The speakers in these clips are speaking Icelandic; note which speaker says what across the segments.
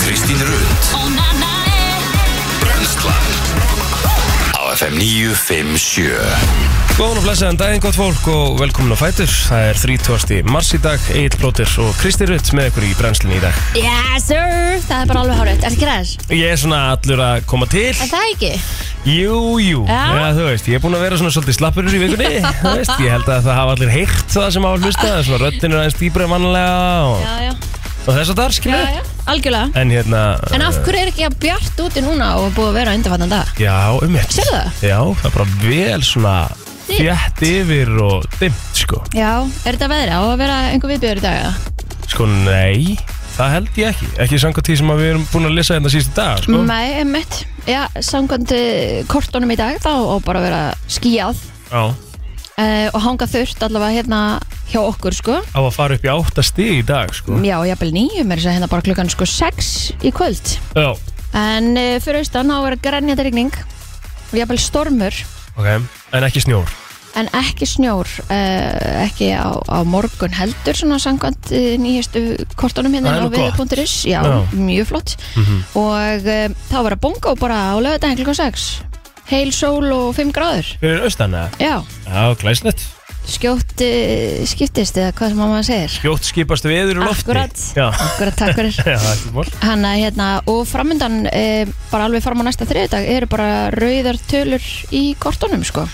Speaker 1: Kristín Rund Brenslan Á FM 957
Speaker 2: Góðan og blessaðan daginn, gott fólk og velkomin á Fætur. Það er 30. mars í dag, Egil Plóter og Kristi Rutt með ykkur í brennslinni í dag.
Speaker 3: Yes sir, það er bara alveg hárið, er ekki ræðis?
Speaker 2: Ég er svona allur að koma til.
Speaker 3: Er það ekki?
Speaker 2: Jú, jú,
Speaker 3: Já.
Speaker 2: ja, þú veist, ég er búin að vera svona svolítið slappurur í vikunni. Þú veist, ég held að það hafa allir heyrt það sem hafa hlustað, svona röddin er aðeins dýbra en vanlega og,
Speaker 3: Já, já,
Speaker 2: og þess að þar,
Speaker 3: já,
Speaker 2: skilja.
Speaker 3: já, algjörlega
Speaker 2: En hérna...
Speaker 3: En af hverju er ekki að bjart úti núna og búið að vera undirfattan dag?
Speaker 2: Já, um mitt.
Speaker 3: Sérðu það?
Speaker 2: Já, það er bara vel svona
Speaker 3: Dimmt.
Speaker 2: fjætt yfir og dimmt, sko.
Speaker 3: Já, er þetta veðri á að vera einhver viðbjör í dag? eða?
Speaker 2: Sko, nei, það held ég ekki. Ekki samkvæmt því sem að við erum búin að lesa hérna síðustu dag, sko.
Speaker 3: Nei, einmitt Já, samkvæmt eh, kortunum í dag þá á bara að vera skíjað
Speaker 2: Já.
Speaker 3: uh, og hanga þurft allavega hérna hjá okkur sko
Speaker 2: Á að fara upp í átta stig í dag, sko.
Speaker 3: Já, jafnvel nýjum er þess að segja, hérna bara klukkan sko 6 í kvöld
Speaker 2: Já.
Speaker 3: En uh, fyrir austan á að vera grænjandi rigning og jafnvel stormur
Speaker 2: Ok, en ekki snjór.
Speaker 3: en ekki snjór uh, ekki á, á morgun heldur svona sangkvæmt uh, nýjastu kortunum hérna
Speaker 2: Það er
Speaker 3: á
Speaker 2: nú gott.
Speaker 3: við.is já,
Speaker 2: Já.
Speaker 3: mjög flott og uh, þá var að bonga og bara á lögadaginn klukkan 6 heil sól og 5 gráður
Speaker 2: Fyrir austan, eða?
Speaker 3: já,
Speaker 2: Já, glæslegt.
Speaker 3: skjótt uh, skiptist eða hvað sem mamma segir
Speaker 2: Skjótt skipast viður í lofti.
Speaker 3: Akkurat.
Speaker 2: Já.
Speaker 3: akkurat takk fyrir
Speaker 2: Já, það er ekki mál.
Speaker 3: Hanna, hérna, og framöndan e, bara alveg fram á næsta þriðdag eru bara rauðar tölur í kortunum sko.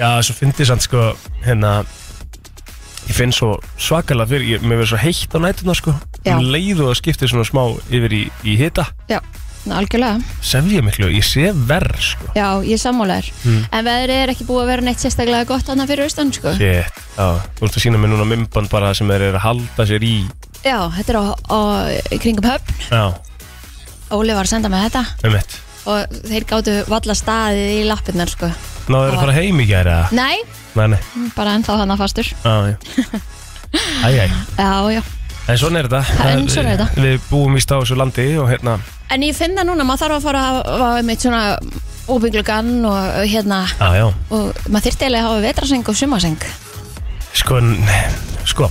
Speaker 2: Já, svo fyndi ég samt, sko, hérna, ég finn svo svakalega fyrir, ég, mér verður svo heitt á nætuna, sko.
Speaker 3: Já.
Speaker 2: Um leið og það skiptir svona smá yfir í, í hita.
Speaker 3: já, algjörlega
Speaker 2: Sef ég miklu, ég sé verð, sko.
Speaker 3: Já, ég er sammálaður.
Speaker 2: Mm.
Speaker 3: En veðrið er ekki búið að vera neitt sérstaklega gott annað fyrir austan, sko.
Speaker 2: Shit. Já, þú veist að sína mér núna mymband bara sem þeir eru að halda sér í.
Speaker 3: Já, þetta er á, á í kringum höfn.
Speaker 2: Já,
Speaker 3: Óli var að senda mig þetta
Speaker 2: um mitt.
Speaker 3: og þeir gáttu valla staðið í lappirnar, sko.
Speaker 2: Náður að fara heim í gæri eða?
Speaker 3: Nei,
Speaker 2: Nei, nei.
Speaker 3: bara ennþá þannig fastur.
Speaker 2: Já, já. Æj, æj.
Speaker 3: Já, já.
Speaker 2: En svona er þetta.
Speaker 3: Það- en svona er þetta.
Speaker 2: Við búum í stáðs og landi og hérna,
Speaker 3: En ég finn það núna, maður þarf að fara að hafa meitt svona óbygglugan og hérna,
Speaker 2: já, já.
Speaker 3: og maður þyrfti eiginlega að hafa vetraseng og sumaseng.
Speaker 2: Sko, n- sko,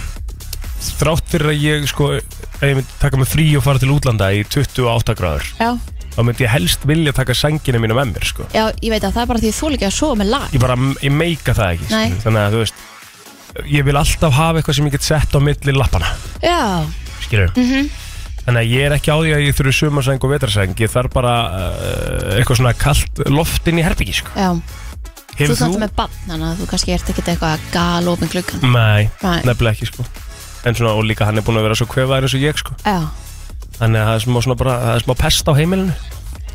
Speaker 2: þrátt fyrir að ég, sko, ef ég myndi taka mig frí og fara til útlanda í 28 gráður,
Speaker 3: Já,
Speaker 2: þá myndi ég helst vilja taka sengina mína með mér, sko.
Speaker 3: já, ég veit að það er bara því þú ekki að sofa með lag.
Speaker 2: Ég bara, ég meika það ekki,
Speaker 3: Nei.
Speaker 2: skilur. þannig að, þú veist, ég vil alltaf hafa eitthvað sem ég get sett á milli lappana,
Speaker 3: Já,
Speaker 2: skilur. Mm -hmm. Þannig að ég er ekki á því að ég þurfi sumarseng og vetrarseng, ég þarf bara uh, eitthvað svona kalt loft inn í herbyggi, sko.
Speaker 3: já. Þú
Speaker 2: Hefur
Speaker 3: ert náttúrulega með bann, þannig að þú kannski ert ekkert eitthvað að gala opin gluggan.
Speaker 2: Nei,
Speaker 3: Nei.
Speaker 2: nefnilega ekki sko En svona, og líka hann er búin að vera svo kvefaðir eins og ég sko
Speaker 3: Já,
Speaker 2: Þannig að það er smá, svona bara, það er smá pest á heimilinu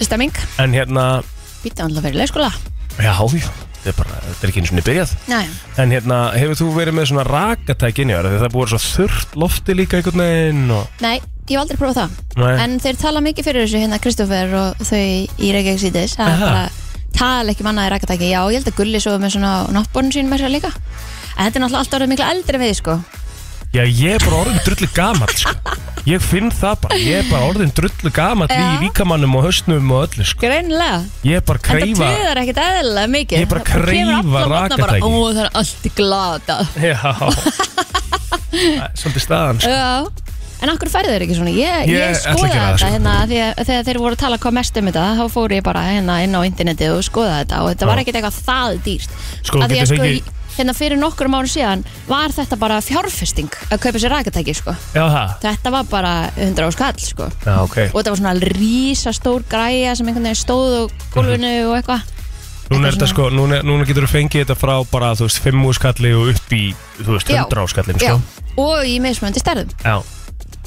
Speaker 3: stemming.
Speaker 2: En hérna,
Speaker 3: Býta alltaf fyrir leikskóla
Speaker 2: já, já, þetta er bara, þetta er ekki einu svona byrjað
Speaker 3: Næja
Speaker 2: En hérna, hefur þú verið með svona rakatæk inni Þegar það er búið að vera svo þurrt lofti líka einhvern veginn og
Speaker 3: Nei, ég hef aldrei prófað það
Speaker 2: Nei.
Speaker 3: En þeir tala mikið fyrir þessu hérna Kristoffer og þau í Reykjavík síðis að
Speaker 2: Aha.
Speaker 3: bara tala ekki manna í rakatæki Já, ég held að Gulli svo með svona náttborun sín með sér líka En þetta er náttúrulega alltaf orðið mikla eldri við sko
Speaker 2: Já, ég er bara orðin drullu gamall sko Ég finn það bara, ég er bara orðin drullu gamall
Speaker 3: Já.
Speaker 2: Í ríkamannum og höstnum og öllu sko
Speaker 3: Greinlega
Speaker 2: Ég er bara að
Speaker 3: En það
Speaker 2: kreifa
Speaker 3: töðar ekkit eðlilega mikið
Speaker 2: Ég bara
Speaker 3: Það kemur
Speaker 2: kreifa
Speaker 3: alla morgna bara,
Speaker 2: rakatæki.
Speaker 3: Ó, það er allt í glata
Speaker 2: Já Það er Svolítið staðan sko
Speaker 3: Já En okkur færðu þeir ekki svona? Ég,
Speaker 2: Ég
Speaker 3: ég,
Speaker 2: ætla að
Speaker 3: skoðaði
Speaker 2: gera
Speaker 3: þetta
Speaker 2: það, sko.
Speaker 3: hérna þegar, þegar þeir voru að tala hvað mest um þetta þá fór ég bara hérna inn á internetið og skoðaði þetta og þetta
Speaker 2: Já.
Speaker 3: var ekkert eitthvað það dýrt
Speaker 2: Sko,
Speaker 3: Af því að
Speaker 2: getur
Speaker 3: sko,
Speaker 2: fengið-
Speaker 3: í- hérna fyrir nokkur mánu síðan var þetta bara fjárfesting að kaupa sér rakatæki sko
Speaker 2: Já, það
Speaker 3: Þetta var bara 100 á skall sko
Speaker 2: Já, ok
Speaker 3: og þetta var svona rísastór græja sem einhvern veginn stóð á
Speaker 2: Mhm.
Speaker 3: gólfinu og eitthvað
Speaker 2: Núna,
Speaker 3: Þetta
Speaker 2: er þetta
Speaker 3: er
Speaker 2: sko, núna, núna getur þú fengið þetta frá bara, þú veist, 5 úrskalli og upp í, þú veist,
Speaker 3: Já.
Speaker 2: 100 áskallin,
Speaker 3: Já,
Speaker 2: sko.
Speaker 3: og í meðsmöndi stærðum
Speaker 2: Já.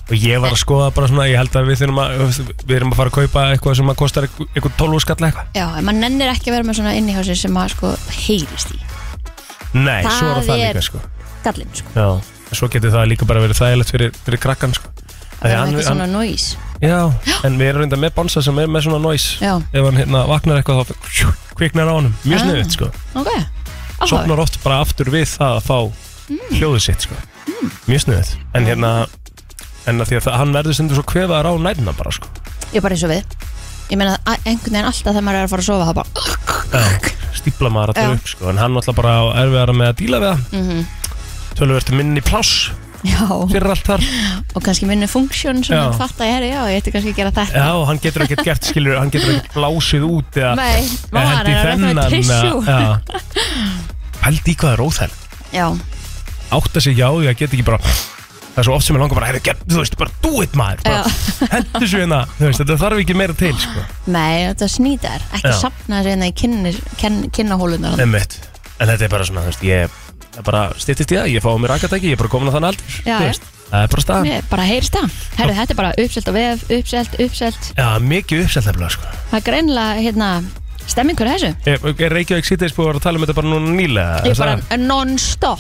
Speaker 2: Og ég var að skoða bara svona, ég held að við þurfum að, við erum að fara að kaupa eitthvað sem að kostar eitthvað- eitthvað 12 úrskalli eitthvað.
Speaker 3: Já, en maður nennir ekki að vera með svona inn í hási sem að sko heyrist í
Speaker 2: Nei,
Speaker 3: Það
Speaker 2: svo er það
Speaker 3: er-
Speaker 2: líka, sko.
Speaker 3: gallin sko
Speaker 2: Já. Svo getur það líka bara verið þægilegt fyrir, fyrir krakkan, sko.
Speaker 3: Það er
Speaker 2: Af því
Speaker 3: ekki
Speaker 2: hann,
Speaker 3: svona noise
Speaker 2: já, en við erum reynda með bonsa sem er með svona noise.
Speaker 3: Já.
Speaker 2: Ef hann hérna vaknar eitthvað þá kviknar á honum. Mjög
Speaker 3: Ah.
Speaker 2: sniðið, sko.
Speaker 3: Ok, áhugaverð
Speaker 2: sopnar oft bara aftur við það að fá
Speaker 3: Mm.
Speaker 2: hljóðið sitt sko. mjög snuðið en hérna en að því að það, hann verður sendur svo kvefaðar á nærna bara sko.
Speaker 3: Ég er bara eins og við Ég meina að einhvern veginn alltaf þegar maður er að fara að sofa það bara
Speaker 2: stípla maður að
Speaker 3: Já.
Speaker 2: upp sko. en hann alltaf bara á erfiðara með að díla við það mm -hmm. tölvöld minni pláss
Speaker 3: Mhm. Já,
Speaker 2: fyrir allt þar
Speaker 3: og kannski minni funksjón sem
Speaker 2: Já.
Speaker 3: hann fatt að herri, já, ég ætti kannski að gera þetta
Speaker 2: Já, hann getur ekkert gert, skilur, hann getur ekkert blásið út eða
Speaker 3: Nei, vá,
Speaker 2: eða
Speaker 3: hann
Speaker 2: hendi í
Speaker 3: er að reyna með
Speaker 2: þennan,
Speaker 3: tissue.
Speaker 2: eða- já. Pældi í hvað er óþæl
Speaker 3: Já,
Speaker 2: Átta sig já, ég get ekki bara Það er svo oft sem ég langar bara, hefði gert, þú veist, bara do it maður bara, Hendur svo hérna, þú veist, þetta þarf ekki meira til, sko
Speaker 3: nei, þetta snýtar ekki
Speaker 2: Já.
Speaker 3: sapna þessi hérna í kynnir, ken, kynnahólunar
Speaker 2: Einmitt. En þetta er bara svona, þú veist, ég það bara stýttist í það, ég fái mér akatæki, ég er bara komin á þann aldur
Speaker 3: Já,
Speaker 2: þú
Speaker 3: já.
Speaker 2: veist. Það er bara staðan
Speaker 3: Ég bara heyrst það, herri, þetta er bara uppselt á vef uppselt, uppselt,
Speaker 2: Já, mikið uppsett nefnilega, sko
Speaker 3: það er greinlega hérna, stemmingur að þessu
Speaker 2: Er- Er Reykjavík síðdeis búið að vera að tala um þetta bara núna nýlega?
Speaker 3: Ég
Speaker 2: Er það-
Speaker 3: bara non-stop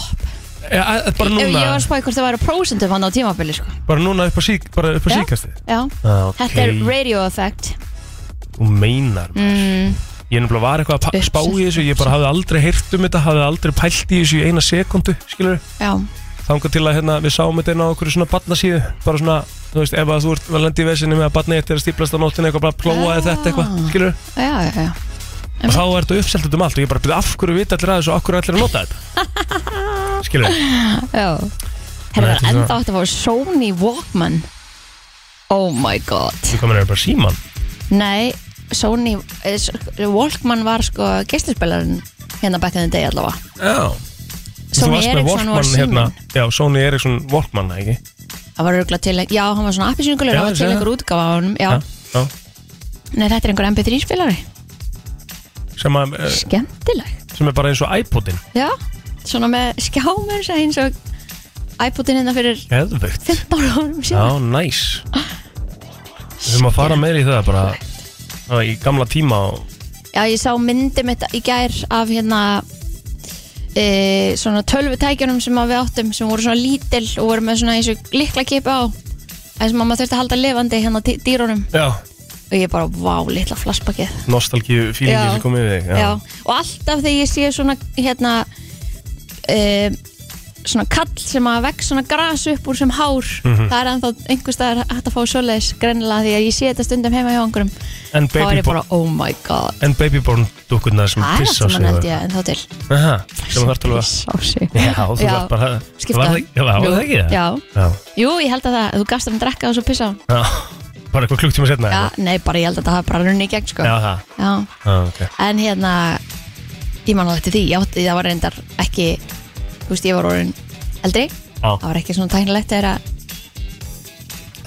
Speaker 2: Já, að- bara
Speaker 3: Ég
Speaker 2: núna,
Speaker 3: ég var að spáði hvort það væri prósentum hann á tímabili sko.
Speaker 2: bara núna upp á, sík, bara upp á
Speaker 3: Já.
Speaker 2: síkasti
Speaker 3: Já,
Speaker 2: ah, okay.
Speaker 3: þetta er radio effect
Speaker 2: Þú meinar maður.
Speaker 3: mm,
Speaker 2: Ég nefnilega var eitthvað að pa-
Speaker 3: Uppsett,
Speaker 2: spá í þessu Ég bara hafði aldrei heyrt um þetta Hafði aldrei pælt í þessu í eina sekundu Skilur
Speaker 3: Já,
Speaker 2: Þangar til að hérna, við sáum þetta inn á okkur svona barnasíðu Bara svona, þú veist, ef að þú ert vel lendi í vesinni Með að barnið þetta er að stíplast á nóttinu Eitthvað bara plóaði
Speaker 3: Ah.
Speaker 2: þetta eitthvað, skilur
Speaker 3: já, já, já
Speaker 2: Og þá er þetta uppselt út um allt Og ég bara byrði af hverju vita allir að þessu og Af hverju allir að nota þetta Skilur
Speaker 3: Já Herra,
Speaker 2: Nei, þetta er
Speaker 3: enda
Speaker 2: svona-
Speaker 3: átt að fá Sony Walkman Oh my god
Speaker 2: Þú komin er bara síman
Speaker 3: Nei, Sony eh, s- Walkman var sko geislispelarinn hérna back in the day allavega
Speaker 2: Já Þú
Speaker 3: Sony
Speaker 2: varst með
Speaker 3: Ericsson var
Speaker 2: Walkman
Speaker 3: síminn
Speaker 2: hérna Já, Sony Ericsson Walkman, ekki?
Speaker 3: Það var örgulega til, já, hann var svona appisynugulur
Speaker 2: Já,
Speaker 3: Það var
Speaker 2: ég
Speaker 3: til
Speaker 2: segi
Speaker 3: einhver útgáfa á honum Já,
Speaker 2: já.
Speaker 3: nei, þetta er einhver MP3 spilari
Speaker 2: Sem, að, eh,
Speaker 3: Skemmtileg
Speaker 2: sem er bara eins og iPodin
Speaker 3: Já, svona með skjámer sem eins og iPodin hérna fyrir
Speaker 2: Geðvögt
Speaker 3: 15 árum síðan
Speaker 2: Já, næs Við höfum að fara meira í það bara á, í gamla tíma og
Speaker 3: Já, ég sá myndi mitt í gær af hérna e, svona tölvutækjunum sem að við áttum sem voru svona lítil og voru með svona eins og likla kipa á eins og mamma þurfti að halda lifandi hérna dý- dýrunum
Speaker 2: Já,
Speaker 3: og ég bara, vá, litla flassbakið
Speaker 2: nostalgíu
Speaker 3: Já.
Speaker 2: fílingi sem komið við
Speaker 3: Já. og alltaf þegar ég sé svona hérna e, svona kall sem að vekk svona gras upp úr sem hár það er ennþá einhver staðar hægt að fá svoleiðis greinilega því að ég sé þetta stundum heima hjá einhverjum
Speaker 2: En
Speaker 3: þá er ég
Speaker 2: babyborn
Speaker 3: bara, oh my god
Speaker 2: En babyborn dukkurna sem
Speaker 3: það er allt
Speaker 2: pissa á
Speaker 3: sem hann
Speaker 2: sig
Speaker 3: held
Speaker 2: og-
Speaker 3: ég en þá til
Speaker 2: Aha, sem þarf til að
Speaker 3: Piss á sig
Speaker 2: Já, þú
Speaker 3: Já.
Speaker 2: þarf bara
Speaker 3: Skipta.
Speaker 2: Var það- Já, var það ekki það?
Speaker 3: Já.
Speaker 2: Já.
Speaker 3: Jú, ég held að það, þú gafst hann að drekka og svo pissa á hann
Speaker 2: Já. Bara eitthvað klukktíma setna
Speaker 3: Já, nei, bara ég held að það hafi bara runni í gegn sko.
Speaker 2: Já, það
Speaker 3: Já.
Speaker 2: Já, ok
Speaker 3: En hérna Ég man á þetta því, já, það var reyndar ekki Þú veist, ég var orðin eldri
Speaker 2: Já.
Speaker 3: Það var ekki svona tæknilegt þegar að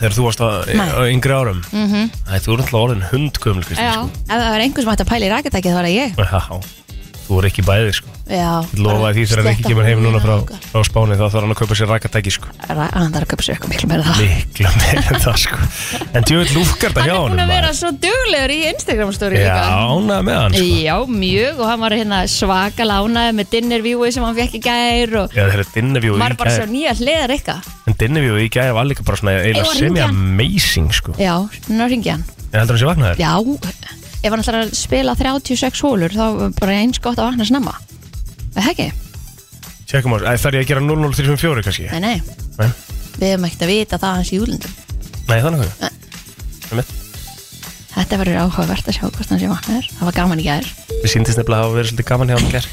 Speaker 2: Þegar þú varst á,
Speaker 3: Nei. Mhm.
Speaker 2: á yngri árum mm -hmm. Þú er alltaf orðin hundgömml
Speaker 3: Já, ef það var einhver sem ætti að pæla í raketæki þá var það ég
Speaker 2: Já, þú er ekki bæði sko
Speaker 3: Já,
Speaker 2: Lofaði því þegar Rikki kemur heim núna frá, frá Spáni Þá þarf hann að kaupa sér rakatæki sko
Speaker 3: Hann þarf að köpa sér eitthvað miklu meira en það
Speaker 2: mikla meira en það sko En djöfitt lúkar þetta
Speaker 3: Hann
Speaker 2: hjá
Speaker 3: er búin að
Speaker 2: honum
Speaker 3: vera
Speaker 2: maður.
Speaker 3: svo duglegur í Instagram-stóri
Speaker 2: Já, ánað með hann sko
Speaker 3: Já, mjög og hann var hérna svaka lánaði með dinnervjúi sem hann fekk í gær og
Speaker 2: Já, þeirra Dinnevíu í
Speaker 3: maður bara svo
Speaker 2: gæð
Speaker 3: nýja hliðar eitthvað
Speaker 2: En Dinnevíu í gæð var líka bara svona
Speaker 3: Eigum
Speaker 2: eiginlega
Speaker 3: að hringja hann?
Speaker 2: semi-amazing sko
Speaker 3: Já, núna ringi hann
Speaker 2: Ég heldur hann sé vaknaður
Speaker 3: Já, ef hann ætlar að spila 36 hólur þá er bara eins gott að vakna snemma Er Það ekki?
Speaker 2: Tjekkum á þessu, Æ, þarf ég að gera 00354 kannski
Speaker 3: Nei, nei,
Speaker 2: Nei,
Speaker 3: við hefum ekkert að vita það hans í júlundum
Speaker 2: Nei þannig hvað
Speaker 3: Nei.
Speaker 2: Einmitt.
Speaker 3: Þetta verður áhugavert að sjá hvort hann sé vaknaður Það var gaman í gær
Speaker 2: Við síndist nefnilega að hafa verið svolítið gaman hjá hann gær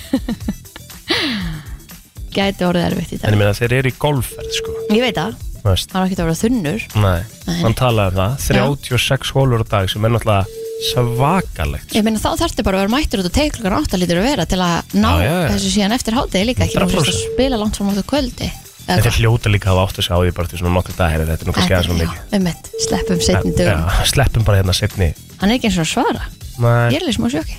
Speaker 3: Gæti orðið erfitt í
Speaker 2: En
Speaker 3: dag
Speaker 2: ég meina þeir eru í golfferð sko
Speaker 3: Ég veit það,
Speaker 2: Þú veist.
Speaker 3: hann var ekkert að vera þunnur
Speaker 2: Nei,
Speaker 3: Nei.
Speaker 2: hann talaði um það 36 hólur á dag sem er náttúrulega svakalegt
Speaker 3: Ég meina þá þarftu bara að vera mættur út og teik klukkan átta lítur að vera til að ná
Speaker 2: Já, já, já.
Speaker 3: þessu síðan eftir hátegi líka ekki
Speaker 2: 100%.
Speaker 3: þú veist að spila langt fram á þetta kvöldi eða
Speaker 2: Þetta er
Speaker 3: hvað?
Speaker 2: hljóta líka að hafa átt að sjá því bara til svona nokkur dagir Þetta er nú kannski aðeins
Speaker 3: Þetta-
Speaker 2: svona
Speaker 3: já,
Speaker 2: mikið
Speaker 3: einmitt, Sleppum setjum dögum
Speaker 2: Já, Sleppum bara hérna setni
Speaker 3: Hann er ekki eins og að svara Ég
Speaker 2: Nei,
Speaker 3: er alveg smá sjokki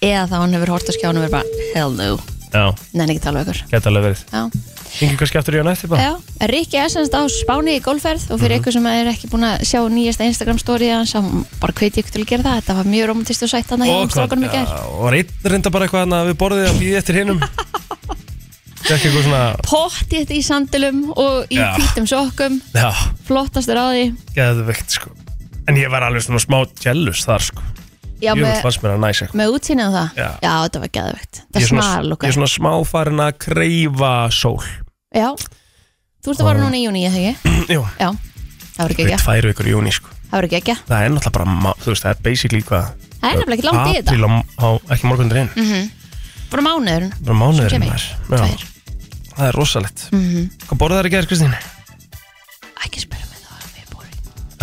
Speaker 3: Eða þá hann hefur hort að skjána og verið bara Hell no,
Speaker 2: já,
Speaker 3: neðan ekki tala við ykkur
Speaker 2: geta alveg verið
Speaker 3: Já,
Speaker 2: Yngi kannski aftur í hann eftir bara
Speaker 3: já Rikki er semst á Spáni í golfferð og
Speaker 2: Mhm.
Speaker 3: fyrir ykkur sem er ekki búin að sjá nýjasta Instagram story hans, hann bara hveiti ykkur til að gera það þetta var mjög romantist og sætt hann að hjá strákunum í
Speaker 2: já,
Speaker 3: gær
Speaker 2: og reynd, reynda bara eitthvað hann að við borðið að býði eftir hinnum Ekki eitthvað svona
Speaker 3: Pottið í sandilum og í
Speaker 2: Já.
Speaker 3: hvítum sokkum
Speaker 2: Já,
Speaker 3: flottastur á því
Speaker 2: geðveikt sko En ég var alveg svona smá jealous þar sko
Speaker 3: Já,
Speaker 2: Jú,
Speaker 3: með,
Speaker 2: fannst mér að næsa eitthvað
Speaker 3: með útsýnið og það
Speaker 2: Já.
Speaker 3: þetta var geðvegt
Speaker 2: Ég
Speaker 3: Það
Speaker 2: er svona-
Speaker 3: snar
Speaker 2: Ég
Speaker 3: lukka
Speaker 2: er svona smá farin að kreyfa sól
Speaker 3: Já, þú ert að fara núna í júni, ég þegi
Speaker 2: Jú,
Speaker 3: Já, það var ekki
Speaker 2: við
Speaker 3: ekki
Speaker 2: tvær vikur í júni sko
Speaker 3: Það var ekki ekki
Speaker 2: Það er náttúrulega bara, ma- þú veist, það er basically hvað
Speaker 3: Það er nefnilega ekki langt í þetta
Speaker 2: Apríl á- á- Ekki morgundur einn,
Speaker 3: Mhm. Bara mánuður
Speaker 2: bara mánuður
Speaker 3: kemur.
Speaker 2: maður. Já.
Speaker 3: Tvær Mhm.
Speaker 2: Það er rosalegt Hvað borðið þær í gerð, Kristín?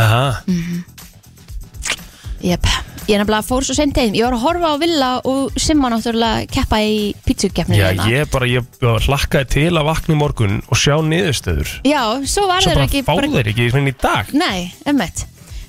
Speaker 2: Aha,
Speaker 3: Mhm. Jep, ég er nefnilega fór svo seint heim Ég var að horfa á Villa og Simma náttúrulega keppa í pítsukeppninu
Speaker 2: já
Speaker 3: hérna.
Speaker 2: ég bara, ég bara hlakkaði til að vakna í morgun og sjá niðurstöður
Speaker 3: Já, svo var
Speaker 2: Svo
Speaker 3: þeir
Speaker 2: bara
Speaker 3: ekki
Speaker 2: fá þeir ekki svona í dag
Speaker 3: Nei, emmett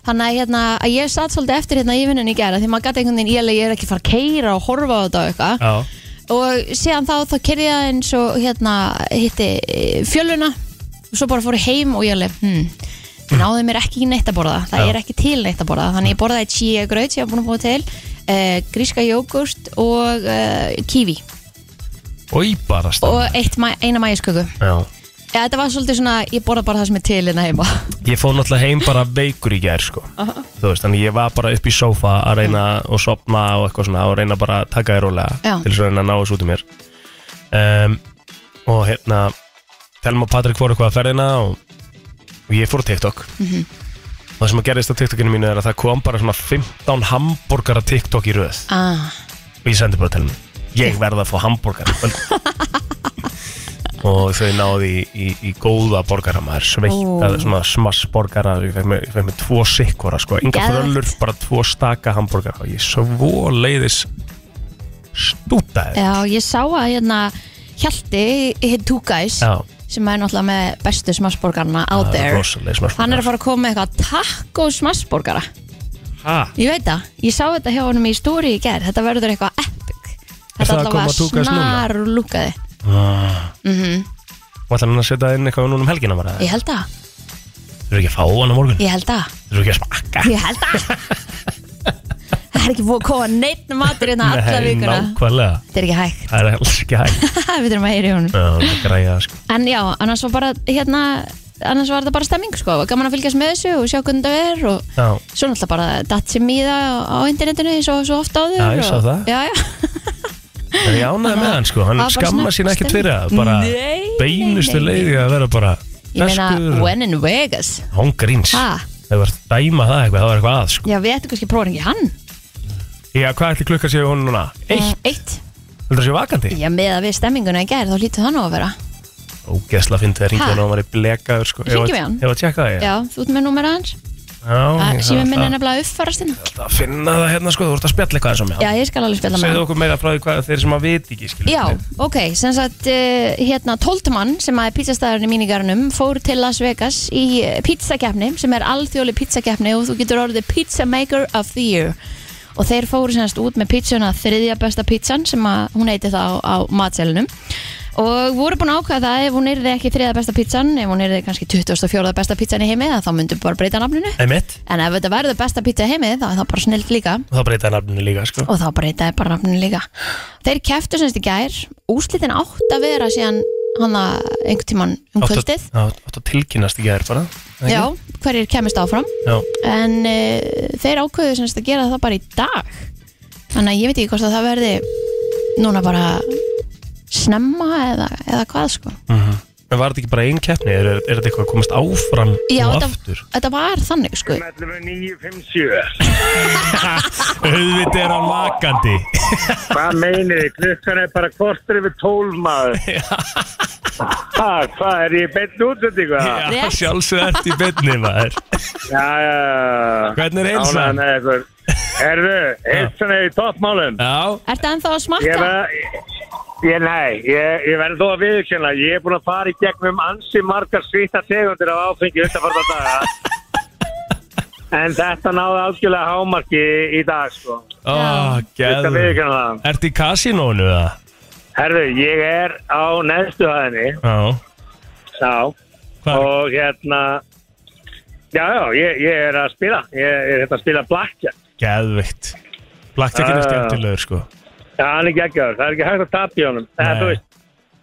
Speaker 3: Þannig að, hérna, að ég satt svolítið eftir hérna í vinnunni í gera Því maður gæti einhvern veginn, ég, ég er ekki að fara að keira og horfa á þetta og eitthvað
Speaker 2: Já,
Speaker 3: Og síðan þá, þá keyrði ég aðeins og hérna hitti eh, fjöluna Og svo bara fór ég heim og ég alveg, hm ég Náði mér ekki í neitt að borða, það
Speaker 2: Já.
Speaker 3: er ekki til neitt að borða Þannig ég borðaði chia graut sem ég var búin að búa til eh, Gríska jógurt og eh, kiwi
Speaker 2: og í bara stað
Speaker 3: og eitt, ma- eina mægisköku
Speaker 2: Já
Speaker 3: Já, þetta var svolítið svona, ég borða bara það sem er til hérna heima
Speaker 2: Ég fóð náttúrulega heim bara veikur í gær sko Þú veist, þannig ég var bara upp í sófa að reyna og sopna og eitthvað svona og reyna bara að taka þér rólega
Speaker 3: Já.
Speaker 2: til þess að reyna að ná þessu út í mér um, og hérna Telma og Patrik fór eitthvað að ferðina og, og ég fór á TikTok
Speaker 3: Mhm.
Speaker 2: og það sem að gerðist á TikTokinu mínu er að það kom bara svona 15 hambúrgara TikTok í röð
Speaker 3: ah,
Speaker 2: og ég sendi bara til henni ég verða að fá hambúrgar og þau náði í, í, í góða borgara maður sveittað,
Speaker 3: Ó.
Speaker 2: svona smass borgara ég fekk með, ég fekk með tvo sikkvara sko. inga
Speaker 3: Geðvegt.
Speaker 2: fröllur, bara tvo staka hambúrgara og ég svo leiðis stútaði
Speaker 3: Já, ég sá að hérna Hjalti, hit two guys sem er náttúrulega með bestu smassborgarna out there Hann er að fara að koma með eitthvað takk og smassborgara
Speaker 2: fara
Speaker 3: Ég veit það, ég sá þetta hjá honum í stóri í gerð Þetta verður eitthvað epic
Speaker 2: það
Speaker 3: Þetta
Speaker 2: að koma Two Guys núna?
Speaker 3: snar lúkaði Mhm,
Speaker 2: og ætlar hann að setja inn eitthvað núna um helgina bara
Speaker 3: Ég held að,
Speaker 2: þú eru ekki að fá hann á morgun,
Speaker 3: ég held að
Speaker 2: þú eru ekki að smakka
Speaker 3: Ég held að Það er ekki búið að koma neitt matur hérna alla
Speaker 2: Nei,
Speaker 3: vikuna
Speaker 2: nákvæmlega
Speaker 3: Þetta er ekki hægt
Speaker 2: það er alls ekki hægt
Speaker 3: Við þurfum að heyri honum
Speaker 2: Já, það er græða sko
Speaker 3: En já, annars var bara hérna annars var þetta bara stemming sko, var gaman að fylgjast með þessu og sjá hvernig þetta er og
Speaker 2: Já,
Speaker 3: svo náttúrulega bara datt sem í það á internetinu eins og svo ofta áður
Speaker 2: Já, ég sá
Speaker 3: og,
Speaker 2: það.
Speaker 3: Já, já,
Speaker 2: en ég ánaði með hann sko, hann
Speaker 3: Það var bara
Speaker 2: skamma
Speaker 3: svona
Speaker 2: sín
Speaker 3: stemning.
Speaker 2: ekkert fyrir það, bara
Speaker 3: Nei,
Speaker 2: beinustu
Speaker 3: nei, nei,
Speaker 2: leiði að vera bara
Speaker 3: ég meina
Speaker 2: feskur,
Speaker 3: when in Vegas
Speaker 2: hún gríns,
Speaker 3: Ha?
Speaker 2: það var dæma það eitthvað, það var eitthvað að sko.
Speaker 3: Já, við ættum kannski að prófa ekki hann Eh,
Speaker 2: Já, hvað ætli klukka séu hún núna? Eitt,
Speaker 3: Eitt
Speaker 2: heldur það séu vakandi?
Speaker 3: Já, með að við stemminguna í gær, þá lítið það nú að vera
Speaker 2: Ógeðsla fyndi það
Speaker 3: Ha?
Speaker 2: ringið hann og hann var í blekaður sko. Ég
Speaker 3: Hringjum
Speaker 2: var-
Speaker 3: við hann?
Speaker 2: Ég var að tjekka það,
Speaker 3: Já, þú ert með númera hans
Speaker 2: já.
Speaker 3: Sýmið minn er
Speaker 2: að...
Speaker 3: nefnilega að uppfarast hérna
Speaker 2: Það finna það hérna sko, þú ert að spjalla eitthvað eins og
Speaker 3: Já,
Speaker 2: mér.
Speaker 3: ég skal alveg spjalla með hann
Speaker 2: Segðu okkur meira frá því hvað þeir sem að viti ekki, skilur.
Speaker 3: Já, ok, sem sagt uh, hérna Tóltmann sem að er pizzastæðurinn í mínigarunum fór til Las Vegas í uh, pizzakeppni sem er alþjóli pizzakeppni og þú getur orðið pizza maker of the year og þeir fóru semast út með pizzuna þriðja besta pizzan sem að hún heiti það á, á matselunum og voru búin að ákvæða það ef hún yrði ekki þriðja besta pizzan ef hún yrði kannski 24. besta pizzan í heimi að þá myndu bara breyta nafninu
Speaker 2: Einmitt,
Speaker 3: en ef þetta verður besta pizza í heimi þá er það bara snilt líka
Speaker 2: og það breytaði nafninu líka sko.
Speaker 3: og þá breytaði bara nafninu líka þeir keftu semst í gær úslitin átt að vera síðan hann að einhvern tíman um
Speaker 2: Áttu-
Speaker 3: kvöldið
Speaker 2: Já, áttu að tilkynnast í gær bara. ekki?
Speaker 3: já, hverjir kemist áfram
Speaker 2: Já.
Speaker 3: en uh, þeir ákveðu semst að gera það bara í dag þannig að ég veit ekki hvort að það verði núna bara snemma eða, eða hvað sko
Speaker 2: Mhm. En var þetta ekki bara einn keppni? Er, er, er þetta eitthvað að komast áfram
Speaker 3: já,
Speaker 2: og
Speaker 3: þetta,
Speaker 2: aftur?
Speaker 3: þetta var þannig sko
Speaker 4: 11.957
Speaker 2: Auðvitað er hann vakandi
Speaker 4: Hvað meinið þið? Klukkan er bara kortur yfir tólf maður ha, Hvað er ég beint út þetta eitthvað?
Speaker 2: Já,
Speaker 3: Rétt.
Speaker 2: sjálfsög ert í beinni maður
Speaker 4: Já, já, já
Speaker 2: Hvernig er heilsan?
Speaker 4: Ánægðan eða eitthvað. Herðu, heilsan er í toppmálum
Speaker 2: Já,
Speaker 3: ertu ennþá að
Speaker 4: Ég
Speaker 3: smakka?
Speaker 4: verða Ég, nei, ég, ég verði þó að viðurkenna Ég er búin að fara í gegnum ansi margar svíta tegundir af áfengi undanfarta daga En þetta náði algjörlega hámarki í dag, sko
Speaker 2: ó,
Speaker 4: Þetta
Speaker 2: gæður
Speaker 4: viðurkenna um það
Speaker 2: Ert í kasinónu það?
Speaker 4: Herðu, ég er á neðstu hæðinni,
Speaker 2: Já
Speaker 4: já,
Speaker 2: Hvað?
Speaker 4: og hérna, já, já, ég, ég er að spila, ég ég er hérna að spila blackjack.
Speaker 2: Gæðvikt Blackjackin er
Speaker 4: Ah.
Speaker 2: skemmtilegur sko
Speaker 4: Já, hann er geggjaður, það er ekki hægt að tapa í honum. Það
Speaker 2: Nei.
Speaker 4: er, þú veist,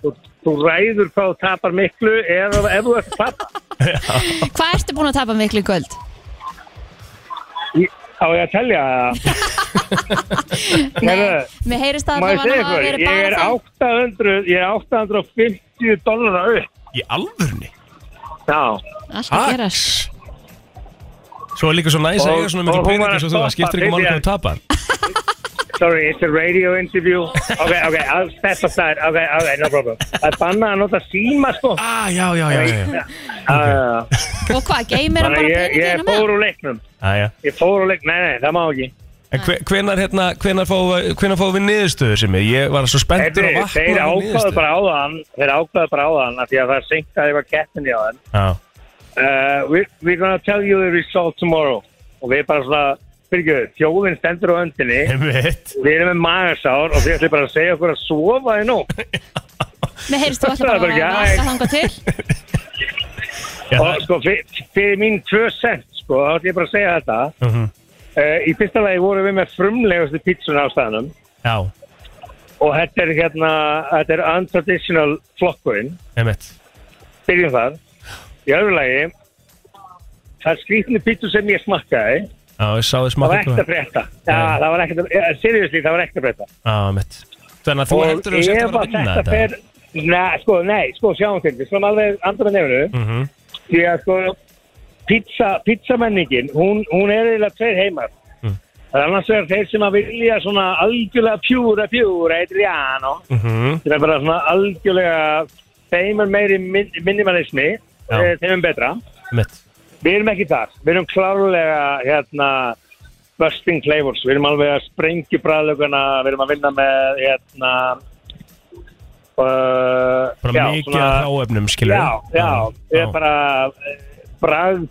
Speaker 4: þú, þú ræður hvað þú tapar miklu ef, ef þú ert að tapa.
Speaker 3: hvað ertu búin að tapa miklu í kvöld?
Speaker 4: Ég- Á ég að tellja það? Herðu,
Speaker 3: mér heyrist að
Speaker 4: má
Speaker 3: það
Speaker 4: ég
Speaker 3: var
Speaker 4: segja
Speaker 3: að hafa
Speaker 4: ykkur,
Speaker 3: verið
Speaker 4: ég er
Speaker 3: bara
Speaker 4: 800, ég er 850 dollara upp.
Speaker 2: Í alvörni?
Speaker 4: Já.
Speaker 3: það allt að gerast
Speaker 2: Svo er líka svo næs að
Speaker 4: Og-
Speaker 2: eiga svona miklu
Speaker 4: og hún var
Speaker 2: peningi
Speaker 4: að
Speaker 2: svo þú Það
Speaker 4: stoppa
Speaker 2: skiptir ekki máli
Speaker 4: fyrir
Speaker 2: hvernig þú tapar
Speaker 4: sorry, it's a radio interview Ok, ok, I'll step aside Ok, ok, no problem Það er bannað að nota síma, sko
Speaker 2: Ah, já, já, já, já, já.
Speaker 4: Já, já, já.
Speaker 3: Og hvað, geymir hann
Speaker 4: Þannig að
Speaker 3: bara
Speaker 4: ég, ég
Speaker 3: peningina
Speaker 4: fór
Speaker 3: með?
Speaker 4: úr leiknum
Speaker 2: Ah, já.
Speaker 4: Ég fór úr leiknum, nei, nei, það má ekki
Speaker 2: En hve- hvenær, hérna, hvenær fáum hvenar fá við niðurstöðu sem ég? Ég var svo spenntur
Speaker 4: Þeir,
Speaker 2: og
Speaker 4: þeir
Speaker 2: vaknaði
Speaker 4: ákvaðu bara áðan Þeir ákvaðu bara áðan af Því að það synkaði eitthvað kettinni á þeim
Speaker 2: Já,
Speaker 4: uh, we're, we're gonna tell you the result tomorrow Og við bara svona Fyrir ekki, þjóðin stendur á öndinni
Speaker 2: einmitt.
Speaker 4: Við erum með magasár og þið ætlum bara að segja okkur að sofa þið nú.
Speaker 3: Mér heyrst þú alltaf
Speaker 4: Það er
Speaker 3: bara
Speaker 4: bara
Speaker 3: að
Speaker 4: ekki
Speaker 3: vaka þanga til
Speaker 2: Já,
Speaker 4: Og sko, fyr- fyrir mín tvö cent, sko, þá ætlum ég bara að segja þetta.
Speaker 2: mhm.
Speaker 4: Uh, í fyrsta lagi vorum við með frumlegustu pítsun á staðnum
Speaker 2: já,
Speaker 4: og þetta er hérna, þetta er untraditional flokkurinn,
Speaker 2: einmitt.
Speaker 4: byrjum þar. Í öðru lagi, það er skrítinu pítsu sem ég smakkaði,
Speaker 2: Já, ég sá þið smá
Speaker 4: það var ekkert að frétta. Já,
Speaker 2: Nei.
Speaker 4: það var ekkert að, eh, seriously, það var ekkert að frétta.
Speaker 2: Já, einmitt. Þannig að þú
Speaker 4: Og
Speaker 2: heldur að þú sért að
Speaker 4: ef
Speaker 2: vera að vinna þetta?
Speaker 4: fer, nei, sko, nei, sko, sjáum til, við slum alveg andra með nefnu.
Speaker 2: Mhm.
Speaker 4: því að sko pizza, pizzamenningin, hún, hún er eiginlega tveir heimar
Speaker 2: Mm.
Speaker 4: það er annars vegar þeir sem að vilja svona algjörlega pjúra pjúra Adriano
Speaker 2: Mhm.
Speaker 4: sem er bara svona algjörlega þeim er meiri min, minimalismi
Speaker 2: Já.
Speaker 4: eh, þeim er betra
Speaker 2: Einmitt.
Speaker 4: við erum ekki þar, við erum klárlega hérna busting flavors, við erum alveg að sprengja bræðlugana, við erum að vinna með hérna uh,
Speaker 2: Bara
Speaker 4: já,
Speaker 2: mikið
Speaker 4: svona-
Speaker 2: af hráefnum, skilur
Speaker 4: Já, já, við erum bara bræð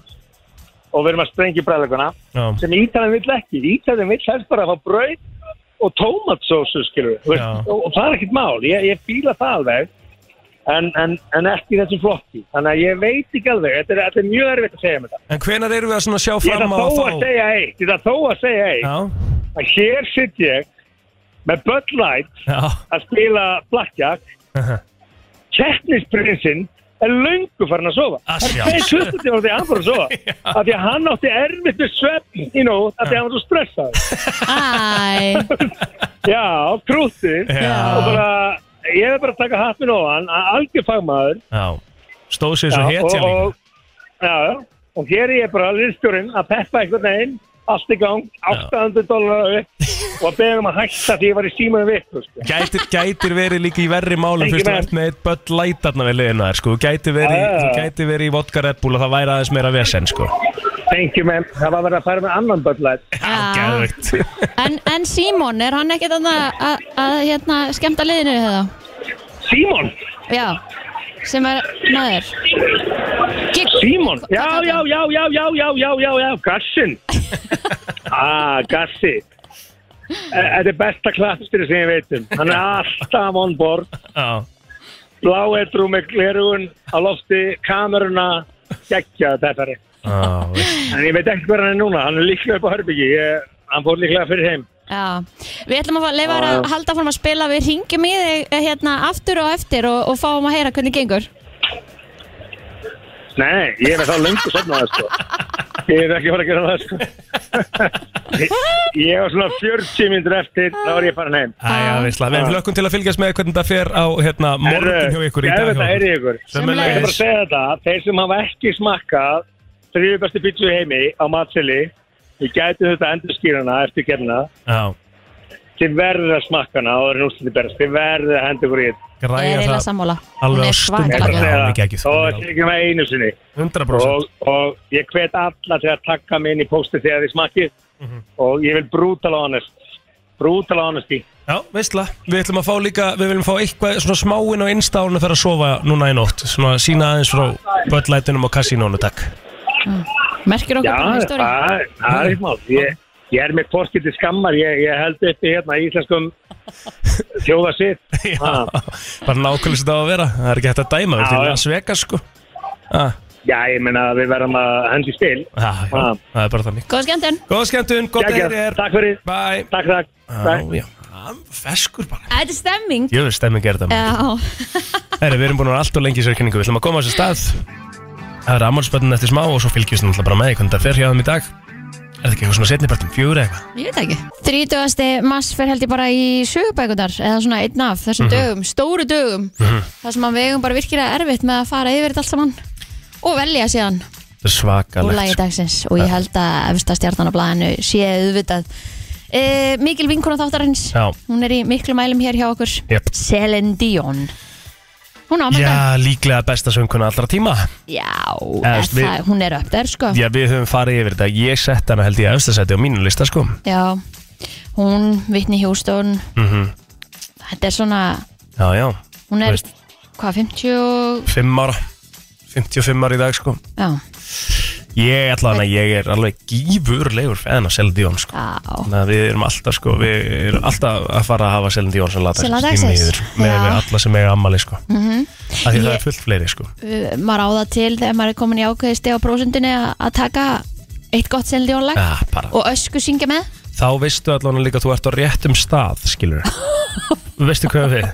Speaker 4: og við erum að sprengja bræðlökunna
Speaker 2: Já,
Speaker 4: sem Ítalinn vill ekki, Ítalinn vill helst bara að fá brauð og tómatsósu skilur við, Þú veist,
Speaker 2: Já.
Speaker 4: og, og það er ekkert mál, ég, ég fíla það alveg en, en, en ekki í þessum flokki þannig að ég veit ekki alveg, þetta er, þetta er mjög erfitt að segja með það
Speaker 2: en hvenar erum við að svona sjá
Speaker 4: Ég ætla
Speaker 2: fram á
Speaker 4: þó að segja eitt, ég ætla þó að segja eitt
Speaker 2: Já,
Speaker 4: að hér sitt ég með Bud Light
Speaker 2: já,
Speaker 4: að spila blackjack keppnisprinsinn er löngu farin að sofa það
Speaker 2: Að sjá.
Speaker 4: er tveir klukkutíma því að hann fór að sofa af því að hann átti erfitt með svefn í nót af því að hann var svo stressað
Speaker 3: Æ,
Speaker 4: já, krútið og
Speaker 2: já,
Speaker 4: bara, ég er bara að taka hatt minn ofan að algjör fagmaður
Speaker 2: já Stóð sér svo
Speaker 4: og,
Speaker 2: hetja líka
Speaker 4: og, já, já, og hér er ég bara liðstjórinn að peppa einhvern veginn allt í gang, 800 dólar og að beða um að hætta því ég var í símaðum vitt sko.
Speaker 2: Gætir, gætir verið líka í verri málum
Speaker 4: Ekki
Speaker 2: fyrst þú
Speaker 4: menn.
Speaker 2: ert með eitt börn lætarna við liðina þær sko Þú gætir verið,
Speaker 4: Já, já, já.
Speaker 2: þú gætir verið í vodka Red Bull og það væri aðeins meira vesen sko
Speaker 4: thank you man, það var verið að fara með annan böllætt
Speaker 2: Já,
Speaker 3: Já.
Speaker 2: gæðvegt
Speaker 3: en, en Símon, er hann ekkert þarna að, að hérna, skemmta liðinu þegar
Speaker 4: Símon,
Speaker 3: Já, sem er maður Gik,
Speaker 4: Símon,
Speaker 3: Hvað
Speaker 4: já,
Speaker 3: kallar
Speaker 4: já,
Speaker 3: hann?
Speaker 4: já, já, já, já, já, já, já, gassin. ah, gassi. Eh, Þetta er besta klappstýri sem ég veit um. Hann er alltaf on board,
Speaker 2: Já,
Speaker 4: blá eitrú með glerugun á lofti, kameruna, geggjað þetta er.
Speaker 2: já, veist.
Speaker 4: En ég veit ekki hver hann er núna, hann er líklega upp á Herbyggi, ég, hann fór líklega fyrir heim.
Speaker 3: Já, við ætlum að fá- leyfa þér að halda fórum að spila Við ringjum í þig eh, hérna, aftur og eftir og, og fáum að heyra hvernig gengur
Speaker 4: Nei, ég er með þá lengur sofnaði, sko. Ég er ekki að fara að gera það, sko. Ég- ég var svona 40 myndur eftir, þá var ég farin heim.
Speaker 2: Æ, já, veistla
Speaker 4: Ah.
Speaker 2: Við hlökkum til að fylgjast með hvernig það fer á hérna, morgun hjá ykkur í dag
Speaker 4: Þetta er ykkur. Ég er bara að
Speaker 2: Sömmulegis
Speaker 4: segja þetta, þeir sem hafa ekki smakkað þrjú bestu pítsu í heimi á matseli, við gætum þetta endurskýrana eftir kemna,
Speaker 2: Já,
Speaker 4: þið verður að smakka hana og það er nústandi berast, þið verður að henda ykkur í þetta.
Speaker 3: Ég er
Speaker 2: græja
Speaker 3: eiginlega
Speaker 2: það
Speaker 3: sammála Hún
Speaker 2: alveg á
Speaker 3: er
Speaker 2: stundu.
Speaker 4: Ég er bara
Speaker 3: svakalega
Speaker 4: að
Speaker 3: góð.
Speaker 4: segja
Speaker 2: alveg
Speaker 4: það.
Speaker 2: geggjuð.
Speaker 4: Og það sé ekki með einu sinni.
Speaker 2: 100%
Speaker 4: Og, og ég hvet alla til að taka mig inn í pósti þegar þið smakkið
Speaker 2: Mhm.
Speaker 4: og ég vil brutal honest, brutal honesty.
Speaker 2: Já, veistla, við ætlum að fá líka, við viljum fá eitthvað svona smáinn og innstálun að fara að sofa núna í nótt Svona sína aðeins frá böllætunum og kassínónu, takk
Speaker 3: Merkir okkur
Speaker 4: Já,
Speaker 3: bara í stóri
Speaker 4: það það er eitt mál. Ég, ég er með porskið til skammar, ég, ég held uppi hérna í íslenskum þjóðasitt.
Speaker 2: Já,
Speaker 4: Ha.
Speaker 2: bara nákvæmlega sem það á að vera, það er ekki hægt að dæma, við
Speaker 4: Já,
Speaker 2: erum
Speaker 4: já.
Speaker 2: að sveka sko ah,
Speaker 4: Já, ég meina við verðum að hendi spil.
Speaker 2: já, já,
Speaker 4: Ha.
Speaker 2: það er bara þannig
Speaker 3: Góð skemmtun
Speaker 2: Góða skemmtun, gott að
Speaker 4: Geggjað.
Speaker 2: heyri þér,
Speaker 4: Takk fyrir,
Speaker 2: bye
Speaker 4: takk, takk. takk.
Speaker 2: Ah, Já, já, Hann feskur bara
Speaker 3: Þetta er stemming
Speaker 2: Jöfnir stemming er þetta maður.
Speaker 3: Já,
Speaker 2: Herri, við erum búin að vera allt og lengi í sérkynningu, við ætlum að koma á þessu stað Það er ammálspöndin eftir smá og svo fylgjumst náttúrulega bara með því hvernig það fer hjá þeim í dag Er þetta ekki eitthvað svona setnipartum, fjögur eða eitthvað?
Speaker 3: ég veit ekki 30. mars fer held ég bara í sögubækundar eða svona einn af þessum
Speaker 2: Mhm.
Speaker 3: dögum, stóru dögum
Speaker 4: Mhm.
Speaker 3: þar sem að við eigum bara virkilega erfitt með að fara yfir þetta allt saman og velja síðan
Speaker 2: Þetta
Speaker 3: úr
Speaker 2: er svakalegt
Speaker 3: lagi
Speaker 2: sko.
Speaker 3: dagsins og ég held að efsta stjarnan á blæðinu sé auðvitað uh, Mikil vinkona þáttarins
Speaker 2: Já.
Speaker 3: Hún er í miklu mælum hér hjá okkur
Speaker 2: Jöp.
Speaker 3: Celine Dion Hún á maður
Speaker 2: Já, líklega besta sönguna allra tíma
Speaker 3: Já,
Speaker 2: Eða,
Speaker 3: er
Speaker 2: veist, við-
Speaker 3: það, hún er upp der sko
Speaker 2: Já, við höfum farið yfir þetta Ég sett hana held ég að östasæti á mínu lista sko
Speaker 3: Já, hún, Whitney Houston
Speaker 2: Mhm.
Speaker 3: Þetta er svona
Speaker 2: Já, já,
Speaker 3: Hún er,
Speaker 2: Veist.
Speaker 3: hvað, 50 og-
Speaker 2: 5 ára 55 ára í dag sko
Speaker 3: Já,
Speaker 2: Ég ætla hana, ég er alveg gífurlegur fenn á Celine Dion sko
Speaker 3: já
Speaker 2: Þannig að við erum alltaf sko, við erum alltaf að fara að hafa Celine Dion sem lata
Speaker 3: Sem lata
Speaker 2: Með
Speaker 3: dagsins. Já.
Speaker 2: við alla sem eiga ammali sko mm -hmm. Því það
Speaker 3: Ég-
Speaker 2: er fullt fleiri sko
Speaker 3: uh, Mhm. maður á það til þegar maður er komin í ákveði steg á prósundinni að að taka eitt gott seldiónlag
Speaker 2: Já, Ah, bara
Speaker 3: og ösku syngja með
Speaker 2: Þá veistu allan líka að þú ert á réttum stað, skilur Veistu hvað við?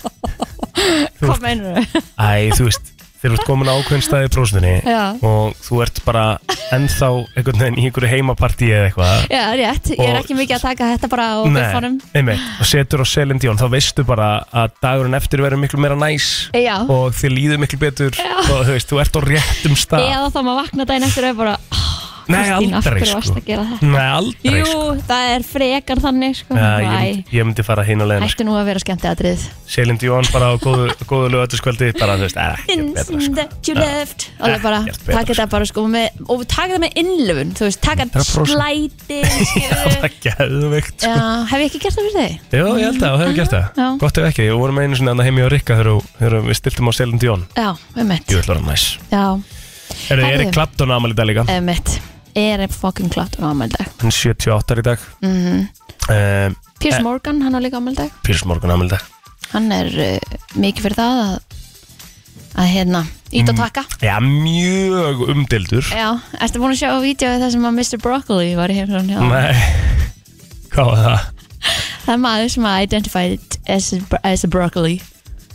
Speaker 3: hvað meinur þau?
Speaker 2: Æ, þú veist, þegar þú ert komin á ákveðin staði brósninni
Speaker 3: Já.
Speaker 2: og þú ert bara ennþá einhvern veginn í einhverju heimapartí eða eitthvað
Speaker 3: Já, rétt, ég er
Speaker 2: Og-
Speaker 3: ekki mikið að taka þetta bara á biffanum
Speaker 2: einmitt, og setur á Celine Dion þá veistu bara að dagurinn eftir verður miklu meira næs
Speaker 3: Já.
Speaker 2: og þið líður miklu betur
Speaker 3: Já.
Speaker 2: og þú veist, þú ert á réttum stað
Speaker 3: eða þá maður vakna daginn eftir og er bara "Ah,
Speaker 2: Nei,
Speaker 3: Kristín, af
Speaker 2: aldrei
Speaker 3: hverju varstu
Speaker 2: sko
Speaker 3: að gera þetta?
Speaker 2: Nei, aldrei
Speaker 3: Jú,
Speaker 2: sko
Speaker 3: það er frekar þannig sko.
Speaker 2: Já, ég,
Speaker 3: Æ,
Speaker 2: myndi, ég myndi fara hinn og leiðin
Speaker 3: Hættu nú að vera skemmti aðrið
Speaker 2: Celine Dion bara á góðu, góðu lögataskvöldi bara, þú veist, eh, er ekki betra
Speaker 3: Instant
Speaker 2: sko
Speaker 3: that you left Alveg bara,
Speaker 2: Ekkert betra,
Speaker 3: taka þetta bara sko með, og taka þetta með innlöfun þú veist, taka
Speaker 2: 100%.
Speaker 3: slæti
Speaker 2: Það var geðveikt sko
Speaker 3: Hef ég ekki gert það fyrir þig?
Speaker 2: Jó, ég held það, og hefur gert það
Speaker 3: Já.
Speaker 2: Gott ef ekki, við vorum einu sinni annað heimi á Rikka þegar þú- þegar við stiltum á Selin Dion
Speaker 3: Já, einmitt
Speaker 2: Jú, ætlar hann næs
Speaker 3: Já,
Speaker 2: Er það
Speaker 3: Herðu.
Speaker 2: Erik Clapton ámæli í dag líka?
Speaker 3: einmitt Ég er fucking klart um ámeldag
Speaker 2: Hann er 78 í dag mm
Speaker 3: Mhm.
Speaker 2: -hmm.
Speaker 3: Piers
Speaker 2: Eh.
Speaker 3: Morgan, hann á líka ámeldag
Speaker 2: Pírs Morgan ámæli í dag
Speaker 3: Hann er uh, mikið fyrir það að, að hérna, ít
Speaker 2: Mm.
Speaker 3: og taka
Speaker 2: Já, mjög umdildur
Speaker 3: Já, ertu búin að sjá vídeo það sem að Mr. Broccoli var í heimsón hjá
Speaker 2: Nei, hvað var það?
Speaker 3: Það er maður sem að identified as, a- as a broccoli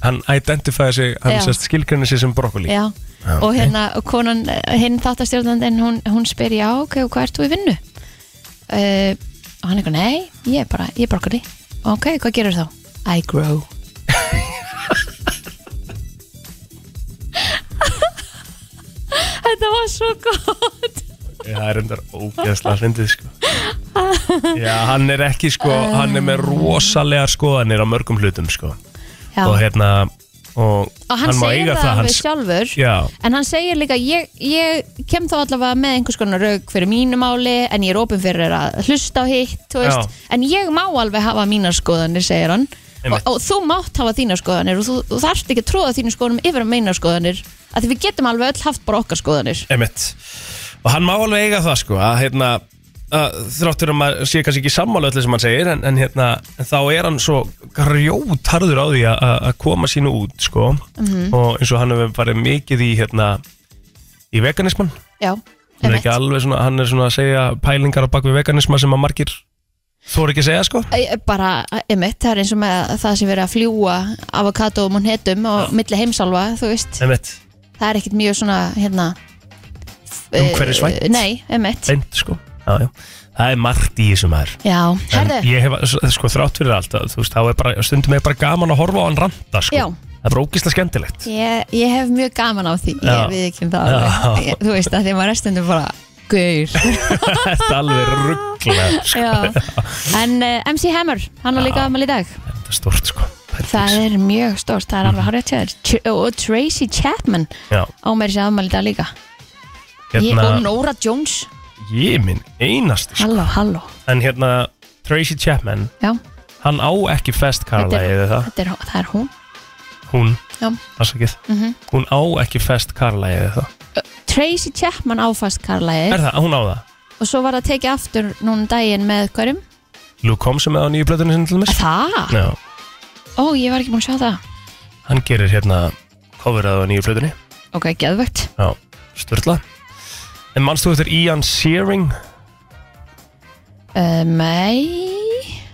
Speaker 2: Hann identifæði sig, hann
Speaker 3: Já.
Speaker 2: sérst skilgrinni sig sem brokkoli
Speaker 3: Já,
Speaker 2: Já,
Speaker 3: og
Speaker 2: ok.
Speaker 3: hérna og konan, eh, hinn þáttastjórnandinn hún, hún spyr já, ok, og hvað ert þú í vinnu? Uh, og hann eitthvað, nei ég er bara, ég er brokkoli ok, hvað gerur þá? I grow Þetta var svo gott
Speaker 2: Það er undar ógeðslega fyndið sko Já, hann er ekki sko, hann er með rosalega skoðanir á mörgum hlutum sko
Speaker 3: já.
Speaker 2: Og hérna, og,
Speaker 3: og hann,
Speaker 2: má
Speaker 3: segir
Speaker 2: eiga
Speaker 3: það
Speaker 2: hann
Speaker 3: alveg
Speaker 2: sk-
Speaker 3: sjálfur
Speaker 2: Já,
Speaker 3: En hann segir líka, ég, ég kem þá allavega með einhvers konar raug fyrir mínu máli en ég er opinn fyrir að hlusta á hitt, þú veist, en ég má alveg hafa mínar skoðanir, segir hann og,
Speaker 2: Einmitt.
Speaker 3: og þú mátt hafa þínar skoðanir og þú, þú þarft ekki að tróða þínu skoðanum yfir að meina skoðanir að því við getum alveg öll haft bara okkar skoðanir
Speaker 2: Emmett Og hann má alveg eiga það sko að, hérna, að, Þráttur að maður sé kannski ekki sammála öllu sem hann segir En, en, hérna, en þá er hann svo grjótarður á því að- að að koma sínu út sko Og eins og hann hefur farið mikið í, hérna, í veganisman
Speaker 3: Já,
Speaker 2: Hann er, ekki alveg svona, hann er svona að segja pælingar á bak við veganisma sem að margir Þóra ekki að segja sko
Speaker 3: Æ, e, bara, einmitt, það er eins og með það sem verið að fljúa avokadóum og netum og milli heimsálfa, þú veist
Speaker 2: Emmett,
Speaker 3: það er ekkit mjög svona, hérna
Speaker 2: Umhverfisvænt.
Speaker 3: eh, Nei, einmitt
Speaker 2: beint sko já, já. Það er margt í þessum maður
Speaker 3: Já,
Speaker 2: En
Speaker 3: herðu
Speaker 2: ég hef, sko, þrátt fyrir allt að, þú veist, þá er bara, stundum er bara gaman að horfa á hann randa, sko
Speaker 3: Já.
Speaker 2: Það er bara ógislega skemmtilegt
Speaker 3: Ég, ég hef mjög gaman á því,
Speaker 2: Já.
Speaker 3: ég við ekki um það alveg.
Speaker 2: Já.
Speaker 3: Ég- Þú veist að því maður er stundum bara Gaur
Speaker 2: Þetta er alveg rugglega sko.
Speaker 3: Já. En uh, MC Hammer, hann var líka aðmæli í dag
Speaker 2: Þetta er stort sko
Speaker 3: Það er mjög stórt, það er alveg horrið til þér Og Tracy Chapman
Speaker 2: Já,
Speaker 3: á mér sér aðmæli í dag líka ég, Og
Speaker 2: hérna,
Speaker 3: Nora Jones,
Speaker 2: ég minn einast sko.
Speaker 3: halló, halló
Speaker 2: En hérna, Tracy Chapman
Speaker 3: Já,
Speaker 2: Hann á ekki fest Karla
Speaker 3: er,
Speaker 2: eða það
Speaker 3: þetta er, það er hún
Speaker 2: Hún,
Speaker 3: Já. Mhm.
Speaker 2: afsakið
Speaker 3: Mm.
Speaker 2: Hún á ekki fest Karla eða það
Speaker 3: Tracy Chapman áfast Karlæði
Speaker 2: Er það, hún á það
Speaker 3: Og svo var það tekið aftur núna um daginn með hverjum
Speaker 2: Luke Combs er með á nýju blöðunni sinni til mér
Speaker 3: Það?
Speaker 2: Já,
Speaker 3: Ó, ég var ekki búin að sjá það
Speaker 2: hann gerir hérna coverað á nýju blöðunni
Speaker 3: Ok, geðvögt
Speaker 2: Já, störtla En manst þú eftir Ian Searing
Speaker 3: uh, Nei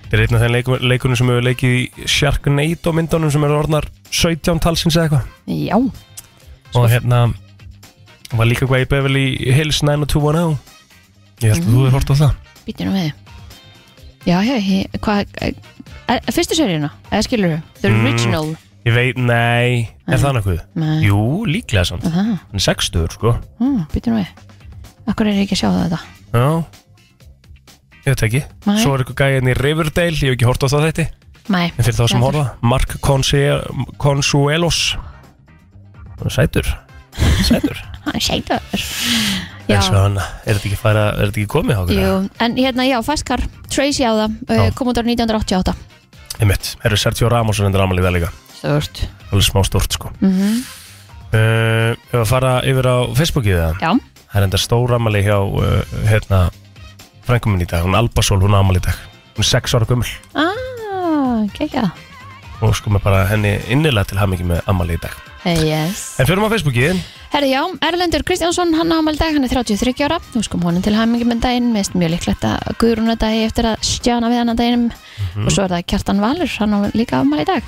Speaker 2: Þetta er einn af þeim leikum, leikunum sem hefur leikið í Sharknado myndunum sem eru orðnar 17 talsins eða eitthvað
Speaker 3: Já
Speaker 2: og hérna hún var líka hvað í Beverly Hills 90210 ég held að þú hefur hort á það
Speaker 3: Býttu nú við Já, já, ég- hvað er- er- Fyrstu seríuna, eða skilur þú? The
Speaker 2: Mm.
Speaker 3: original
Speaker 2: ég veit, nei, er það nakkuð?
Speaker 3: Nei.
Speaker 2: Jú, líklega samt,
Speaker 3: Það,
Speaker 2: hann er 60 sko
Speaker 3: Hm, mm, býttu nú við Akkur er ég ekki að sjá það þetta
Speaker 2: Já ég veit það ekki
Speaker 3: Nei.
Speaker 2: Svo er eitthvað gæðin í Riverdale, ég hef ekki hort á það þetta
Speaker 3: Nei,
Speaker 2: En fyrir þá sem
Speaker 3: Já.
Speaker 2: horfa, Mark Consie- Consuelos Hann er Sætur Sætur
Speaker 3: hann er sætur
Speaker 2: En svo hann, er þetta ekki, fara, er þetta ekki komið á
Speaker 3: Jú, en hérna, já, Faskar, Tracy á það, uh,
Speaker 2: Já.
Speaker 3: kom út ára 1988
Speaker 2: Einmitt, eru Sergio Ramos en endur ámalið það líka
Speaker 3: Stört
Speaker 2: Alveg smá stort sko mm
Speaker 3: Mhm.
Speaker 2: -hmm. uh, Ef að fara yfir á Facebookið það
Speaker 3: Já,
Speaker 2: Það er enda stór ámali hjá uh, hérna, frængum minn í dag, hún Alba Sól, hún ámali í dag Hún er 6 ára gömul
Speaker 3: ah, kekja
Speaker 2: og sko með bara henni innilega til hamingi með ámali í dag
Speaker 3: hey, Yes
Speaker 2: En fyrir maður Facebookið,
Speaker 3: Herði já, Erlendur Kristjánsson, hann á ámæli dag, hann er 33 ára, nú skum honum til hamingi með daginn, mest mjög líklegt að Guðrúna dagi eftir að stjána við hann að daginnum
Speaker 2: Mhm.
Speaker 3: og svo er það Kjartan Valur, hann á líka ámæli dag.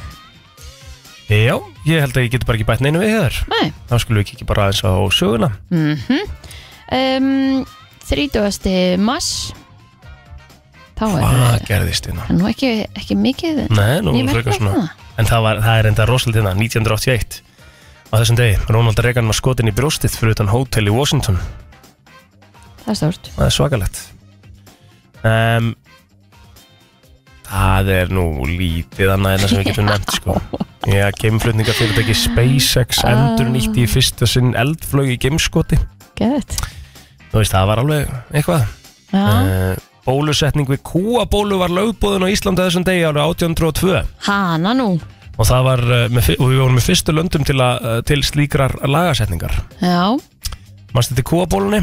Speaker 2: já, ég held að ég geti bara ekki bætt neinu við hér
Speaker 3: Nei,
Speaker 2: Þá skulum við kikið bara aðeins á söguna
Speaker 3: Mhm. um, 30. mass, þá er
Speaker 2: Hvað gerðist hérna?
Speaker 3: það nú ekki, ekki mikið,
Speaker 2: Nei, nú
Speaker 3: Ég
Speaker 2: er
Speaker 3: merki
Speaker 2: frekar
Speaker 3: ekki
Speaker 2: svona
Speaker 3: það.
Speaker 2: En það, var, það er enda rosalega hérna, 1981 Á þessum degi, Ronald Reagan var skotin í brjóstið fyrir utan hótel í Washington
Speaker 3: það er stórt.
Speaker 2: Það er svakalegt um, Það er nú lítið annað en það sem við getum nefnt sko Já, geimflutninga fyrirtæki SpaceX endur nýtti í fyrsta sinn eldflög í geimskoti
Speaker 3: Gæðið.
Speaker 2: Þú veist, það var alveg eitthvað
Speaker 3: Já,
Speaker 2: uh, Bólusetning við kúabólu var lögbúðin á Íslandi á þessum degi árið 1802
Speaker 3: hana nú,
Speaker 2: og það var eh, með, fi- og við vorum með fyrstu löndum til, að, eh, til slíkrar lagasetningar
Speaker 3: já.
Speaker 2: mannstu þetta kúabólunni?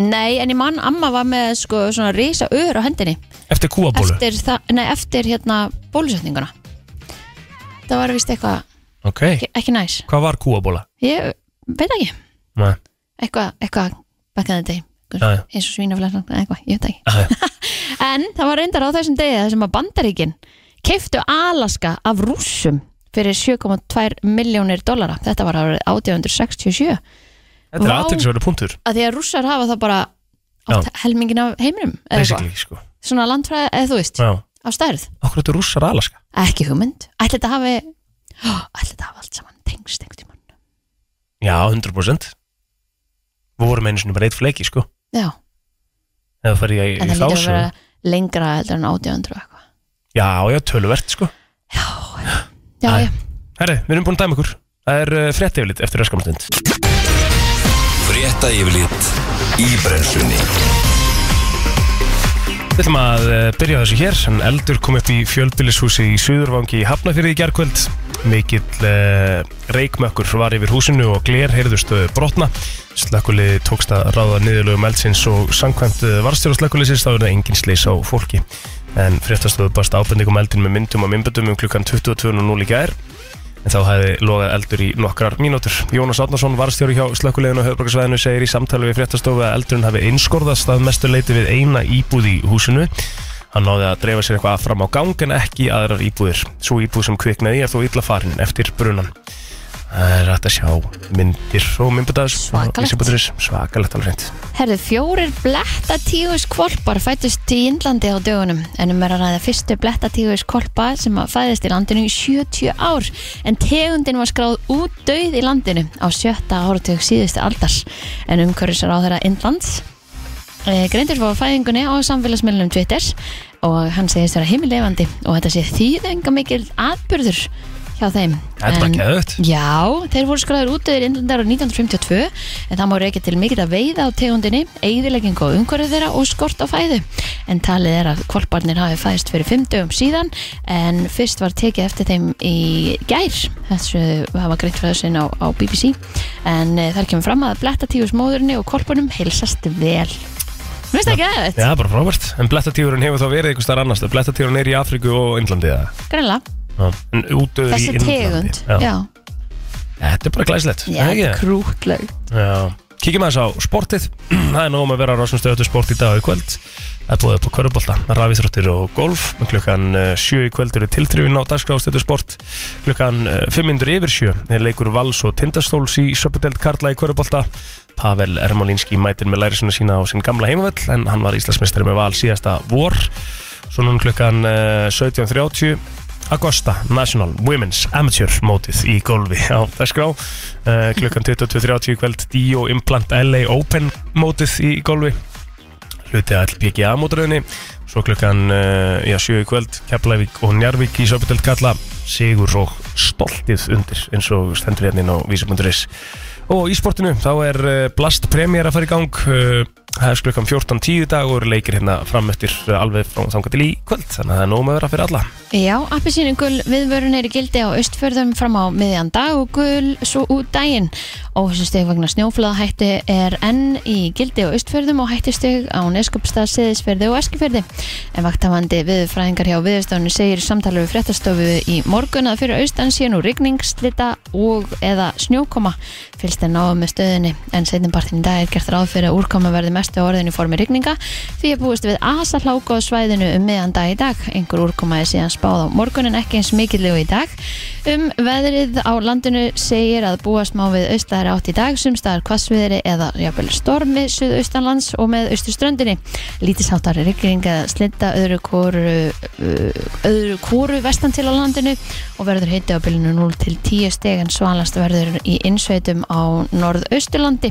Speaker 3: Nei, en ég mann, amma var með sko svona risa öður á hendinni.
Speaker 2: Eftir kúabólu?
Speaker 3: eftir, það, nei, eftir hérna bólusetninguna það var vist eitthvað
Speaker 2: Ok,
Speaker 3: ekki, ekki næs
Speaker 2: hvað var kúabóla?
Speaker 3: ég veit ekki
Speaker 2: Nei,
Speaker 3: eitthvað, eitthvað back in the day
Speaker 2: Já, já.
Speaker 3: Einhver- eins og svínaflæsna eitthvað, ég veit ekki
Speaker 2: Já, já.
Speaker 3: en það var reyndar á þessum degi þar sem að bandaríkin keiftu Alaska af rússum fyrir 7,2 miljónir dollara þetta var árið 1867
Speaker 2: þetta er
Speaker 3: Vá.
Speaker 2: aðtilsverðu punktur
Speaker 3: að því að rússar hafa það bara átt helmingin af heiminum eða eitthvað,
Speaker 2: basically, sko
Speaker 3: svona landfræði, eða þú veist,
Speaker 2: Já,
Speaker 3: á stærð
Speaker 2: okkur þetta er rússar Alaska
Speaker 3: ekki hugmynd ætli þetta hafi Ó, ætli þetta hafi allt saman tengst einhvern tímann
Speaker 2: Já, 100% Við vorum einu sinni bara eitt fleiki, sko
Speaker 3: já,
Speaker 2: eða það fer ég
Speaker 3: en það
Speaker 2: í
Speaker 3: lítur að
Speaker 2: þásu
Speaker 3: vera lengra heldur en 1800 og eitthvað
Speaker 2: Já, já, töluvert, sko
Speaker 3: já,
Speaker 2: Æ.
Speaker 3: já,
Speaker 2: Herri, við erum búin að dæma ykkur Það er uh, frétt yfirlit eftir öskamstund
Speaker 1: Frétta yfirlit í brennslunni
Speaker 2: Við ætlum að eh, byrja á þessu hér en eldur kom upp í fjöldbýlishúsi í Suðurvangi í Hafnafyrði í gærkvöld mikill uh, reikmökkur var yfir húsinu og gler heyrðust eh, brotna slökkulið tókst að ráða niðurlögum eldsins og samkvæmt eh, varstjóra slökkulisins þá er það engin slís á fólki en fréttastofu bast ábendingum eldin með myndum og myndböndum um klukkan 22.00 í gær en þá hefði logað eldur í nokkrar mínútur. Jónas Átnarsson, varstjóri hjá slökkuleginu og höfbrukarsvæðinu, segir í samtali við fréttastofu að eldurinn hafi einskorðast að mestu leiti við eina íbúð í húsinu. Hann náði að dreifa sér eitthvað fram á gang en ekki í aðrar íbúðir. Svo íbúð sem kviknaði er þó illa farin eftir brunan. Það er hægt að sjá myndir og myndbyrdaðs.
Speaker 3: Svakalegt.
Speaker 2: Svakalegt alveg reynd.
Speaker 3: herðu fjórir blettatígus kvolpar fættust í Indlandi á dögunum en um er að ræða fyrstu blettatígus kvolpa sem að fæðist í landinu í 70 ár en tegundin var skráð út döið í landinu á sjötta áratug síðustu aldars en umhverfisar á þeirra Indlands Eh, Grindur fór fæðingunni á samfélagsmiðlunum Twitter og hann segist vera heimilefandi og þetta sé þýðinga mikil atbyrður hjá þeim
Speaker 2: Þetta er bara
Speaker 3: En-
Speaker 2: geðveikt.
Speaker 3: Já, þeir voru skræður út yfir Indlandar á 1952 en það má reykja til mikil að veiða á tegundinni eigðilegging og umhverfið þeirra og skort á fæðu en talið er að kvolparnir hafi fæðist fyrir fimm dögum síðan en fyrst var tekið eftir þeim í gær þessu hafa greitt frá þessin á, á BBC en eh, þar kemur fram að bletta tíus móðurinni og kvolpunum heilsast vel Þú veist ekki að þetta?
Speaker 2: Já, bara frábært. En blettatífurinn hefur þá verið einhver starf annars. Blettatífurinn er í Afríku og Indlandi eða?
Speaker 3: Greinlega,
Speaker 2: Já. En útöður í
Speaker 3: þessi
Speaker 2: Indlandi.
Speaker 3: tegund
Speaker 2: Já.
Speaker 3: Já,
Speaker 2: Þetta er bara glæslegt.
Speaker 3: já, þetta er krútleg
Speaker 2: Já, kíkjum aðeins á sportið Það er nógum að vera á rásum stöðu sport í dag og í kvöld Það er búið upp á körubólta, rafíþróttir og golf En Klukkan 7 í kvöld eru tiltrifin á dagskrástöðu sport Klukkan 500 yfir 7 er leikur Vals og Tindastóls í Söpudeld Karla í körubólta Pavel Ermolínski mætir með lærisuna sína á sinn gamla heimavöll En hann var Íslandsmeistari með Val síðasta vor Svo núna klukkan eh, 17.30 Agosta National Women's Amateur mótið í golfi á dagskrá uh, klukkan 22.30 í kvöld Dio Implant LA Open mótið í golfi hluti að LPGA mótröðinni svo klukkan uh, já, sjö í kvöld Keflavík og Njarvík í Söpudelt kalla sigur og stoltið undir eins og stendur hérna inn á vísi.is og í sportinu þá er uh, Blast Premier að fara í gang uh, það er klukkan 14.10 í dag og eru leikir hérna fram eftir uh, alveg frá þangar til í kvöld þannig að það er nóg með að vera fyrir alla
Speaker 3: Já, appisínu gul viðvörun er í gildi á austförðum fram á miðjan dag og gul svo út daginn. Óhysusteg vegna snjóflóðahættu er enn í gildi á austförðum og hættusteg á neskupstað, seðisferði og eskifjörði. En vaktavandi viðfræðingar hjá viðstofunni segir í samtali við fréttastofu í morgun að fyrir austan sé nú rigning, slita og eða snjókoma fylgst er náðu með stöðunni en setjumpartin í dag er gert ráð fyrir að úrkoma verði mestu á orðinu í formi rigninga því er búist við asa hláka á svæðinu um miðan dag í dag einhver úrkoma er síðan spáð á morgun en ekki eins mikillegu í dag um veðrið á landinu segir að búast má við austæðar átt í dag sumstæðar hvassviðri eða jafnvel stormi suðaustanlands og með austurströndinni lítilsáttar rigning eða slinda öðru kóru öðru kóru vestan til á landinu og verður heiti á bylunu 0 til 10 steg en svalast verður í innsveitum á norðausturlandi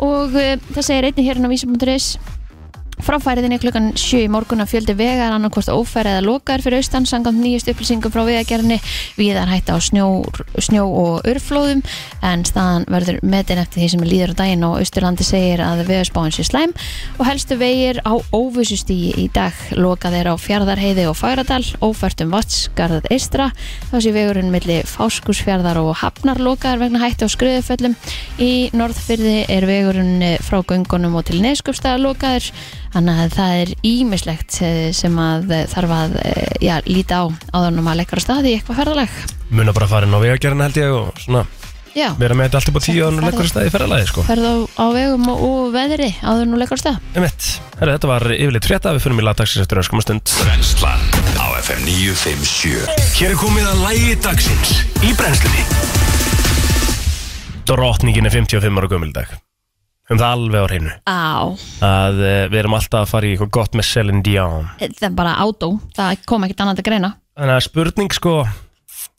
Speaker 3: og uh, það segir einnig hérna á vísum.is Fráfæriðin er klukkan 7 í morgun að fjöldi vegar annarkvort ófæri eða lokaðar fyrir austan sangant nýjast upplýsingum frá vegagerðinni viðar hætta á snjó, snjó og urflóðum en staðan verður metin eftir því sem er líður á daginn og Austurlandi segir að vegarspáin sé slæm og helstu vegir á óvissustígi í dag lokað er á Fjardarheiði og Fagradal ófært um Vatsgarðað Eistra þá sé vegurinn milli Fáskusfjarðar og Hafnar lokaðar vegna hætti á skriðuföllum í norðfyrði er vegurinn eh, frá göngunum og til neskupstaða lokaður þannig að það er ímislegt eh, sem að eh, þarf að eh, já, líta á áðanum að leggja á staði í eitthvað ferðalag
Speaker 2: muna bara farin á vegagerðina held ég og svona
Speaker 3: Já,
Speaker 2: vera með þetta allt upp á tíu
Speaker 3: Þetta
Speaker 2: og nú
Speaker 3: ferð-
Speaker 2: leggur að staði í ferðalagi sko.
Speaker 3: ferð á, á vegum og, og veðri áður nú leggur á stað
Speaker 2: Einmitt. Herra, þetta var yfirleitt frétta, við fyrir mig lagdagsins eftir öskum stund
Speaker 1: Brennslan á FM 957 Hér er komið að lægi dagsins í brennslunni
Speaker 2: Drottningin er 55 ára gömul í dag um það alveg á hreinu
Speaker 3: Á,
Speaker 2: að uh, við erum alltaf að fara í eitthvað gott með Celine Dion
Speaker 3: það er bara átó það kom ekkert annað að greina
Speaker 2: Þannig að spurning sko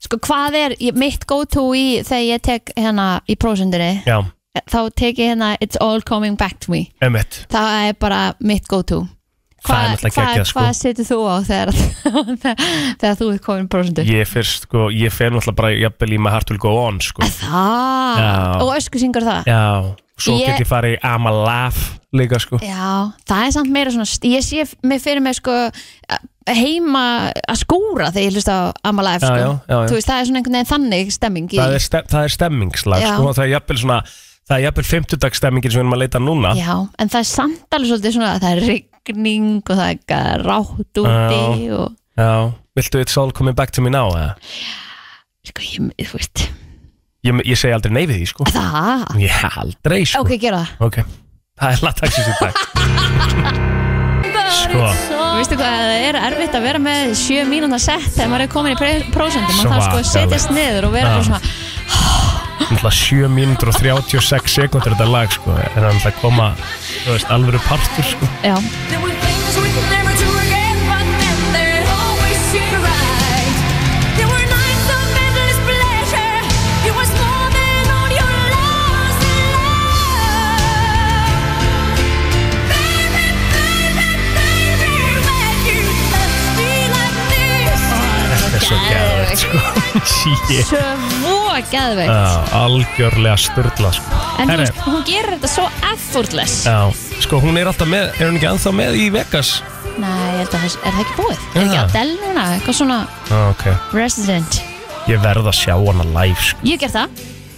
Speaker 3: Sko hvað er ég- mitt go to í þegar ég tek hérna í prósundinni
Speaker 2: Já,
Speaker 3: þá tek ég hérna it's all coming back to me
Speaker 2: emitt
Speaker 3: það er bara mitt go to
Speaker 2: Það er
Speaker 3: Hva,
Speaker 2: náttúrulega
Speaker 3: hvað
Speaker 2: geggjað, sko.
Speaker 3: hva setur þú á þegar, þegar þú er komin prósundu?
Speaker 2: Ég fyrst sko, ég fer náttúrulega bara jafnvel í með Heart Will Go On sko
Speaker 3: Það,
Speaker 2: Já.
Speaker 3: Ah, og ösku syngur það
Speaker 2: Já, svo
Speaker 3: Ég-
Speaker 2: get ég farið í I'm a Laugh líka sko
Speaker 3: Já, það er samt meira svona ég sé mig fyrir mig sko heima að skúra þegar ég hlusta á Amalife
Speaker 2: Já,
Speaker 3: sko.
Speaker 2: já, já, já.
Speaker 3: Þú veist, það er svona einhvern veginn þannig stemming í...
Speaker 2: Það er, ste það er stemmingslag
Speaker 3: Já.
Speaker 2: sko og Það er jafnvel svona, það er jafnvel 50 dagstemmingin sem við erum að leita núna
Speaker 3: Já, en það er samt alveg svolítið svona að það er rigning og það er eitthvað rátt úti og
Speaker 2: Já, viltu It's All Coming Back To Me Now eða?
Speaker 3: sko, ég, þú veist,
Speaker 2: Ég, ég segi aldrei nei við því sko
Speaker 3: það Ah.
Speaker 2: Ég aldrei sko
Speaker 3: Ok, gera það
Speaker 2: Ok. Það er lagdagsins í dag Sko,
Speaker 3: Vistu hvað, það er erfitt að vera með sjö mínúna sett þegar maður er komin í prósendum og það sko að
Speaker 2: Svakalega.
Speaker 3: setjast niður og vera
Speaker 2: Já.
Speaker 3: bara svona
Speaker 2: náttúrulega 7 mínútur og 36 sekundur þetta lag sko En það er náttúrulega að koma, þú veist, alvöru partur sko
Speaker 3: Já,
Speaker 5: There were things we could never do again, but then there always seemed right. There were nights of endless pleasure. It was more than all your loves and love. Baby, baby, baby, when you touch me like this.
Speaker 2: Þetta er svo gæðvegt sko Shit.
Speaker 3: svo geðveikt
Speaker 2: Já, algjörlega störla sko
Speaker 3: En
Speaker 2: Herri.
Speaker 3: hún, hún gerir þetta svo effortless
Speaker 2: Já, sko hún er alltaf með, er hún ekki anþá með í Vegas?
Speaker 3: Nei, ég held að það er það ekki búið Er ekki
Speaker 2: Já.
Speaker 3: Adele núna, eitthvað svona
Speaker 2: Já, ok
Speaker 3: resident
Speaker 2: Ég verð að sjá hana live sko
Speaker 3: Ég ger það,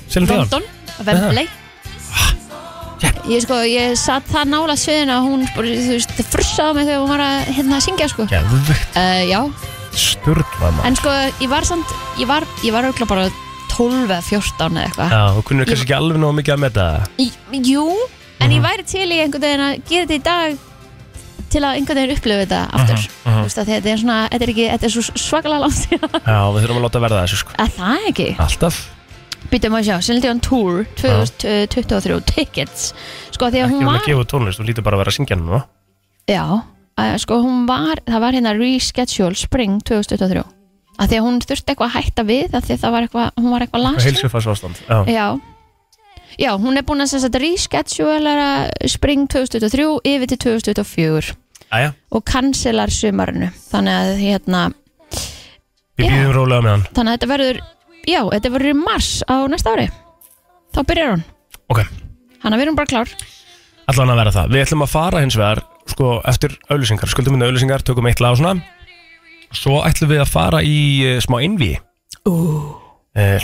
Speaker 2: Selin Dion
Speaker 3: London, Wembley Ég sko, ég satt það nála sviðin að hún, bara, þú veist, frussaði mig þegar hún var að hérna að syngja sko
Speaker 2: Gæðvegt
Speaker 3: uh, Já,
Speaker 2: störla maður
Speaker 3: en sko, ég var samt, ég var, ég var auðvitað bara 12 eða 14 eða eitthvað
Speaker 2: Já, hún kunnur kannski ekki alveg náðu mikið að metta það
Speaker 3: Í- Jú, en ég væri til í einhvern veginn að gera þetta í dag til að einhvern veginn upplifa þetta
Speaker 2: Mhm.
Speaker 3: aftur Þú veist að þetta er svona, þetta er ekki, þetta er svo svakalega langt síðan
Speaker 2: Já, við þurfum að láta verða þessu sko
Speaker 3: að það ekki
Speaker 2: Alltaf
Speaker 3: Býtum að sjá, Celine on Tour eh, 2023 Tickets Sko því að
Speaker 2: Ekki um
Speaker 3: hún
Speaker 2: hún að
Speaker 3: var
Speaker 2: gefa út tónlist, hún lítur bara að vera að syngja hann nú
Speaker 3: Ah, Já, að, sko hún var, það var hérna reschedule Spring 2023 að því að hún þurfti eitthvað að hætta við að því að það var eitthvað, hún var eitthvað
Speaker 2: Og
Speaker 3: last
Speaker 2: heilsufars ástand Já,
Speaker 3: Já Já, hún er búin að sem sagt reschedulara spring 2023 yfir til 2024
Speaker 2: Æja,
Speaker 3: og cancelar sumarinu þannig að hérna
Speaker 2: við
Speaker 3: Já.
Speaker 2: býðum rólega með hann
Speaker 3: þannig að þetta verður, já, þetta verður í mars á næsta ári þá byrjar hún,
Speaker 2: Ok,
Speaker 3: hann að verður hún bara klár
Speaker 2: allan að vera það Við ætlum að fara hins vegar sko, eftir auðlýsingar, skuldum minna auðlýsingar tökum eitt lag og svona Svo ætlum við að fara í uh, smá innví uh,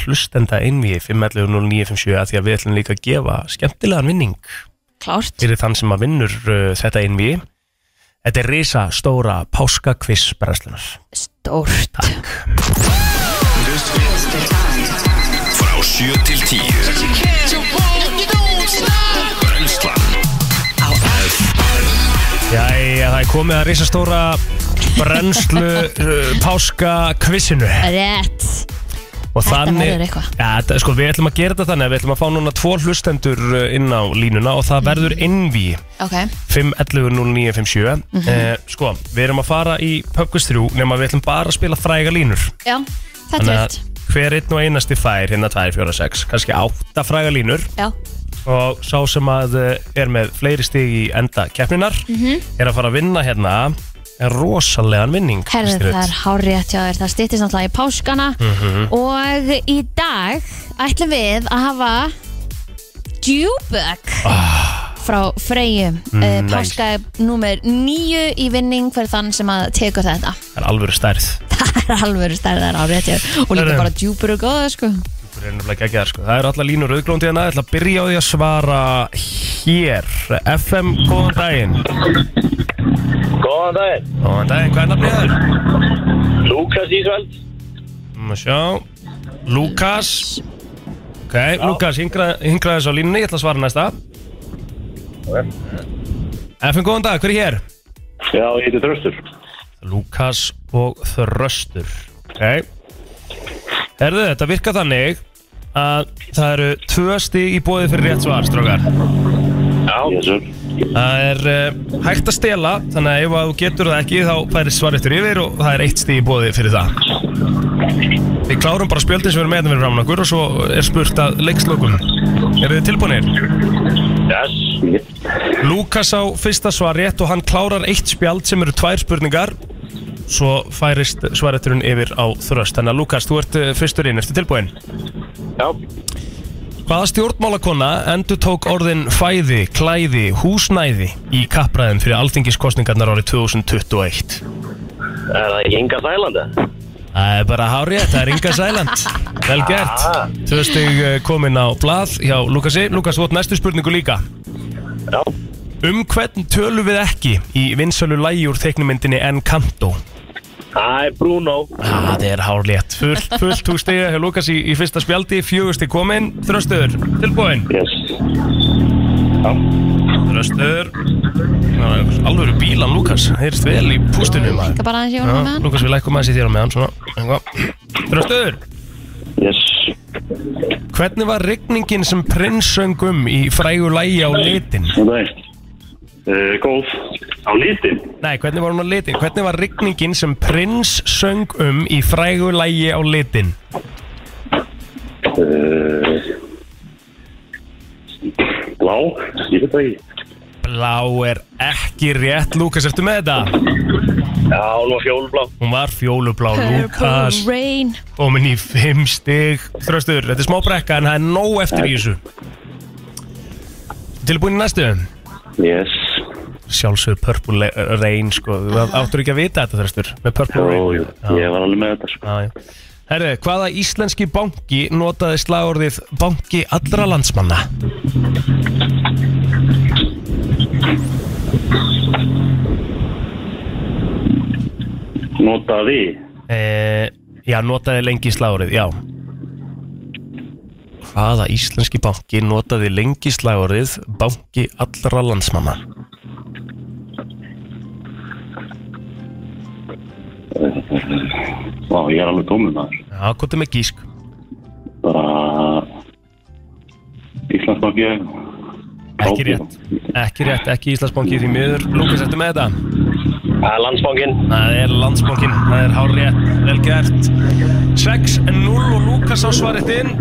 Speaker 2: Hlustenda innví 5.11.09.57 af Því að við ætlum líka að gefa skemmtilegan vinning
Speaker 3: klárt,
Speaker 2: fyrir þann sem að vinnur uh, þetta innví Þetta er risa stóra páskakviss brennslunar
Speaker 3: stórt
Speaker 1: Frá 7 til 10 Brennslan
Speaker 2: Jæja, það er komið að risa stóra brennslu uh, páskakvissinu
Speaker 3: rétt,
Speaker 2: og
Speaker 3: Þetta
Speaker 2: þannig,
Speaker 3: verður eitthvað.
Speaker 2: ja, þetta- sko, við ætlum að gera þetta þannig að við ætlum að fá núna tvo hlustendur uh, inn á línuna og það verður innví
Speaker 3: ok
Speaker 2: 5.11.09.57 mm
Speaker 3: Mhm.
Speaker 2: sko, við erum að fara í Pökkvist 3 nema við ætlum bara að spila fræga línur
Speaker 3: já, þetta er rétt,
Speaker 2: hver einn og einasti fær hérna 2, 4, 6, kannski 8 fræga línur
Speaker 3: já,
Speaker 2: og sá sem að uh, er með fleiri stig í enda keppninar
Speaker 3: Mhm.
Speaker 2: er að fara að vinna hérna en rosalegan vinning
Speaker 3: herðu
Speaker 2: Kristín Rut.
Speaker 3: það er hárétt hjá þér, það stýttist náttúrulega í páskana
Speaker 2: Mhm.
Speaker 3: og í dag ætlum við að hafa djúbökk frá Freyju uh,
Speaker 2: Ah. Mm, nice.
Speaker 3: páska nummer 9 í vinning fyrir þann sem að tekur þetta
Speaker 2: Það er alvöru stærð
Speaker 3: það er alveg stærðar á rétti og líka
Speaker 2: Herðu.
Speaker 3: bara djúpur og góða sko
Speaker 2: Það er nefnilega ekki sko. Það eru allar línur auðglóndi hérna. Ég ætla að byrja á því að svara hér. FM, góðan daginn.
Speaker 4: Góðan daginn,
Speaker 2: Góðan daginn, hvað er nafnið þér?
Speaker 4: Lúkas Ísveld
Speaker 2: Má sjá. Lukas. Ok, Lukas, hingra, hingra þess á línunni. Ég ætla að svara næsta. FM, góðan dag, hver er hér?
Speaker 4: Já, ég heiti Þröstur
Speaker 2: Lukas og Þröstur. Ok. Herðu, þetta virka þannig að það eru tvö stig í bóði fyrir rétt svar, strókar.
Speaker 4: Já Jésur
Speaker 2: Það er uh, hægt að stela þannig að ef að þú getur það ekki þá færir svar eftir yfir og það er eitt stíð í bóði fyrir það Við klárum bara spjöldin sem við erum með þetta fyrir framann okkur og svo er spurt að leikslokum Eru þið tilbúinir?
Speaker 4: Yes
Speaker 2: Lukas á fyrsta svar rétt og hann klárar eitt spjald sem eru tvær spurningar Svo færist svareturinn yfir á þröst Þannig að Lukas, þú ert eh, fyrstur inn, ertu tilbúin?
Speaker 4: Já
Speaker 2: Hvaða stjórnmálakonna endur tók orðin fæði, klæði, húsnæði í kappræðum fyrir alþingiskostningarnar árið 2021?
Speaker 4: Er það ekki enga þælanda?
Speaker 2: Það er bara hárið, það er Inga Sæland Vel gert Tvö stig eh, komin á blað hjá Lukasi Lukas, þú átt næstu spurningu líka
Speaker 4: Já
Speaker 2: Um hvern tölum við ekki í vinsölu lægi úr teiknumyndinni Encanto?
Speaker 4: Það er Bruno
Speaker 2: Ah, það er hárið Fullt, fullt þú stiga hjá Lukas í, í fyrsta spjaldi Fjögur stig komin, þröstur, tilbúin
Speaker 4: Yes
Speaker 2: Þröstur Alvöru bílan Lukas, heyrst vel í pústunum
Speaker 3: líka bara aðeins í honum
Speaker 2: Já,
Speaker 3: meðan
Speaker 2: Lukas, við lækum aðeins í þér á meðan svona. Eitthvað. Þröstur
Speaker 4: Yes
Speaker 2: Hvernig var regningin sem prins söng um í frægu lægi á litin?
Speaker 4: Góðan daginn uh, Góð Á litin
Speaker 2: Nei, hvernig var hún á litin? Hvernig var regningin sem prins söng um í frægu lægi á litin?
Speaker 4: uh, Blá Ég veit það ekki
Speaker 2: Blá er ekki rétt, Lukas, ertu með þetta?
Speaker 4: Já, hún var fjólblá
Speaker 2: Hún var fjólublá, Lukas,
Speaker 3: Purple Rain
Speaker 2: komin í fimm stig. Þröstur, þetta er smá brekka en það er nóg eftir í þessu. Tilbúin í næstu?
Speaker 4: Yes
Speaker 2: Sjálfsögur Purple Le- Rain, sko. Þú áttur ekki að vita þetta, Þröstur, með Purple Rain.
Speaker 4: Jó, jú, ég var alveg með þetta sko.
Speaker 2: Já, já. Herru, hvaða íslenski banki notaði slagorðið banki allra landsmanna?
Speaker 4: Notaði
Speaker 2: E, já, notaði lengi slagorðið, já. Hvaða íslenski banki notaði lengi slagorðið banki allra landsmanna?
Speaker 4: Vá, ég er alveg tómur maður
Speaker 2: Já, hvað er með gísk?
Speaker 4: Bara Íslandsbanki
Speaker 2: Ekki rétt, ekki rétt, ekki Íslandsbanki því miður. Lúkas, ertu með þetta?
Speaker 4: Það er landsbankin
Speaker 2: Það er landsbankin, það er hár rétt, vel gert. 6-0 og Lúkas á svarið inn.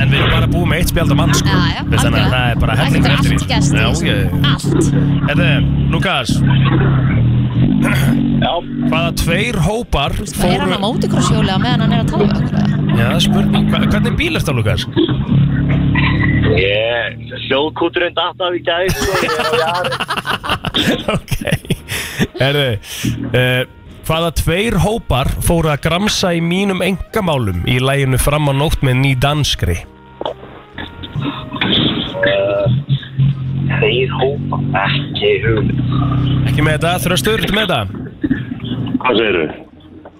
Speaker 2: En við erum bara búið með eitt spjald á mann sko
Speaker 3: Já, já,
Speaker 2: Veist, Þannig að
Speaker 3: algjörlega.
Speaker 2: það er bara
Speaker 3: Það
Speaker 2: hellingur
Speaker 3: getur
Speaker 2: eftir
Speaker 3: allt gerst í þessu.
Speaker 2: Já, ég
Speaker 3: Allt
Speaker 2: Þetta er, Lukas Hvaða tveir hópar
Speaker 3: Hvað er hann á mótikrosshjóli á meðan hann er að tala við okkur? eða?
Speaker 2: Já, spurning, hva, hvernig bíl er þetta, Lukas?
Speaker 6: Ég, hljóðkúturinn datt af í sko. gæð
Speaker 2: ok Herðu uh, Hvaða tveir hópar fóru að gramsa í mínum engamálum í læginu fram á nótt með ný danskri?
Speaker 4: Eh,
Speaker 6: Þeir hópa ekki hugmynd
Speaker 2: Ekki með þetta, þröstur, ertu með þetta?
Speaker 6: Hvað segirðu?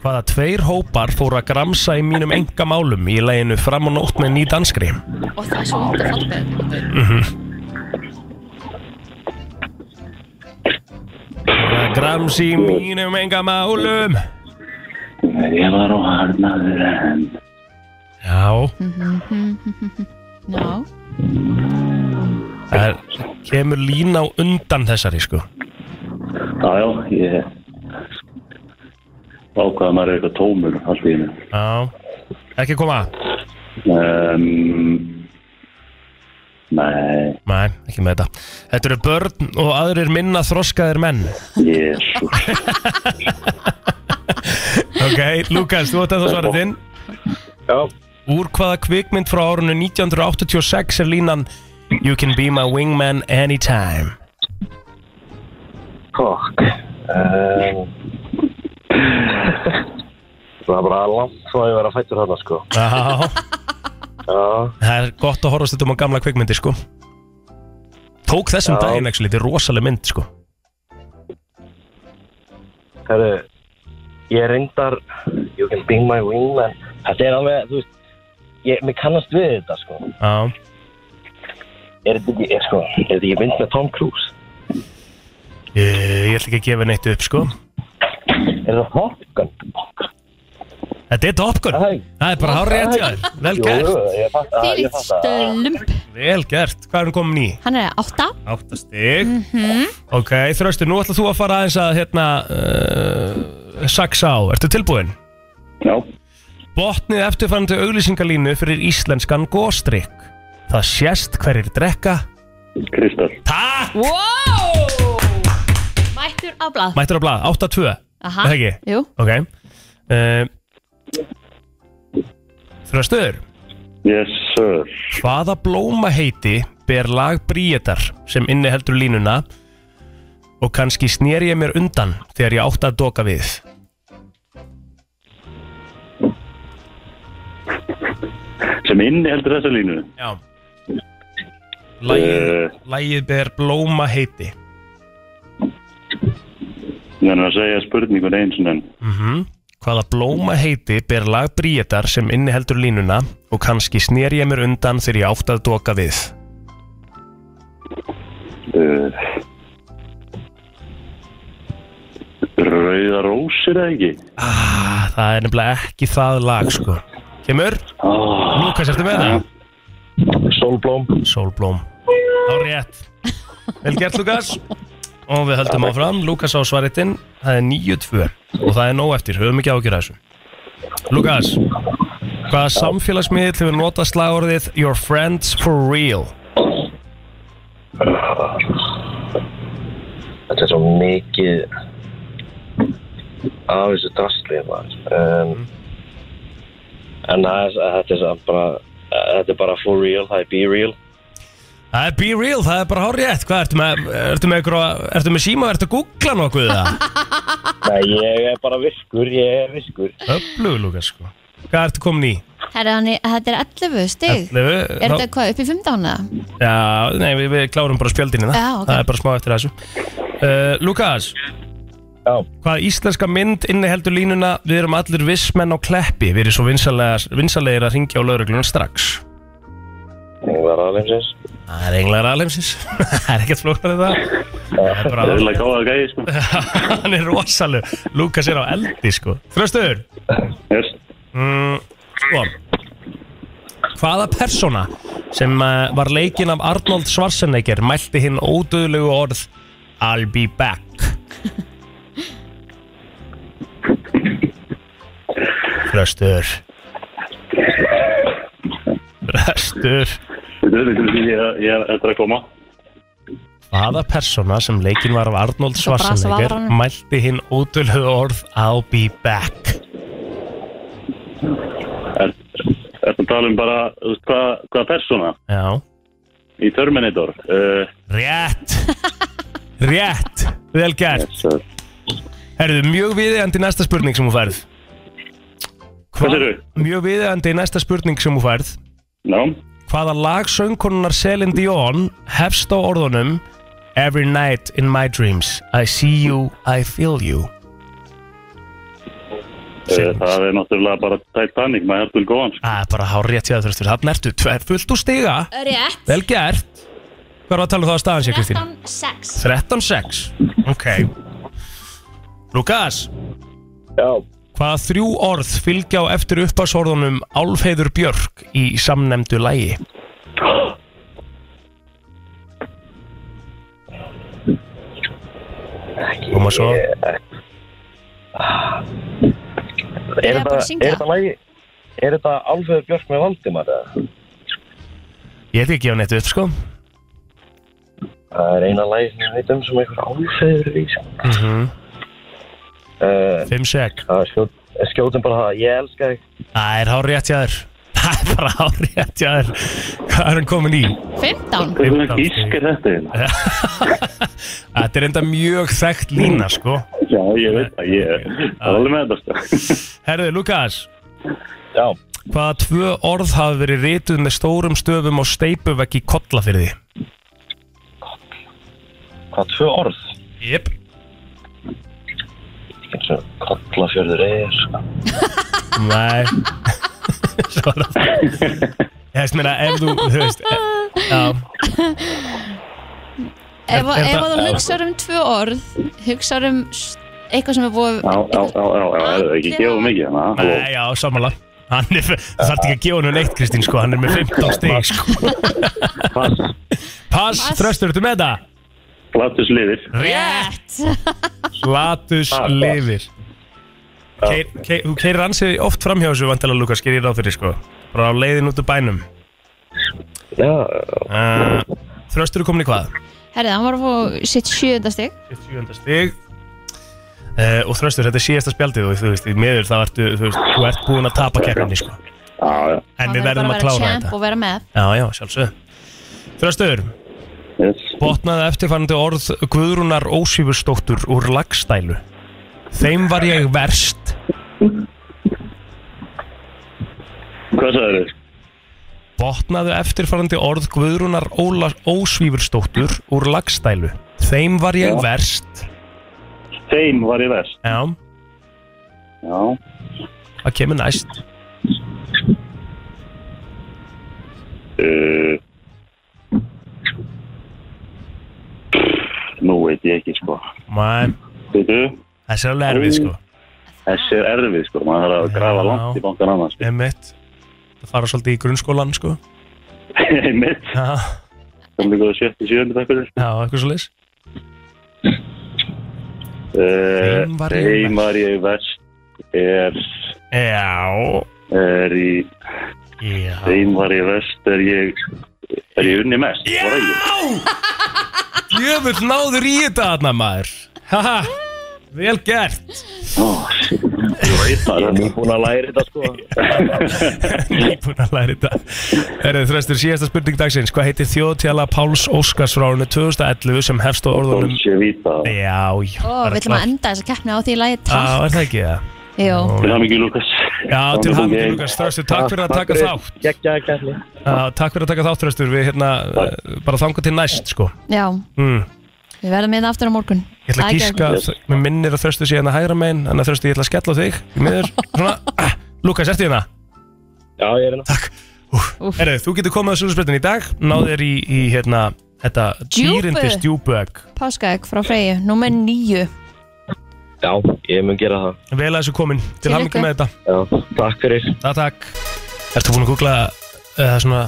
Speaker 2: Hvaða tveir hópar fóru að gramsa í mínum engamálum í læginu fram á nótt með ný danskri?
Speaker 3: Og það er svo hótt að falla beðið.
Speaker 2: Mhm. Að grams í mínum engamálum
Speaker 6: Ég var á harnaður en
Speaker 2: Já,
Speaker 3: Já,
Speaker 2: það er, kemur lína á undan þessari sko
Speaker 6: Já, já, ég ákvaða maður er eitthvað tómur allt í hennu
Speaker 2: Já, ekki koma
Speaker 6: um, Nei,
Speaker 2: Nei, ekki með þetta Þetta eru börn og aðrir minna þroskaðir menn
Speaker 6: jésu
Speaker 2: Ok, Lukas, þú ætti að það svara þinn
Speaker 4: Já.
Speaker 2: Úr hvaða kvikmynd frá árunnu 1986 er línan You can be my wingman anytime
Speaker 4: Kokk um, Það er bara langt svo að ég vera fættur þarna sko
Speaker 2: Já,
Speaker 4: Já,
Speaker 2: það er gott að horfast þetta um á gamla kvikmyndi sko Tók þessum
Speaker 4: Já.
Speaker 2: daginn, actually, þetta er rosaleg mynd sko
Speaker 4: herru Ég reyndar You can be my wingman Þetta er alveg, þú veist Ég, mér kannast við þetta sko
Speaker 2: Já,
Speaker 4: Er þetta ekki, er sko Er þetta ekki mynd með Tom Cruise?
Speaker 2: Eh, ég, ég ætla ekki að gefa neitt upp sko
Speaker 4: Er þetta Top Gun?
Speaker 2: Þetta er Top
Speaker 4: Æ.
Speaker 2: Gun Það er bara hár rétt hjá þér Vel
Speaker 4: Jú,
Speaker 2: gert,
Speaker 4: ég fatt að, ég
Speaker 3: fyrir
Speaker 4: fatt að
Speaker 3: stölump.
Speaker 2: vel gert Hvað er hún komin í?
Speaker 3: Hann er átta.
Speaker 2: Átta stig Ok, þröstur, nú ætla þú að fara aðeins að hérna uh, Saxa á, ertu tilbúin?
Speaker 6: Já,
Speaker 2: Botnið eftirfærandi auglýsingalínu fyrir íslenskan góstrykk Það sést hverjir drekka
Speaker 6: Kristall
Speaker 2: Takk!
Speaker 3: Wow! Mættur á blað.
Speaker 2: Mættur á blað, 8-2
Speaker 3: Aha.
Speaker 2: er það ekki?
Speaker 3: Jú,
Speaker 2: Ok uh, Þröstur
Speaker 6: Yes, sir
Speaker 2: Hvaða blóma heiti ber lag Bríetar sem inniheldur línuna og kannski snér ég mér undan þegar ég átti að doka við
Speaker 6: Sem inni heldur þessa línu
Speaker 2: Já Lægið,
Speaker 6: Eh.
Speaker 2: lægið ber blóma heiti
Speaker 6: Þannig að segja spurningun eins og enn
Speaker 2: Mhm. Hvaða blóma heiti ber lag Bríetar sem inniheldur línuna og kannski snér ég mér undan þegar ég átti að doka við
Speaker 6: uh, Rauða rósir eða ekki?
Speaker 2: ah, Það er nefnilega ekki það lag sko Kemur,
Speaker 6: Ah,
Speaker 2: Lukas, ertu með það?
Speaker 4: Solblóm
Speaker 2: Sólblóm Á rétt Vel gert Lukas Og við höldum áfram Lukas á svaritinn Það er 9-2 Og það er nóg eftir Höfum ekki ágjur þessu Lukas Hvaða samfélagsmiðl hefur notað slagorðið Your friends for real
Speaker 4: Þetta er svo mikið af þessu drastlið maður um,
Speaker 3: Mhm.
Speaker 4: En það er, þetta er samt bara Þetta er bara for real, það er be real
Speaker 2: Það er be real Það er bara hár rétt Hvað ertu með Ertu með, ykkur, ertu með síma Ertu að googla nokkuð það
Speaker 4: Nei, ég er bara virkur, ég er virkur
Speaker 2: Öflug Lukas sko Hvað ertu komin í?
Speaker 3: herra, hann er, þetta er 11 stig.
Speaker 2: Ellefu?
Speaker 3: Er
Speaker 2: Þá-
Speaker 3: þetta hvað, upp í 15 eða?
Speaker 2: Já, nei, við, við klárum bara spjöldinni það
Speaker 3: Já, ok.
Speaker 2: Það er bara smá eftir þessu uh, Lukas
Speaker 4: Já.
Speaker 2: Hvað íslenska mynd inniheldur línuna Við erum allir vissmenn á kleppi Við erum svo vinsalega- vinsalegir að ringja á lauruglunum strax
Speaker 4: Ég var aðeinsins
Speaker 2: Það er englar alheimsins Það er ekkert flóknar þetta Það er
Speaker 6: Það er
Speaker 2: bara
Speaker 6: alveg gáða gæði sko
Speaker 2: Hann er rosalug Lukas er á eldi sko Þröstur
Speaker 6: yes.
Speaker 2: mm, Sko Hvaða persóna sem eh, var leikinn af Arnold Schwarzenegger mælti hinn ódöðlegu orð I'll be back Þröstur Bestur
Speaker 6: Þetta er þetta ég er- ég er eftir að koma
Speaker 2: Hvaða persóna sem leikinn var af Arnold
Speaker 3: Svo brasa
Speaker 2: Schwarzenegger
Speaker 3: varan.
Speaker 2: mælti hinn ódöluð orð I'll be back
Speaker 6: Er þetta að tala um bara, þú veist, hvað hva persóna
Speaker 2: Já,
Speaker 6: í Terminator uh,
Speaker 2: rétt Rétt, vel gert
Speaker 6: yes, sir.
Speaker 2: Herðu, mjög viðeigandi næsta spurning sem þú færð
Speaker 6: Hvað sérðu?
Speaker 2: Mjög viðeigandi næsta spurning sem þú færð
Speaker 6: Já,
Speaker 2: Hvaða lag söngkonunar Celine Dion hefst á orðunum Every night in my dreams I see you, I feel you
Speaker 6: uh, það er náttúrulega bara Titanic, maður er til góðan sko.
Speaker 2: Það er bara hár rétt hjá það þurftur Þannig ertu tver, fullt úr stiga
Speaker 3: Rétt
Speaker 2: Vel gert Hvað var að tala um það að staðan sér, Kristín?
Speaker 3: 13-6
Speaker 2: 13-6 Ok Lukas
Speaker 4: Já,
Speaker 2: Hvaða þrjú orð fylgja á eftir uppásorðunum Álfheiður Björk í samnemdu lægi? Koma svo
Speaker 4: er
Speaker 3: Ég er bara að syngja.
Speaker 4: lægi Er þetta Alfreður Björk með Valdimar? eða?
Speaker 2: Ég ætti ekki að gefa neitt upp sko
Speaker 4: Það er eina lægi sem ég veit um sem einhver Alfreður í sko.
Speaker 2: mm -hmm.
Speaker 4: uh,
Speaker 2: 5-6
Speaker 4: það er skjót, Skjótum bara það, ég elska þig
Speaker 2: Það er hár rétt hjá þér Það er bara hár rétt hjá þér Hvað er hann komin í?
Speaker 3: 15
Speaker 6: Hvernig gísk er þetta hérna?
Speaker 2: Þetta er enda mjög þekkt lína sko
Speaker 6: Já, ég veit það, ég er alveg með þetta sko.
Speaker 2: Herðu, Lukas
Speaker 4: Já,
Speaker 2: Hvaða tvö orð hafa verið rituð með stórum stöfum og steipuvegg í kollafyrði?
Speaker 4: hvað tvö orð?
Speaker 2: Jep
Speaker 4: eins og kollafjörður er sko.
Speaker 2: Nei Svara Ég veist meina ef þú, þú veist e, Já,
Speaker 3: Ef,
Speaker 2: Er- er
Speaker 3: ef
Speaker 2: það-
Speaker 3: þú hugsar um tvö orð Hugsar um s- eitthvað sem er búið
Speaker 6: Já, já, já, já, já, er það ekki gefið mikið hérna?
Speaker 2: nei, já, samanlega Hann er, þú þarf ekki að gefa hennu neitt Kristín sko, hann er með 15 stig sko
Speaker 6: Pass,
Speaker 2: Pass,
Speaker 3: Pass.
Speaker 2: þröstur, ertu með það?
Speaker 6: Platus liðir
Speaker 3: Rétt
Speaker 2: Slatus
Speaker 6: Pass.
Speaker 2: lifir Keir, keir, Þú keirir ansið oft framhjá þessu vantala Lukas, gerir ráð fyrir sko Bara á leiðin út úr bænum
Speaker 4: Já,
Speaker 2: uh, Þröstur er komin í hvað?
Speaker 3: Herðið, hann var að fá sitt sjöunda stig
Speaker 2: 7. stig uh, Og þröstur, þetta er síðasta spjaldið og þú veist, í miður þá ertu, þú veist, þú ert búin að tapa keppinni sko
Speaker 6: Já, já,
Speaker 2: En
Speaker 3: Hann
Speaker 2: við
Speaker 3: verður
Speaker 2: verðum
Speaker 3: bara
Speaker 2: að klára
Speaker 3: vera champ
Speaker 2: þetta
Speaker 3: Og vera með
Speaker 2: Já, já, sjálfsög Þröstur,
Speaker 6: yes
Speaker 2: botnaði eftirfarandi orð Guðrúnar Ósífustóttur úr lagstælu Þeim var ég verst
Speaker 6: Hvað sagður þau?
Speaker 2: Botnaðu eftirfarandi orð Guðrúnar Óla, Ósvífurstóttur úr lagstælu Þeim var ég
Speaker 6: Já.
Speaker 2: verst
Speaker 6: Þeim var ég verst
Speaker 2: Já,
Speaker 6: Já,
Speaker 2: það kemur næst
Speaker 6: uh, Nú veit ég ekki sko
Speaker 2: Mæ,
Speaker 6: Veitu,
Speaker 2: þessi er alveg erfið sko
Speaker 6: þessi er erfið sko Maður þarf að grafa
Speaker 2: Já.
Speaker 6: langt í bankan annars sko.
Speaker 2: Emmett, það fara svolítið í grunnskólan sko
Speaker 6: Einmitt,
Speaker 2: Já,
Speaker 6: sem líka 77 takk fyrir
Speaker 2: já, eitthvað svo leys
Speaker 6: Eh,
Speaker 2: Þeim var ég
Speaker 6: Þeim var ég verst er,
Speaker 2: Já,
Speaker 6: er í
Speaker 2: já
Speaker 6: Þeim var ég verst er ég er ég unni mest var ég.
Speaker 2: Jöfull náður í þetta þarna maður Haha, vel gert
Speaker 6: Ó, shit. Ég veit það, þetta er búin að læra þetta sko
Speaker 2: Nýbúin að læra þetta Herðu þröstur, síðasta spurning dagsins Hvað heitir þjóðtjala Páls Óskars frá árunni 2011 sem hefst á orðunum
Speaker 6: Dolce Vita
Speaker 2: Já, já
Speaker 3: Ó,
Speaker 2: bara
Speaker 3: við ætlum að
Speaker 2: klárt.
Speaker 3: enda þess að keppna á því lagi
Speaker 2: Já,
Speaker 3: Takk
Speaker 2: er það ekki það?
Speaker 3: Jú
Speaker 6: Til hann ekki Lukas
Speaker 2: Já, til hann til Lukas Þröstur, takk fyrir að taka þátt
Speaker 4: geggja að gætli
Speaker 2: Já, Takk fyrir að taka þátt Þröstur, við hérna eh, bara þanga til næst sko
Speaker 3: Já,
Speaker 2: Mm.
Speaker 3: við verðum með aftur á morgun
Speaker 2: Ég ætla
Speaker 3: Það
Speaker 2: að
Speaker 3: er
Speaker 2: gíska,
Speaker 6: geggjað.
Speaker 2: mér minnir að þröstu síðan að hægra megin Þannig að þröstu ég ætla að skella á þig Í miður, svona, ah, Lukas, ertu hérna?
Speaker 4: Já, ég er hérna
Speaker 2: Takk Úf.
Speaker 3: Úff.
Speaker 2: Herru, þú getur komið að sögurspiltin í dag Náðu þér í, í hérna, þetta
Speaker 3: Djúpu.
Speaker 2: Týrindis djúbuegg
Speaker 3: Páskaegg frá Freyju, númer nýju
Speaker 4: Já, ég mun gera það
Speaker 2: Vel að þessu komin, til
Speaker 3: Til
Speaker 2: hamingju
Speaker 3: lukku.
Speaker 2: með þetta
Speaker 4: Já, takk fyrir
Speaker 2: Takk, takk Ertu búin að googla, eða svona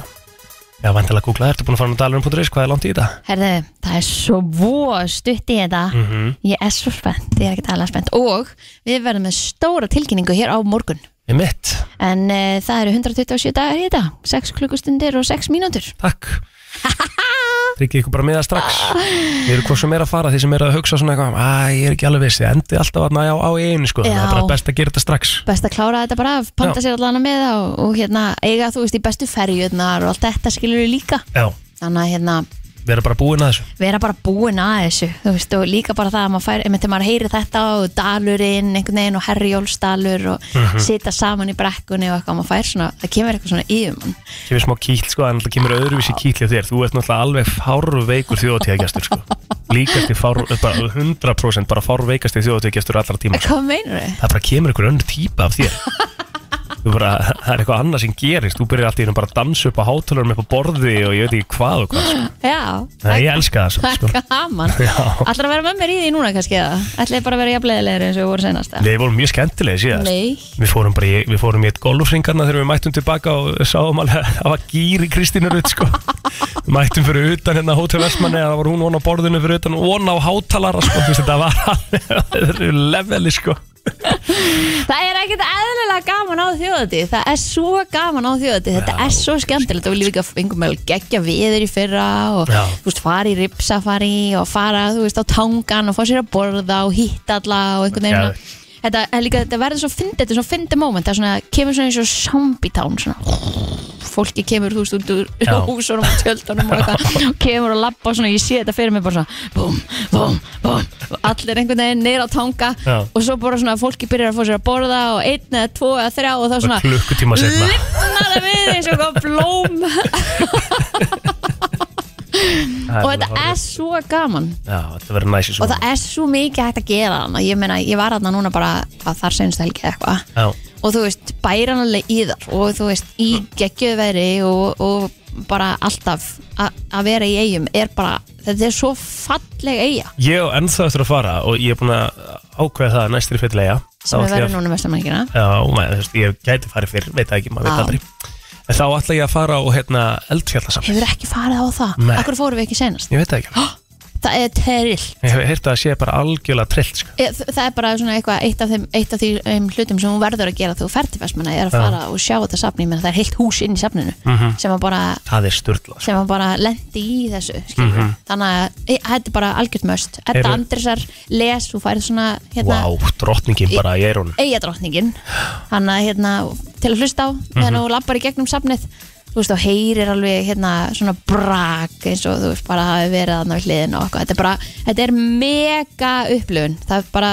Speaker 2: Já, vantilega að googla, ertu búin að fara á dalurinn.is Hvað er langt í þetta?
Speaker 3: Herðu, það er svo stutt í þetta
Speaker 2: Mhm.
Speaker 3: Ég er svo spennt, ég er ekki alveg spennt Og við verðum með stóra tilkynningu hér á morgun
Speaker 2: Ég mitt,
Speaker 3: En uh, það eru 127 dagar í þetta 6 klukkustundir og 6 mínútur
Speaker 2: takk Tryggið ykkur bara miða strax Við erum hvað sem er að fara, þeir sem eru að hugsa svona eitthvað Æ, ég er ekki alveg viss, ég endi alltaf að næja á, á einu sko Þannig að Það
Speaker 3: Já.
Speaker 2: er bara best að gera þetta strax
Speaker 3: Best að klára þetta bara af, panta
Speaker 2: Já.
Speaker 3: sér allan að með það og, og hérna, eiga þú veist í bestu ferjunar og allt þetta skilur við líka
Speaker 2: Já,
Speaker 3: Þannig að hérna,
Speaker 2: við erum bara búin að þessu
Speaker 3: vera bara búin að þessu þú veist, og líka bara það að maður fær einmitt þegar maður heyri þetta og dalurinn einhvern veginn og herjólsdalur og
Speaker 2: Mhm.
Speaker 3: sita saman í brekkunni og eitthvað maður fær svona, það kemur eitthvað svona um yfir mann
Speaker 2: Kemur smá kýll sko, en alltaf kemur öðruvísi kýll hjá þér Þú ert náttúrulega alveg fárveikur þjóðtíðagestur sko Líkasti fár, eh, bara 100% bara fárveikasti þjóðtíðagestur allra tíma sko.
Speaker 3: hvað meinar þið?
Speaker 2: Það bara kemur einhver önnur típa af þér Þú bara, það er eitthvað annað sem gerist Þú byrjar alltaf bara að dansa upp á hátalurum upp á borði og ég veit ekki hvað og hvað sko.
Speaker 3: Já,
Speaker 2: Nei, ég elska það samt,
Speaker 3: það
Speaker 2: sko.
Speaker 3: er gaman
Speaker 2: Já.
Speaker 3: Ætlar að vera með mér í því núna kannski eða? Ætlaði bara að vera jafnleðilegir eins og við voru senast eða?
Speaker 2: Nei, við vorum mjög skemmtilegir síðast
Speaker 3: Nei.
Speaker 2: Við fórum bara í, við fórum í eitt golfringarna þegar við mættum tilbaka og sáum alveg að það var gýr í Kristínu Rutt sko. Við mættum fyrir utan hérna á Hótel Vestmanni það var hún von á borðinu fyrir utan von á hátalara sko. Þú veist, þetta var alveg öðru leveli sko.
Speaker 3: Það er ekkert eðlilega gaman á þjóðatíð Það er svo gaman á þjóðatíð Þetta er svo skemmtilegt og við líka fengum að gegja viður í fyrra og
Speaker 2: Já.
Speaker 3: þú veist, fara í ripsafari og fara þú veist, á tangan og fá sér að borða og hitta alla og einhvern veginn
Speaker 2: Geðveikt.
Speaker 3: Þetta, er líka, þetta verður svo fyndið, þetta er svo fyndið moment það er svona, kemur svona eins og zombie town svona. fólki kemur þú veist út úr
Speaker 2: Já.
Speaker 3: húsunum og tjöldunum og eitthvað og kemur og lappa svona, ég sé þetta fyrir mig bara svona, búm, búm, búm allir einhvern veginn neyra á tanga
Speaker 2: Já.
Speaker 3: og svo bara svona fólki byrjar að fá sér að borða og einn eða tvo eða þrjá og þá svona
Speaker 2: klukkutíma seinna.
Speaker 3: lifnar það við eins og eitthvað blóm og þetta er svo gaman
Speaker 2: Já, þetta verður næs í
Speaker 3: og
Speaker 2: svona
Speaker 3: það er svo mikið hægt að gera þarna ég meina, ég var þarna núna bara hvað þar senst helgi eða eitthvað
Speaker 2: Já,
Speaker 3: og þú veist, bæranlega í þar og þú veist, í
Speaker 2: Mm.
Speaker 3: geggjöðveri og, og bara alltaf a- að vera í eigum er bara þetta er svo falleg eiga
Speaker 2: Ég og ennþá eftir að fara og ég er búin að ákveða það að næstri fyllilega
Speaker 3: sem við verðum núna vestamækina
Speaker 2: Já, maður, þú veist, ég gæti farið fyrr, veit það ekki, maður veit
Speaker 3: Já.
Speaker 2: aldrei En þá ætla ég að fara á hérna, eldfjallasafn
Speaker 3: hefur ekki farið á það,
Speaker 2: Nei.
Speaker 3: akkur fórum við ekki senast
Speaker 2: Ég veit það ekki alveg.
Speaker 3: það er terrill
Speaker 2: Ég hef heyrt að það sé bara algjörlega trillt sko.
Speaker 3: Ég- þ- það er bara svona eitthvað eitt af þeim, eitt af þeim um, hlutum sem hún verður að gera þegar þú ferð til vestmanna er að fara og sjá þetta safni menn það er heilt hús inn í safninu
Speaker 2: Mm.
Speaker 3: sem að bara
Speaker 2: Það er sturla sko.
Speaker 3: sem að bara lendi í þessu mm þannig að e, þetta er bara algjört möst Edda
Speaker 2: Eru-
Speaker 3: Andrisar les og færið svona hérna,
Speaker 2: Vá, drottningin bara í eirun
Speaker 3: eigadrottningin hann að hérna til að hlusta á meðan
Speaker 2: Mhm.
Speaker 3: hún lappar í gegnum safnið þú veist og heyrir alveg hérna svona brak eins og þú veist bara hafi verið þarna við hliðin og eitthvað þetta er bara, þetta er mega upplifun það er bara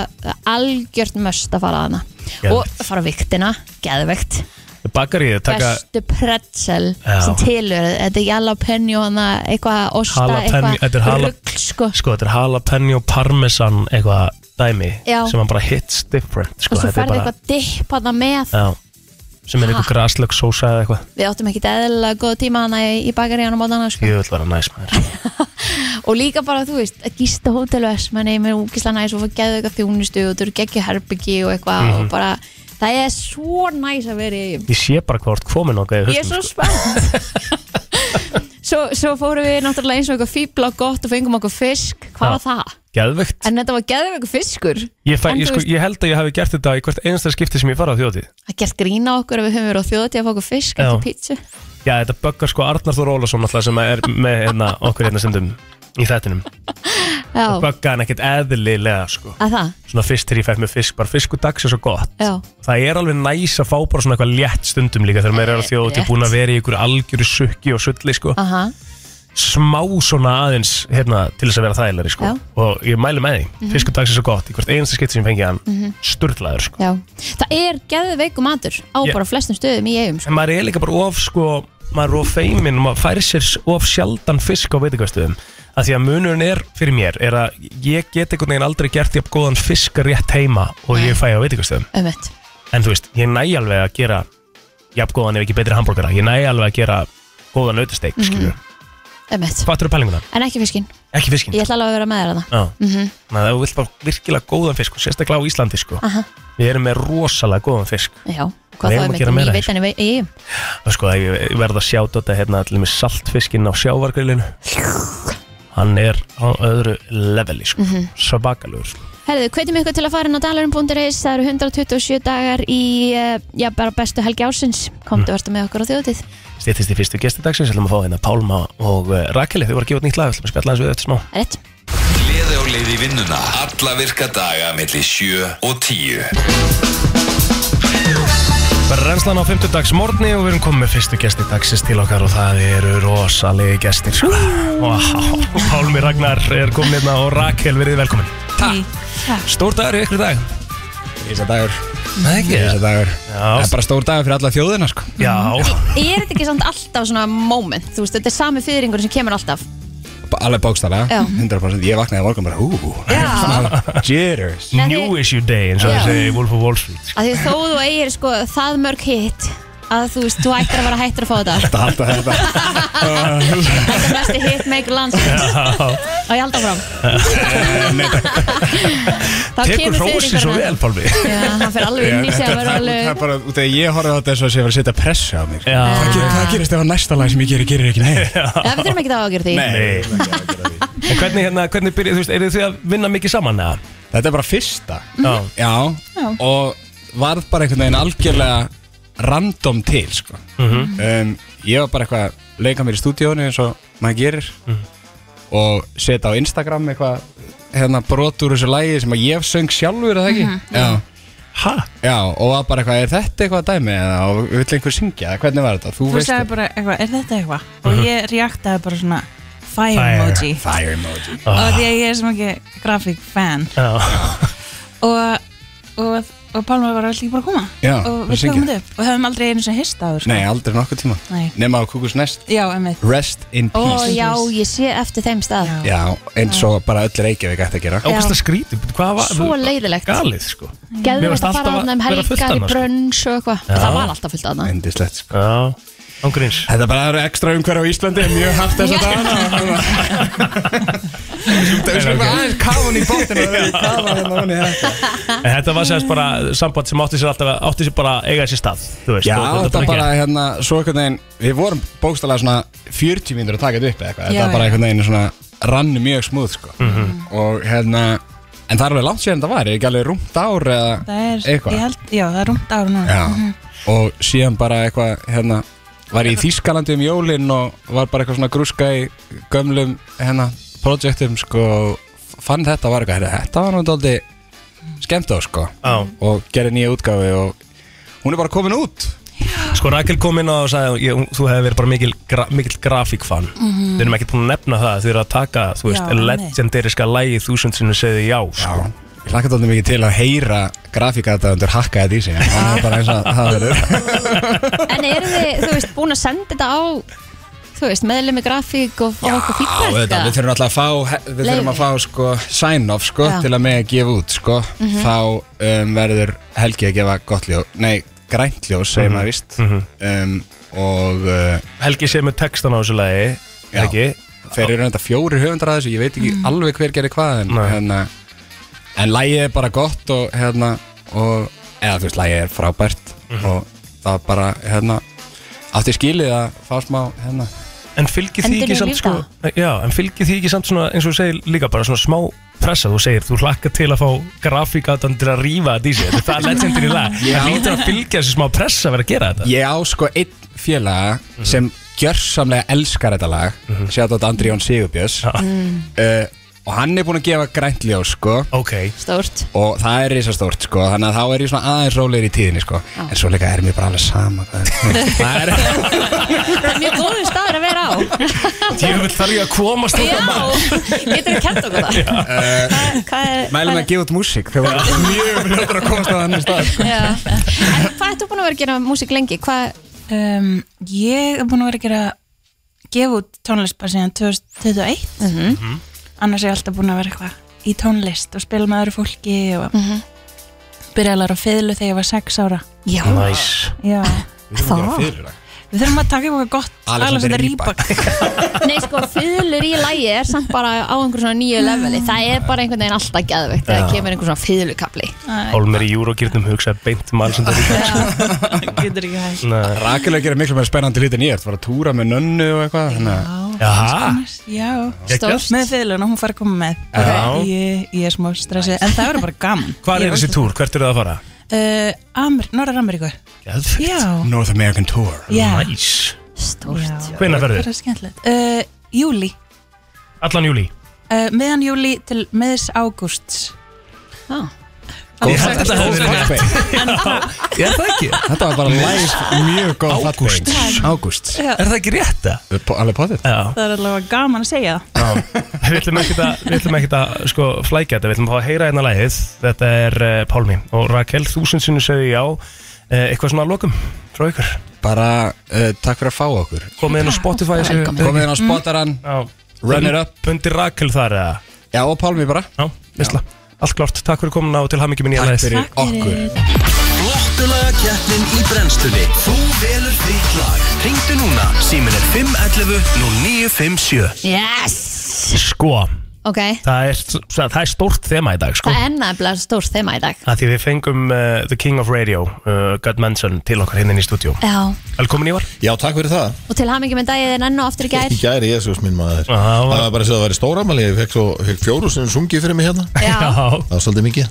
Speaker 3: algjört möst að fara þarna
Speaker 2: Geðveikt.
Speaker 3: og fara á viktina, geðvegt
Speaker 2: Bakaríið taka
Speaker 3: bestu pretzel
Speaker 2: Já.
Speaker 3: sem tilur, þetta er jalapeno hana, eitthvað osta,
Speaker 2: Jalapeno- þetta er
Speaker 3: eitthvað
Speaker 2: jala-
Speaker 3: rugl sko.
Speaker 2: Sko, þetta er jalapeno parmesan eitthvað dæmi
Speaker 3: Já.
Speaker 2: sem hann bara hits different sko.
Speaker 3: og svo
Speaker 2: þetta er
Speaker 3: færðu
Speaker 2: bara,
Speaker 3: eitthvað Ah. dipp hana með
Speaker 2: Já, sem er eitthvað graslög sósa eða eitthvað
Speaker 3: við áttum ekkit eðlilega góð tíma hana í, í bakaríðanum á hana sko.
Speaker 2: Ég vil vera næs maður
Speaker 3: og líka bara þú veist að gista hótelvæs manni með úkislega næs og fá geðu eitthvað þjónustu og þú eru geggju herbyggi og eitthvað
Speaker 2: Mhm.
Speaker 3: og bara það er svo næs að vera í
Speaker 2: Ég sé bara hvort komin okkar
Speaker 3: ég er svo
Speaker 2: sko.
Speaker 3: spennt svo, svo fórum við náttúrulega eins og eitthvað fíbla og gott og fengum okkur fisk hvað
Speaker 2: Já.
Speaker 3: var það?
Speaker 2: Geðvegt
Speaker 3: En þetta var geðveikur fiskur
Speaker 2: ég, fæ,
Speaker 3: En
Speaker 2: ég,
Speaker 3: þú
Speaker 2: sko, ég held að ég hafi gert þetta í hvert einasta skipti sem ég fara á þjóti
Speaker 3: Það gert grína okkur ef við höfum verið á þjóðatíð að fá okkur fisk
Speaker 2: Já.
Speaker 3: eftir pítsu
Speaker 2: Já, þetta böggar sko Arnar Þór Ólason alltaf sem er með hérna, okkur hérna stundum í þættinum
Speaker 3: Já,
Speaker 2: Böggar hann ekkert eðlilega sko
Speaker 3: að það,
Speaker 2: svona fyrst þegar ég fekk með fisk, bara fisk og dags er svo gott
Speaker 3: já
Speaker 2: það er alveg næs að fá bara svona eitthvað létt stundum líka þegar maður er að þjóða til
Speaker 3: Rétt.
Speaker 2: búin að vera í ykkur algjöru sukki og sulli sko,
Speaker 3: Aha.
Speaker 2: smá svona aðeins hérna til þess að vera þægilegri sko
Speaker 3: Já. Mhm.
Speaker 2: og ég mæli með því, fisk og dags er svo gott í hvert einasta skipt sem ég fengi hann, mm sko
Speaker 3: Já, það er geðveiku matur á
Speaker 2: Ég-
Speaker 3: bara flestum stöðum í eigum sko.
Speaker 2: en maður er líka bara of sko maður er of feiminn og maður færi sér of sjaldan fisk á veitingastöðum að því að munurinn er fyrir mér er að ég get einhvern veginn aldrei gert jafn góðan fisk rétt heima og ég fæ á veitingastöðum
Speaker 3: Ömmett,
Speaker 2: en þú veist, ég næ alveg að gera jafn góðan ef ekki betri hambúrgara ég næ alveg að gera góðan nautasteik mm -hmm.
Speaker 3: ömmett
Speaker 2: hvað eru pælinguna?
Speaker 3: Mhm. En ekki fiskin,
Speaker 2: ekki fiskin
Speaker 3: ég ætla Mhm. alveg að vera með þér að það
Speaker 2: Já. þannig að þú vilt bara virkilega góðan fisk og sérstaklega á Íslandi sko
Speaker 3: Aha.
Speaker 2: við erum með rosalega góðan fisk
Speaker 3: Já, hvað þá
Speaker 2: Við
Speaker 3: er
Speaker 2: eigum að gera
Speaker 3: með
Speaker 2: meira
Speaker 3: nýveitan í vei- í eigum
Speaker 2: og sko, ég verða að sjáta þetta hérna allir með saltfiskinn á sjávargrillinu hann er á öðru leveli sko. mm -hmm. Sabakalur sko.
Speaker 3: Herðu, hvetjum ykkur til að fara inn á dalarum.is Það eru 127 dagar í eh, já, bara bestu helgi ásins
Speaker 2: Mm.
Speaker 3: Komdu varstu með okkur á þjóðtíð
Speaker 2: Stýttist í fyrstu gesti dagsins, ætlum að fá hérna Pálma og uh, Rakeli, þau voru að gefa út nýtt lag, ætlum að spjalla hans við þetta smá
Speaker 3: Rétt
Speaker 1: Gleði og leiði vinnuna Alla virka daga millir 7 og 10
Speaker 2: Brennslan á 50 dags morgni og við erum komið með fyrstu gesti dagsins til okkar og það eru rosalegi gestir sko. wow. Pálmi Ragnar er komin hérna og Rakel verið velkomin
Speaker 7: Takk.
Speaker 2: Stór dagur í ykkur í dag
Speaker 8: Ísa dagur
Speaker 2: Nei ekki
Speaker 8: Ísa dagur Það er
Speaker 2: Já,
Speaker 8: bara stór dagur fyrir alla þjóðina sko
Speaker 2: já
Speaker 3: Er þetta ekki samt alltaf svona moment Þú veist, þetta er sami fyrringur sem kemur alltaf
Speaker 8: Bara Alveg bókstala
Speaker 3: Já.
Speaker 8: 100% Ég vaknaði í morgun bara hú
Speaker 3: Já.
Speaker 8: Jitters
Speaker 3: Nei,
Speaker 2: New
Speaker 3: þið-
Speaker 2: issue day eins og
Speaker 3: Já.
Speaker 2: það segi Wolf of Wall Street
Speaker 3: Að því þó þú eigir sko það mörg hitt að þú veist, þú ættir að vera hættur að fá þetta
Speaker 8: Þetta halda þetta
Speaker 3: Þetta er mesti hitt make landsins og ég held áfram
Speaker 2: Eh,
Speaker 3: Þá
Speaker 2: Tekur hrósi svo vel
Speaker 3: fiðringurinn.
Speaker 2: Pálmi
Speaker 3: Já, hann fer alveg inn í sig að vera
Speaker 8: Það er
Speaker 3: alveg
Speaker 8: bara út af því að ég horfði á þetta eins og sé að vera að setja pressu á mér
Speaker 2: Já.
Speaker 8: Hvað ger- Hvað gerist ef að næsta lag sem ég gerir gerir ekki neitt?
Speaker 3: Já, við þurfum ekki það á að gera því
Speaker 2: Nei. En hvernig hérna, hvernig byrja, þú veist, eru þið að vinna mikið saman eða?
Speaker 8: Þetta er bara fyrsta
Speaker 2: Já
Speaker 8: Já, og varð bara einhvern veginn algjörlega random til sko.
Speaker 2: Mhm.
Speaker 8: um, ég var bara eitthvað að leika mér í stúdíónu eins og maður gerir
Speaker 2: Mhm.
Speaker 8: og setja á Instagram eitthvað hérna brot úr þessu lægi sem að ég söng sjálfur eða ekki já,
Speaker 2: Ha?
Speaker 8: já, og var bara eitthvað, er þetta eitthvað dæmi eða og vill einhver syngja, eða hvernig var þetta þú, Uh-huh.
Speaker 7: Þú sagði bara eitthvað, er þetta eitthvað? Og ég reaktaði bara svona fire,
Speaker 2: Fire. Ah.
Speaker 7: emoji
Speaker 8: fire Ah. emoji
Speaker 7: Og því að ég er sem ekki grafík fan
Speaker 2: Já
Speaker 7: Og, og, og Pálmar var alltaf ekki bara að koma
Speaker 8: Já,
Speaker 7: Og
Speaker 8: bara
Speaker 7: við
Speaker 8: syngja.
Speaker 7: tókum þetta upp Og höfum aldrei einu sem hist á
Speaker 8: nei, aldrei nokkuð tíma
Speaker 7: Nei.
Speaker 8: nema á kúkus næst,
Speaker 7: Já, emið
Speaker 8: rest in
Speaker 3: Ó,
Speaker 8: peace
Speaker 3: já, ég sé eftir þeim stað
Speaker 7: Já.
Speaker 8: já, eins og bara öll Reykjavík ætti að gera
Speaker 2: Ókvæmst að skríti, hvað var?
Speaker 3: Svo leiðilegt.
Speaker 2: Galið, sko Mér
Speaker 3: Gæðum
Speaker 2: varst
Speaker 3: þetta bara
Speaker 2: alltaf
Speaker 3: að um
Speaker 2: að vera fullt
Speaker 3: helgar í
Speaker 2: annars, sko.
Speaker 3: brönns og eitthvað Það var alltaf fullt aðna
Speaker 8: endislegt sko
Speaker 2: Já, ángurins
Speaker 8: Þetta bara eru ekstra umhverf á Íslandi mjög haft þess að dana Það er svona aðeins kafan í bóttinu Það er kafan hérna honni
Speaker 2: En þetta var sérst bara samband sem átti sér alltaf átti sér bara að eiga sér stað Þú veist,
Speaker 8: Já,
Speaker 2: og
Speaker 8: þetta bara hérna Svo einhvern veginn, við vorum bókstælega svona 40 mínútur að taka þetta upp eða eitthvað
Speaker 7: Já,
Speaker 8: Þetta var bara
Speaker 7: já.
Speaker 8: einhvern veginn svona rannu mjög smúð sko
Speaker 2: Mhm.
Speaker 8: Og hérna En það er alveg langt síðan þetta var, er ekki alveg rúmt ár eða
Speaker 7: Það er,
Speaker 8: eitthvað
Speaker 7: ég held, já, það er rúmt ára núna Mhm.
Speaker 8: Já, og síðan bara eitthvað hérna, var ég í Þýskalandi um jólin og var bara eitthvað svona grúska í gömlum hérna, projektum sko, og fann þetta og var eitthvað, "Heyrðu, þetta var nú dálítið skemmt á sko
Speaker 2: Já.
Speaker 8: og gerði nýja útgáfi og hún er bara komin út
Speaker 2: Sko Rakel kom inn á og sagði ég, þú hefði verið bara mikil, gra, mikil grafíkfan Við erum ekkert búin að nefna það Þið eru að taka, þú veist,
Speaker 7: Já,
Speaker 2: legendariska lægi þúsund sinni segði já, sko
Speaker 8: Já, ég hlakka dálítið mikið til að heyra grafíkataðundur hakka þetta í sig en það er bara eins og það verður
Speaker 3: En eru þið, þú veist, búin að senda þetta á Þú veist, meðlemi grafík og fá okkur
Speaker 8: Já, þetta, við
Speaker 3: feedback eða?
Speaker 8: þurfum alltaf að fá við þurfum
Speaker 3: Leyfi.
Speaker 8: að fá sko sign-off sko
Speaker 3: Já. Mhm.
Speaker 8: til að með að gefa út sko þá um, verður Helgi að gefa gott ljós, nei grænt ljós segir maður vist um, og uh,
Speaker 2: Mhm. Helgi segir með textan á þessu lægi
Speaker 8: Já.
Speaker 2: Ekki?
Speaker 8: þeir eru reynda fjóri höfundar að þessu ég veit
Speaker 3: Mm.
Speaker 8: ekki alveg hver gerir hvað en,
Speaker 2: Nei.
Speaker 8: hérna, en lægið er bara gott og hérna og, eða þú veist lægið er frábært
Speaker 2: Mhm.
Speaker 8: og það bara hérna átti skilið að fá smá hérna
Speaker 2: En fylgir því ekki
Speaker 3: Endurnýjun
Speaker 2: samt sko, já, en fylgir því ekki samt svona, eins og þú segir líka bara svona smá pressa, þú segir, þú hlakka til að fá grafík að til að rífa þetta í sig, þetta er það legendir í lag,
Speaker 8: Já.
Speaker 2: það lítur að fylgja þessi smá pressa að vera að gera þetta. Mhm.
Speaker 8: Ég á sko einn félaga sem gjörsamlega elskar þetta lag mm -hmm. Sjátt átt Andri Jón Sigurbjörns
Speaker 3: Mm.
Speaker 8: uh, Og hann er búinn að gefa grænt ljós sko
Speaker 2: Ok,
Speaker 3: Stórt
Speaker 8: Og það er risastórt sko Þannig að þá er ég svona aðeins rólegir í tíðinni sko En svo líka er mér bara alveg sama hvað er- Það er
Speaker 3: Það er mjög góðu staður að vera á
Speaker 2: ég vil þarf ég að komast út af maður.
Speaker 3: Já, getur þú kent okkur það Hvað- Hvað er
Speaker 8: Eh, Mælum að gefa út músík Þegar það er mjög fljóttur að komast á þannig stað sko.
Speaker 3: Já. En hvað ertu búin að vera að gera músík lengi? Hvað,
Speaker 7: um, Ég er búin að vera að gera gefa út tónlist bara síðan 2021
Speaker 3: Mhm.
Speaker 7: annars er ég alltaf búin að vera eitthvað í tónlist og spila með öðru fólki og mm
Speaker 3: Mhm.
Speaker 7: -hmm. byrja að læra á fiðlu þegar ég var 6 ára
Speaker 3: já,
Speaker 2: Næs.
Speaker 7: Já,
Speaker 3: það
Speaker 7: við þurfum að taka eitthvað gott
Speaker 8: Alexander Rybak.
Speaker 3: Nei, sko, fiðlur í lægi er samt bara á einhver svona nýju
Speaker 9: Mm.
Speaker 3: leveli Það er bara einhvern veginn alltaf geðveikt Það kemur einhver svona fiðlukabli
Speaker 2: Hólmer í júrógirnum hugsaði beint maður sem þetta líka.
Speaker 7: Getur ekki hægt
Speaker 2: Nei.
Speaker 8: Rakel er að gera miklu meira spennandi hlut en ég Það var að túra með nönnu og eitthvað Þannig að
Speaker 7: Já, Sko,
Speaker 2: Jaha.
Speaker 7: alls konar. Já,
Speaker 2: Geggjað.
Speaker 7: með fiðlun og hún fari að koma með
Speaker 2: Já.
Speaker 7: ég, ég er smá stressið, en það verður bara gaman
Speaker 2: Hvað
Speaker 7: Ég
Speaker 2: er þessi
Speaker 7: óttast-
Speaker 2: túr? Hvert eru það að fara?
Speaker 3: Eh,
Speaker 7: Uh, Amer, Norður Ameríku
Speaker 2: Geðvegt.
Speaker 7: Já,
Speaker 8: North American Tour
Speaker 7: já
Speaker 2: Næs.
Speaker 3: Stórt
Speaker 2: Hvenær
Speaker 7: Það
Speaker 2: ferðu?
Speaker 7: er skemmtilegt uh, Júli,
Speaker 2: Allan júli.
Speaker 7: uh, miðan júli til miðs ágúst
Speaker 3: Já.
Speaker 2: Ég held að þetta hefði verið
Speaker 8: Fattbey.
Speaker 2: Er það ekki?
Speaker 8: Þetta var bara live mjög góð
Speaker 2: Ágúst.
Speaker 8: fattbey. Ágúst
Speaker 2: Er það ekki rétt það?
Speaker 8: Po- Alveg potið
Speaker 2: Já.
Speaker 7: Það er alveg gaman að segja það
Speaker 2: Við ætlum ekkert að, við ætlum ekkert að sko, flækja þetta, við ætlum að fá að heyra hérna lagið. Þetta er uh, Pálmi og Rakel, þúsund sinnum segði já. Uh, eitthvað svona að lokum frá ykkur.
Speaker 8: Bara uh, takk fyrir að fá okkur
Speaker 2: Komið inn á Spotify. sem-
Speaker 8: Komið inn á spotaran
Speaker 2: Já.
Speaker 8: Run it up
Speaker 2: Undir Rakel þar eða?
Speaker 8: Já og Pálmi bara
Speaker 2: Já, vissla. Allt klárt, takk fyrir komin á til hamingi minn í
Speaker 8: Takk
Speaker 2: lagið.
Speaker 8: fyrir okkur
Speaker 1: Flottulaga keppnin í brennstunni Þú velur þitt lag Ringdu núna, símin er 511 0957
Speaker 3: Yes
Speaker 2: Sko,
Speaker 3: Ok,
Speaker 2: það er, það er stórt þema í dag, sko.
Speaker 3: það er nefnilega stórt þema í dag
Speaker 2: Að því við fengum uh, The King of Radio, uh, God Manson, til okkar hinn inn í stúdíu.
Speaker 3: Já,
Speaker 2: Velkomin Ívar.
Speaker 9: Já, takk fyrir það.
Speaker 3: og til hamingi með dagið enn og aftur í gær
Speaker 9: Í gæri, Jésús minn maður.
Speaker 2: Já,
Speaker 9: Það
Speaker 2: var-
Speaker 9: var bara að segja að það væri stóramæli, ég fekk svo fekk fjóru sem sungið fyrir mig hérna.
Speaker 3: Já,
Speaker 2: Já.
Speaker 9: Það var svolítið mikið.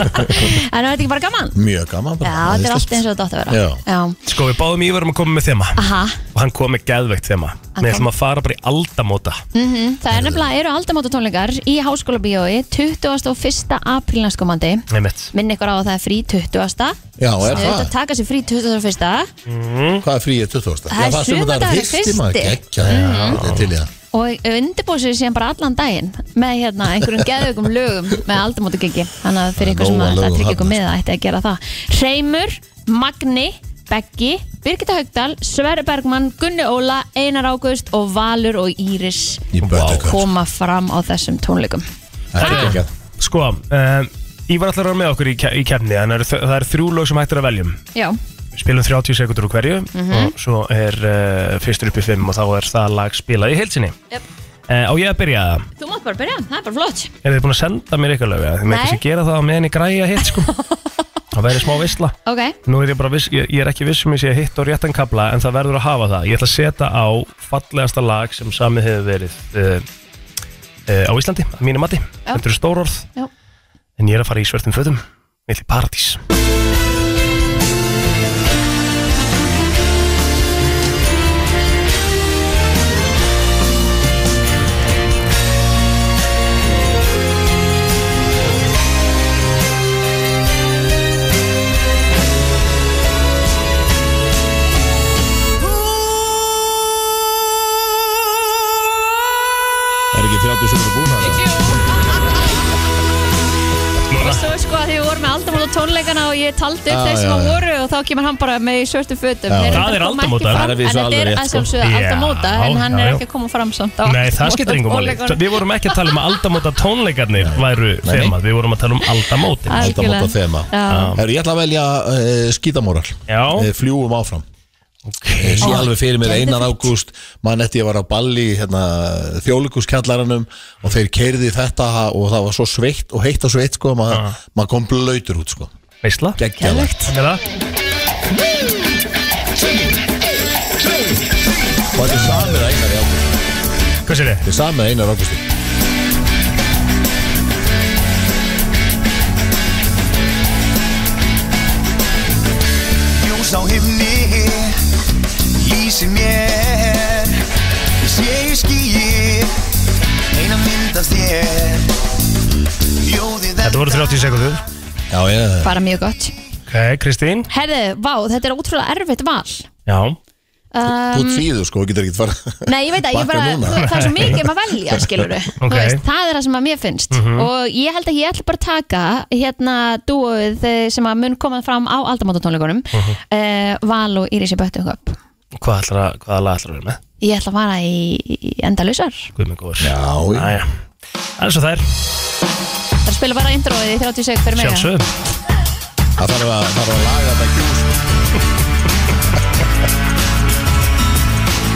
Speaker 3: en það er ekki bara gaman
Speaker 9: Mjög
Speaker 3: Já,
Speaker 9: gaman bara.
Speaker 3: þetta er allt eins og þetta átt að vera
Speaker 9: Já.
Speaker 2: Sko, við báðum Ívar um að koma með þema.
Speaker 3: Aha,
Speaker 2: og hann kom með geðveikt þema við
Speaker 3: kom-
Speaker 2: ætlum að fara bara í aldamóta
Speaker 3: mhm, það er nefnilega eru aldamóta tónleikar í háskóla bíói 21. apríl næstkomandi
Speaker 2: einmitt
Speaker 3: Minn ykkur á að það er frí 20.
Speaker 9: Já, er
Speaker 3: Snöðut að
Speaker 9: það?
Speaker 3: taka sér frí 21.
Speaker 2: Mhm.
Speaker 9: Hvað er fríið 20.
Speaker 3: Það er
Speaker 9: Já,
Speaker 3: sunnudagur
Speaker 9: fyrsti maður.
Speaker 3: fyrsti.
Speaker 9: Gekka, þetta er til í það.
Speaker 3: og undirbúið sér síðan bara allan daginn með hérna einhverjum geðugum lögum með aldamóta þannig að fyrir ykkur sem
Speaker 9: Nóg
Speaker 3: að
Speaker 9: að
Speaker 3: það
Speaker 9: lögum
Speaker 3: tryggja ykkur
Speaker 9: þarna,
Speaker 3: með það ætti að gera það Hreimur, Magni, Beggi Birgitta Haugdal, Sverre Bergmann Gunni Óla, Einar Águst og Valur og Íris
Speaker 9: Í bötuköps.
Speaker 3: koma fram á þessum tónleikum
Speaker 9: Það er gekkað.
Speaker 2: sko um, Ívar ætlar að vera með okkur í, ke í kefni en það eru, það eru þrjú lög sem hægt er að veljum
Speaker 3: Já,
Speaker 2: Við spilum 30 sekundur úr hverju
Speaker 9: Mm-hmm.
Speaker 2: og svo er uh, fyrstur upp í 5 og þá er það lag spilað í heilsinni
Speaker 3: Jöp.
Speaker 2: uh, á ég að byrja það
Speaker 3: þú mátt bara byrja, það er bara flott
Speaker 2: er þið búin að senda mér eitthvað lög eða? þið með
Speaker 3: Nei.
Speaker 2: ekki gera það á meðan ég græja hitt sko það væri smá visla
Speaker 3: Ok,
Speaker 2: Nú er ég bara viss, ég, ég er ekki viss um að ég sé hitt og réttan kabla en það verður að hafa það. Ég ætla að setja á fallegasta lag sem samið hefur verið uh, uh, á Íslandi, að mínu mati. Þetta eru stór orð,
Speaker 3: Já.
Speaker 2: en ég er að fara í svörtum fötum. Ég ætla í paradís.
Speaker 9: Er ekki 30 sekundur búin að það?
Speaker 3: og svo sko að því við vorum með aldamóta tónleikana og ég taldi upp
Speaker 9: Já,
Speaker 3: þeir sem
Speaker 9: já,
Speaker 3: að
Speaker 9: já.
Speaker 3: voru og þá kemur hann bara með í svörtu fötum
Speaker 9: Já.
Speaker 3: Þeir
Speaker 2: Það er
Speaker 3: reyndar koma ekki
Speaker 2: aldamóta.
Speaker 3: fram,
Speaker 9: Það er að vísu
Speaker 3: En þetta
Speaker 9: alveg
Speaker 3: er
Speaker 9: rétt,
Speaker 3: að
Speaker 9: sko.
Speaker 3: sjálfsögðu
Speaker 2: Já,
Speaker 3: aldamóta en hann
Speaker 2: já,
Speaker 3: er
Speaker 2: já.
Speaker 3: ekki að koma fram samt á
Speaker 2: Nei, það skiptir engum máli.
Speaker 3: tónleikunum.
Speaker 2: Við vorum ekki að tala um að aldamóta tónleikarnir væru
Speaker 9: Nei.
Speaker 2: þemað. Við vorum að tala um aldamótin.
Speaker 3: Æ. Algjörlega.
Speaker 9: Aldamóta þema.
Speaker 3: Já.
Speaker 9: Herru, ég ætla að velja uh, skítamóral.
Speaker 2: Já.
Speaker 9: Eh, Fljúum áfram.
Speaker 2: Ok.
Speaker 9: Ég sé alveg fyrir mér
Speaker 3: geðveikt.
Speaker 9: einan ágúst mann eftir ég var á balli hérna, þjóðlíkuskjallaranum og þeir keirði þetta og það var svo sveitt og heitt og sveitt sko, maður
Speaker 2: Ah.
Speaker 9: mað kom blöytur út sko.
Speaker 2: Veistla?
Speaker 9: geggjavert
Speaker 2: Er það?
Speaker 9: og þetta er samið að einar í ágúst
Speaker 2: Hvað sér þið?
Speaker 9: þetta er samið að einar ágústi
Speaker 10: Ljós á himni Lýsir mér Ég sé í skýi Einan myndast þér Jóðið
Speaker 2: Þetta voru 30 sekundur.
Speaker 9: já ég
Speaker 3: bara mjög gott
Speaker 2: Ok,
Speaker 9: Eh.
Speaker 2: Kristín.
Speaker 3: Herðu, vá, þetta er ótrúlega erfitt val Um,
Speaker 2: Já.
Speaker 9: þú ert síður sko, þú getur ekkert fara
Speaker 3: Nei, ég veit að ég
Speaker 9: Bakka
Speaker 3: bara,
Speaker 9: núna.
Speaker 3: það er svo mikið um að velja, skilur
Speaker 2: Ok.
Speaker 3: veist, Það er það sem að mér finnst
Speaker 2: Mhm.
Speaker 3: Og ég held að ég ætla bara að taka hérna dúoð sem að mun koma fram á aldamótatónleikunum uh
Speaker 2: Mhm.
Speaker 3: Val og Írisi Böttunköp
Speaker 2: Hvað ætlar að, hvaða lag ætlar að vera með?
Speaker 3: Ég ætla að fara í, í endalusar
Speaker 2: Guð mig góður.
Speaker 9: já, ég-
Speaker 2: Æja. Það er svo þær.
Speaker 3: Það spila bara introið í 30 sek fyrir mig
Speaker 2: Sjálfsögum.
Speaker 9: það þarf að, þarf að laga þetta gjús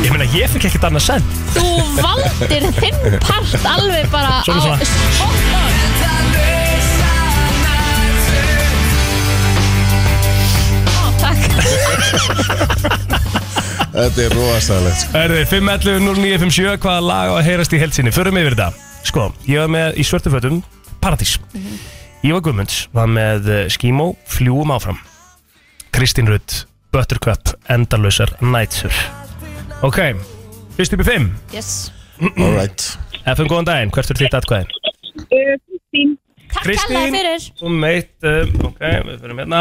Speaker 2: Ég meina, ég fikk ekkert annað send
Speaker 3: Þú valdir þinn part alveg bara
Speaker 2: Svona,
Speaker 3: á
Speaker 2: svona.
Speaker 3: spottan Takk
Speaker 9: Eh, Þetta er rosalegt sko.
Speaker 2: Erði, 5.11.09.57, hvaða lag á að heyrast í heltsinni? Förum yfir þetta. Sko, ég var með í svörtu fötum, Paradís.
Speaker 9: Mhm.
Speaker 2: Ég var Guðmunds, var með eh, Skímó, Fljúum áfram. Kristín Rutt, Buttercup, Endalösar, Nætsur. Ok, fyrst upp í 5.
Speaker 3: Yes
Speaker 9: All right
Speaker 2: FM, góðan daginn, hvert er þitt atkvæði?
Speaker 11: Kristín
Speaker 3: Takk
Speaker 2: Kristín.
Speaker 3: hella fyrir
Speaker 2: Um eitt, um, ok, við fyrir hérna.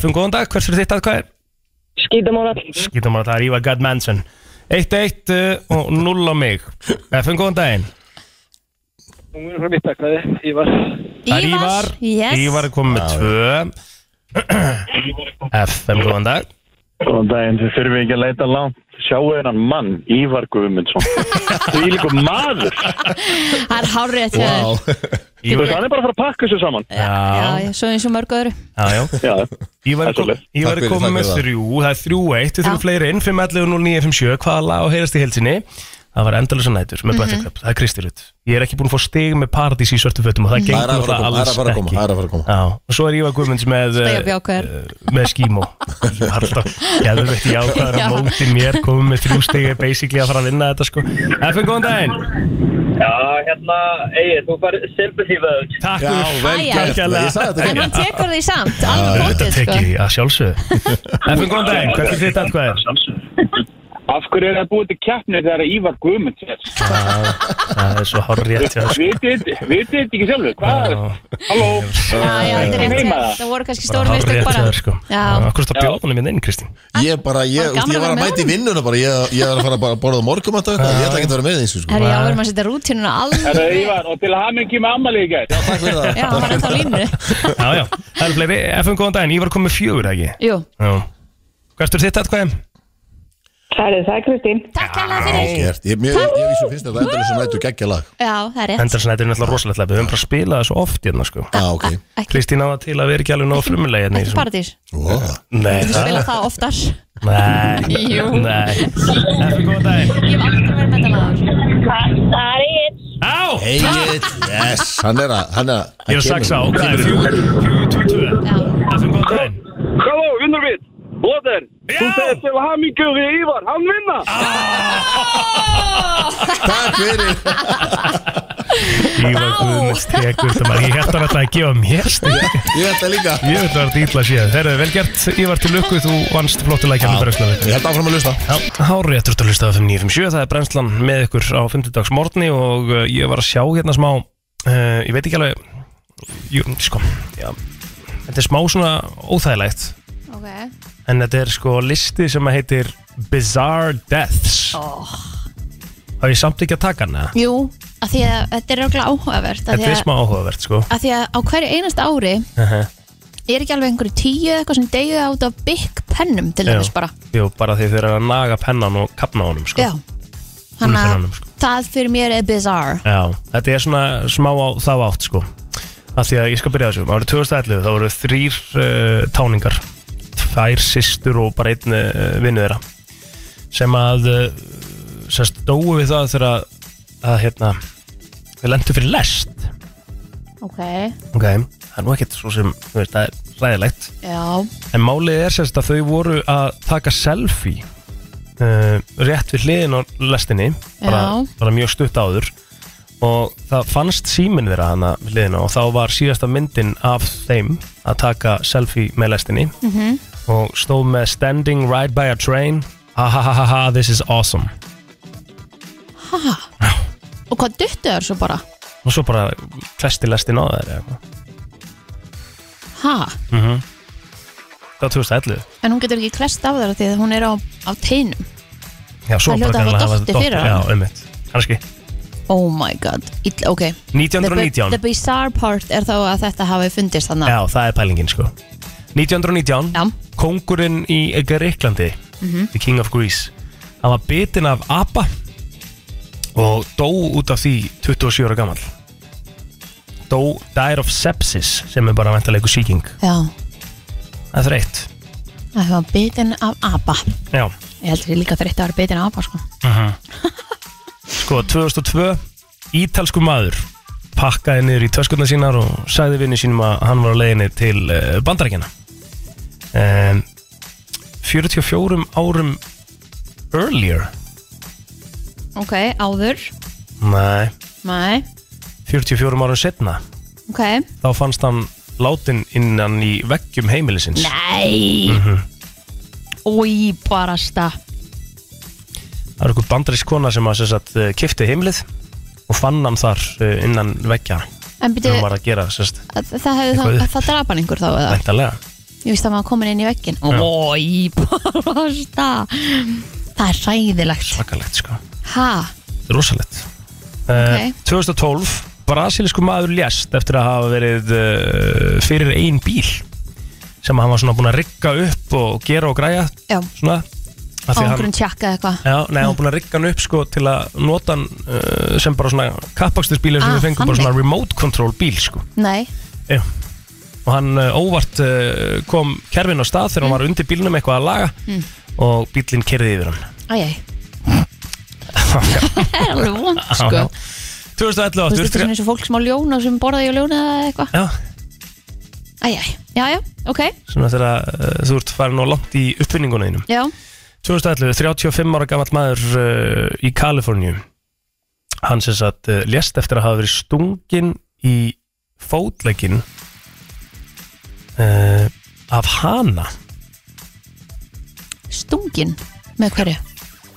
Speaker 2: FM, góðan dag, hvert er þitt atkvæði?
Speaker 11: Skítamóra
Speaker 2: Skítum að það er Ívar Gad Manson 1-1 uh, og 0 á mig FN, góðan daginn
Speaker 11: Hún er frá mitt aðkvæði, Ívar
Speaker 2: Það er Ívar,
Speaker 3: yes.
Speaker 2: Ívar er komið með 2 FN, góðan dag
Speaker 11: Góðan daginn, þið þurfum ekki að leita langt Sjáu hennan mann, Ívar Guðmundsson Því líka maður
Speaker 3: Það er hárrið til
Speaker 9: Wow
Speaker 11: Þú veist, hann er bara að fara að pakka þessu saman
Speaker 2: Já,
Speaker 3: Já, svo eins og mörg öðru
Speaker 2: já, já
Speaker 11: Já,
Speaker 2: Ívar
Speaker 11: Það er
Speaker 2: er kom-
Speaker 11: svoleiðis.
Speaker 2: Ívar
Speaker 9: Takk
Speaker 2: er
Speaker 9: fyrir,
Speaker 2: komið
Speaker 9: takk
Speaker 2: með
Speaker 9: fyrir það.
Speaker 2: 3 Það er 3-1, þið þurfum
Speaker 3: Já.
Speaker 2: fleiri inn 5-11-0-9-5-7, hvaða lag á að heyrast í helsinni Það var endalösa nætur með
Speaker 3: Mhm.
Speaker 2: Buttercup, það er Kristirut Ég er ekki búin að fá stig með Paradís í svörtu fötum
Speaker 3: Mhm.
Speaker 2: og það
Speaker 9: Það er að
Speaker 2: gengur
Speaker 9: fara að koma, það
Speaker 2: það
Speaker 9: er
Speaker 2: alls
Speaker 9: að fara að koma,
Speaker 2: ekki
Speaker 9: það er að fara að koma
Speaker 2: Já, og svo er Ívar Guðmunds með
Speaker 3: Það
Speaker 2: eh,
Speaker 3: er bjákvæður
Speaker 2: með skímó Ég var alltaf, ég hefði veitt jákvæður
Speaker 3: Já.
Speaker 2: að móti mér komið með þrjú stegi basically að fara að vinna þetta sko FN, góðan daginn
Speaker 11: já hérna, Egil, þú fær sympathy vote
Speaker 2: Takk
Speaker 9: Já,
Speaker 2: fyrir
Speaker 9: vel
Speaker 3: Æ,
Speaker 9: gert,
Speaker 2: æ.
Speaker 9: ég sagði þetta
Speaker 3: En
Speaker 9: ekki
Speaker 3: hann tekur því samt, alveg
Speaker 2: eh, Þetta
Speaker 3: hóttið sko
Speaker 2: tekið ég að sjálfsögðu FN, góðan daginn, hvernig þitt atkvæði?
Speaker 11: Af hverju er það búið til keppni þegar Ívar Guðmunds er?
Speaker 2: Það er svo hár rétt hjá sko.
Speaker 11: Vitið vitið þið ekki sjálfur? Hvað?
Speaker 2: Já.
Speaker 11: Halló?
Speaker 3: Já, já, þetta er
Speaker 11: Ég
Speaker 3: rétt
Speaker 11: heima
Speaker 3: hjá-
Speaker 11: það.
Speaker 3: Það voru kannski
Speaker 2: Bara
Speaker 3: stóru
Speaker 2: hár
Speaker 3: mistök
Speaker 2: rétt hjá
Speaker 3: bara
Speaker 2: þér sko
Speaker 3: Já,
Speaker 2: Akkur státt bjóðunum minn inn, Kristín
Speaker 9: Ég bara, ég,
Speaker 3: Var
Speaker 9: úst,
Speaker 3: gaman
Speaker 9: ég
Speaker 3: að
Speaker 9: var
Speaker 3: vera
Speaker 9: að
Speaker 3: með
Speaker 9: mæta í vinnuna bara Ég, ég var að fara bara að borða morgum að taka Ég ætla ekki að vera með því sko.
Speaker 3: herri, já, við erum að setja rútínuna
Speaker 11: Herra
Speaker 3: alveg
Speaker 11: Ívar, og til að hafa mikið með ammali í gæt.
Speaker 9: Takk fyrir það
Speaker 3: Já, hann var að þá línu
Speaker 2: Já, já, það eru fleiri FN, góðan daginn, Ívar kom með fjögur, ekki?
Speaker 3: Jú,
Speaker 2: Já Hvert er þitt atkvæði?
Speaker 11: Herri, það er Kristín.
Speaker 3: takk hella
Speaker 9: Vel
Speaker 3: fyrir
Speaker 9: gert. Ég mjög- ég- ég vísum finnst þetta endur sem nættu geggja lag
Speaker 3: Já, það er rétt Ah,
Speaker 2: Endarsnættir er náttúrulega rosalegt lag, við höfum bara að spila það svo oft hérna sko
Speaker 9: Já, Ah, ok
Speaker 3: Ekki,
Speaker 2: Kristín áða til að vera ekki alveg nóg frumulega hérna í
Speaker 3: ekki
Speaker 2: þessum-
Speaker 3: paradís
Speaker 9: Ó,
Speaker 2: Nei,
Speaker 3: Þú spila það oftar Ég
Speaker 2: Nei,
Speaker 3: Jú.
Speaker 2: nei Eftir góðan daginn
Speaker 3: hef aldrei verið með það lagur
Speaker 11: Það er Egil.
Speaker 2: Á,
Speaker 9: Egil, yes, hann er að hann er að
Speaker 2: ég er að
Speaker 9: hann
Speaker 2: saxa á
Speaker 9: kemur.
Speaker 2: Það er fjögur, fjögur, tvö, tvö Eftir góðan daginn
Speaker 11: Halló, vinnur mitt. Blóður.
Speaker 2: þú segir
Speaker 11: til að hafa mikið við Ívar. Hann vinna.
Speaker 9: Takk fyrir
Speaker 2: Ívar Guðmunds tekur þetta maður Ég hætti hann alltaf að gefa mér stig
Speaker 9: Ég ætla líka
Speaker 2: Ég veit að það var dýtla séð Herðu, vel gert, Ívar til lukku Þú vannst flottulega kemur brennslanu
Speaker 9: Ég held áfram að lusta
Speaker 2: Já, hári eftir að hlusta á 5957, það er brennslan með ykkur á 50 dags morgni og uh, ég var að sjá hérna smá, uh, ég veit ekki alveg, jú, sko, já, þetta er smá svona óþægilegt,
Speaker 3: Ok,
Speaker 2: en þetta er sko listi sem að heitir Bizarre Deaths. Oh. Það er samt ekki að taka hana,
Speaker 3: jú, að því að þetta er okkur áhugavert að
Speaker 2: þetta
Speaker 3: því
Speaker 2: er
Speaker 3: að
Speaker 2: smá áhugavert sko.
Speaker 3: að því að á hverju einasta ári
Speaker 2: Uh -huh.
Speaker 3: er ekki alveg einhverju tíu eða eitthvað sem deyja át af bygg pennum til
Speaker 2: Já.
Speaker 3: dæmis bara
Speaker 2: Jú, bara því þau eru að naga pennan og kapna honum sko.
Speaker 3: já þannig að
Speaker 2: Úlfennanum, sko.
Speaker 3: það fyrir mér er bizarre
Speaker 2: Já, þetta er svona smá á þá átt sko af því að ég skal byrja á þessu, árið 2011 þá voru þrýr uh, táningar tvær systur og bara einn uh, vinnu þeirra sem að uh, sérst dóu við það þegar að, að hérna við lendu fyrir lest
Speaker 3: ok,
Speaker 2: ok, það er nú ekkert svo sem þú veist, það er ræðilegt
Speaker 3: já,
Speaker 2: en málið er sérst að þau voru að taka selfie uh, rétt við hliðin á lestinni bara,
Speaker 3: Já.
Speaker 2: bara mjög stutt áður og það fannst síminn þeirra hana við hliðina og þá var síðasta myndin af þeim að taka selfie með lestinni
Speaker 3: Mhm.
Speaker 2: -hmm. og stóð með standing right by a train ha ha ha ha ha this is awesome
Speaker 3: og hvað duttu þér svo bara
Speaker 2: og svo bara klesti lestin á þeir eða eitthvað.
Speaker 3: ha,
Speaker 2: Mhm. það var 2011
Speaker 3: en hún getur ekki klest af þér af því að hún er á, á teinum
Speaker 2: já, svo
Speaker 3: Það
Speaker 2: bara
Speaker 3: hljóta að hafa
Speaker 2: greinilega
Speaker 3: dottið fyrir
Speaker 2: já,
Speaker 3: hana.
Speaker 2: um kannski
Speaker 3: oh my god, Ill, ok the, bi-
Speaker 2: 1919
Speaker 3: the bizarre part er þá að þetta hafi fundist þannig
Speaker 2: Já, það er pælingin sko 1919,
Speaker 3: Já. Mhm.
Speaker 2: kóngurinn í Greiklandi The King of Greece Hann var bitinn af apa og dó út af því 27 ára gamall Dó Dire of Sepsis sem er bara vantarleiku sýking
Speaker 3: já,
Speaker 2: Það er þreytt
Speaker 3: það var bitin af apa
Speaker 2: Já,
Speaker 3: ég heldur ég líka þreytt að vera bitin af apa sko
Speaker 2: sko 2002 Ítalsku maður pakkaði niður í töskunna sínar og sagði vinnu sínum að hann var á leiðinni til eh, bandaríkjana um, 44 árum earlier
Speaker 3: Ok, áður
Speaker 2: Nei,
Speaker 3: Nei,
Speaker 2: 44 árum setna
Speaker 3: ok
Speaker 2: Þá fannst hann látin innan í veggjum heimilisins
Speaker 3: Nei.
Speaker 2: Mhm.
Speaker 3: Új, barasta
Speaker 2: Það er einhver bandarisk kona sem að sem sagt, kifti heimilið og fann hann þar eh, innan veggja
Speaker 3: En byrju-
Speaker 2: Þegar hann var að gera sem sagt,
Speaker 3: Það, það, hefði
Speaker 2: Eitthvað
Speaker 3: þá,
Speaker 2: upp.
Speaker 3: það drapa hann einhver þá eða?
Speaker 2: væntanlega
Speaker 3: Ég veist að maður komin inn í veggin
Speaker 2: Já.
Speaker 3: Ói, barasta Það er ræðilegt
Speaker 2: Svakalegt sko
Speaker 3: Ha,
Speaker 2: Þetta er rosalegt Eh, okay. 2012 Brasilisku maður lést eftir að hafa verið uh, fyrir ein bíl sem hann var svona búin að rigga upp og gera og græja
Speaker 3: já
Speaker 2: svona af því að
Speaker 3: Ángrun tjakka eða eitthvað
Speaker 2: Já, nei, hann var búin að rigga hann upp sko til að nota hann uh, sem bara svona kappakstisbíl sem
Speaker 3: Ah,
Speaker 2: við fengum bara
Speaker 3: þannig.
Speaker 2: svona remote control bíl sko
Speaker 3: Nei,
Speaker 2: Já. og hann uh, óvart uh, kom kerfin á stað þegar hann var undir bílnum eitthvað að laga
Speaker 3: Mm.
Speaker 2: og bílinn kerði yfir hann
Speaker 3: æjæj Það er alveg vond
Speaker 2: Já, já.
Speaker 3: sko
Speaker 2: 2011
Speaker 3: Þú veist, þetta er
Speaker 2: 23
Speaker 3: svona eins og fólk sem á ljóna sem borða í ljóna eða eitthvað
Speaker 2: Já.
Speaker 3: Æjæj, já, já, ok
Speaker 2: svona þegar uh, þú ert farin og langt í uppfinningunum þínum
Speaker 3: Já,
Speaker 2: 2011, 35 ára gammal maður uh, í Kaliforníu hann sem sagt uh, lést eftir að hafa verið stungin í fótlegin uh, af hana
Speaker 3: stungin með hverju?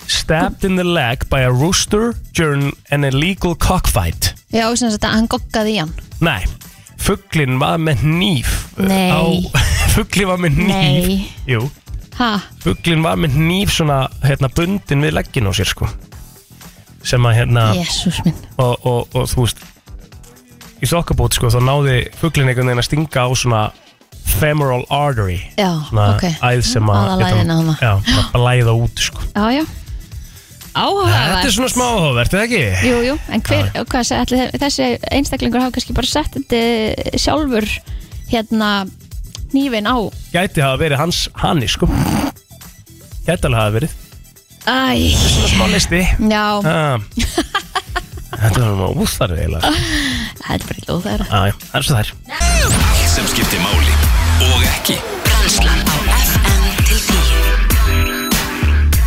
Speaker 2: stabbed in the leg by a rooster during an illegal cockfight
Speaker 3: Já, sem sagt að hann goggaði í hann
Speaker 2: Nei, fugglin var með nýf
Speaker 3: Nei.
Speaker 2: Fugglin var með nýf
Speaker 3: Nei.
Speaker 2: Jú,
Speaker 3: Ha,
Speaker 2: fugglin var með nýf svona hérna bundin við leggin á sér sko sem að hérna
Speaker 3: Jesús minn
Speaker 2: og, og, og þú veist í þokkabóti sko þá náði fugglin einhvern veginn að stinga á svona femoral artery
Speaker 3: Já,
Speaker 2: svona
Speaker 3: ok
Speaker 2: æð sem að
Speaker 3: Aðalæðina
Speaker 2: hérna,
Speaker 3: þarna.
Speaker 2: já, svona blæða út sko
Speaker 3: Já, já Áhugaverð
Speaker 2: Þetta er svona smá áhugavert, eða ekki?
Speaker 3: Jú, jú, en hver, hvað, sagði- ætli, þe- þessi einstaklingur hafa kannski bara sett þetta sjálfur hérna nýfin á
Speaker 2: Gæti hafa verið hans hanni sko Gæti alveg hafa verið
Speaker 3: Æ
Speaker 2: Svona smá listi
Speaker 3: Já,
Speaker 2: Ah. Þetta var nú úþarfið eiginlega
Speaker 3: það er bara í lóð þeirra
Speaker 2: Á, já, Það er svo þær
Speaker 1: Allt sem skiptir máli og ekki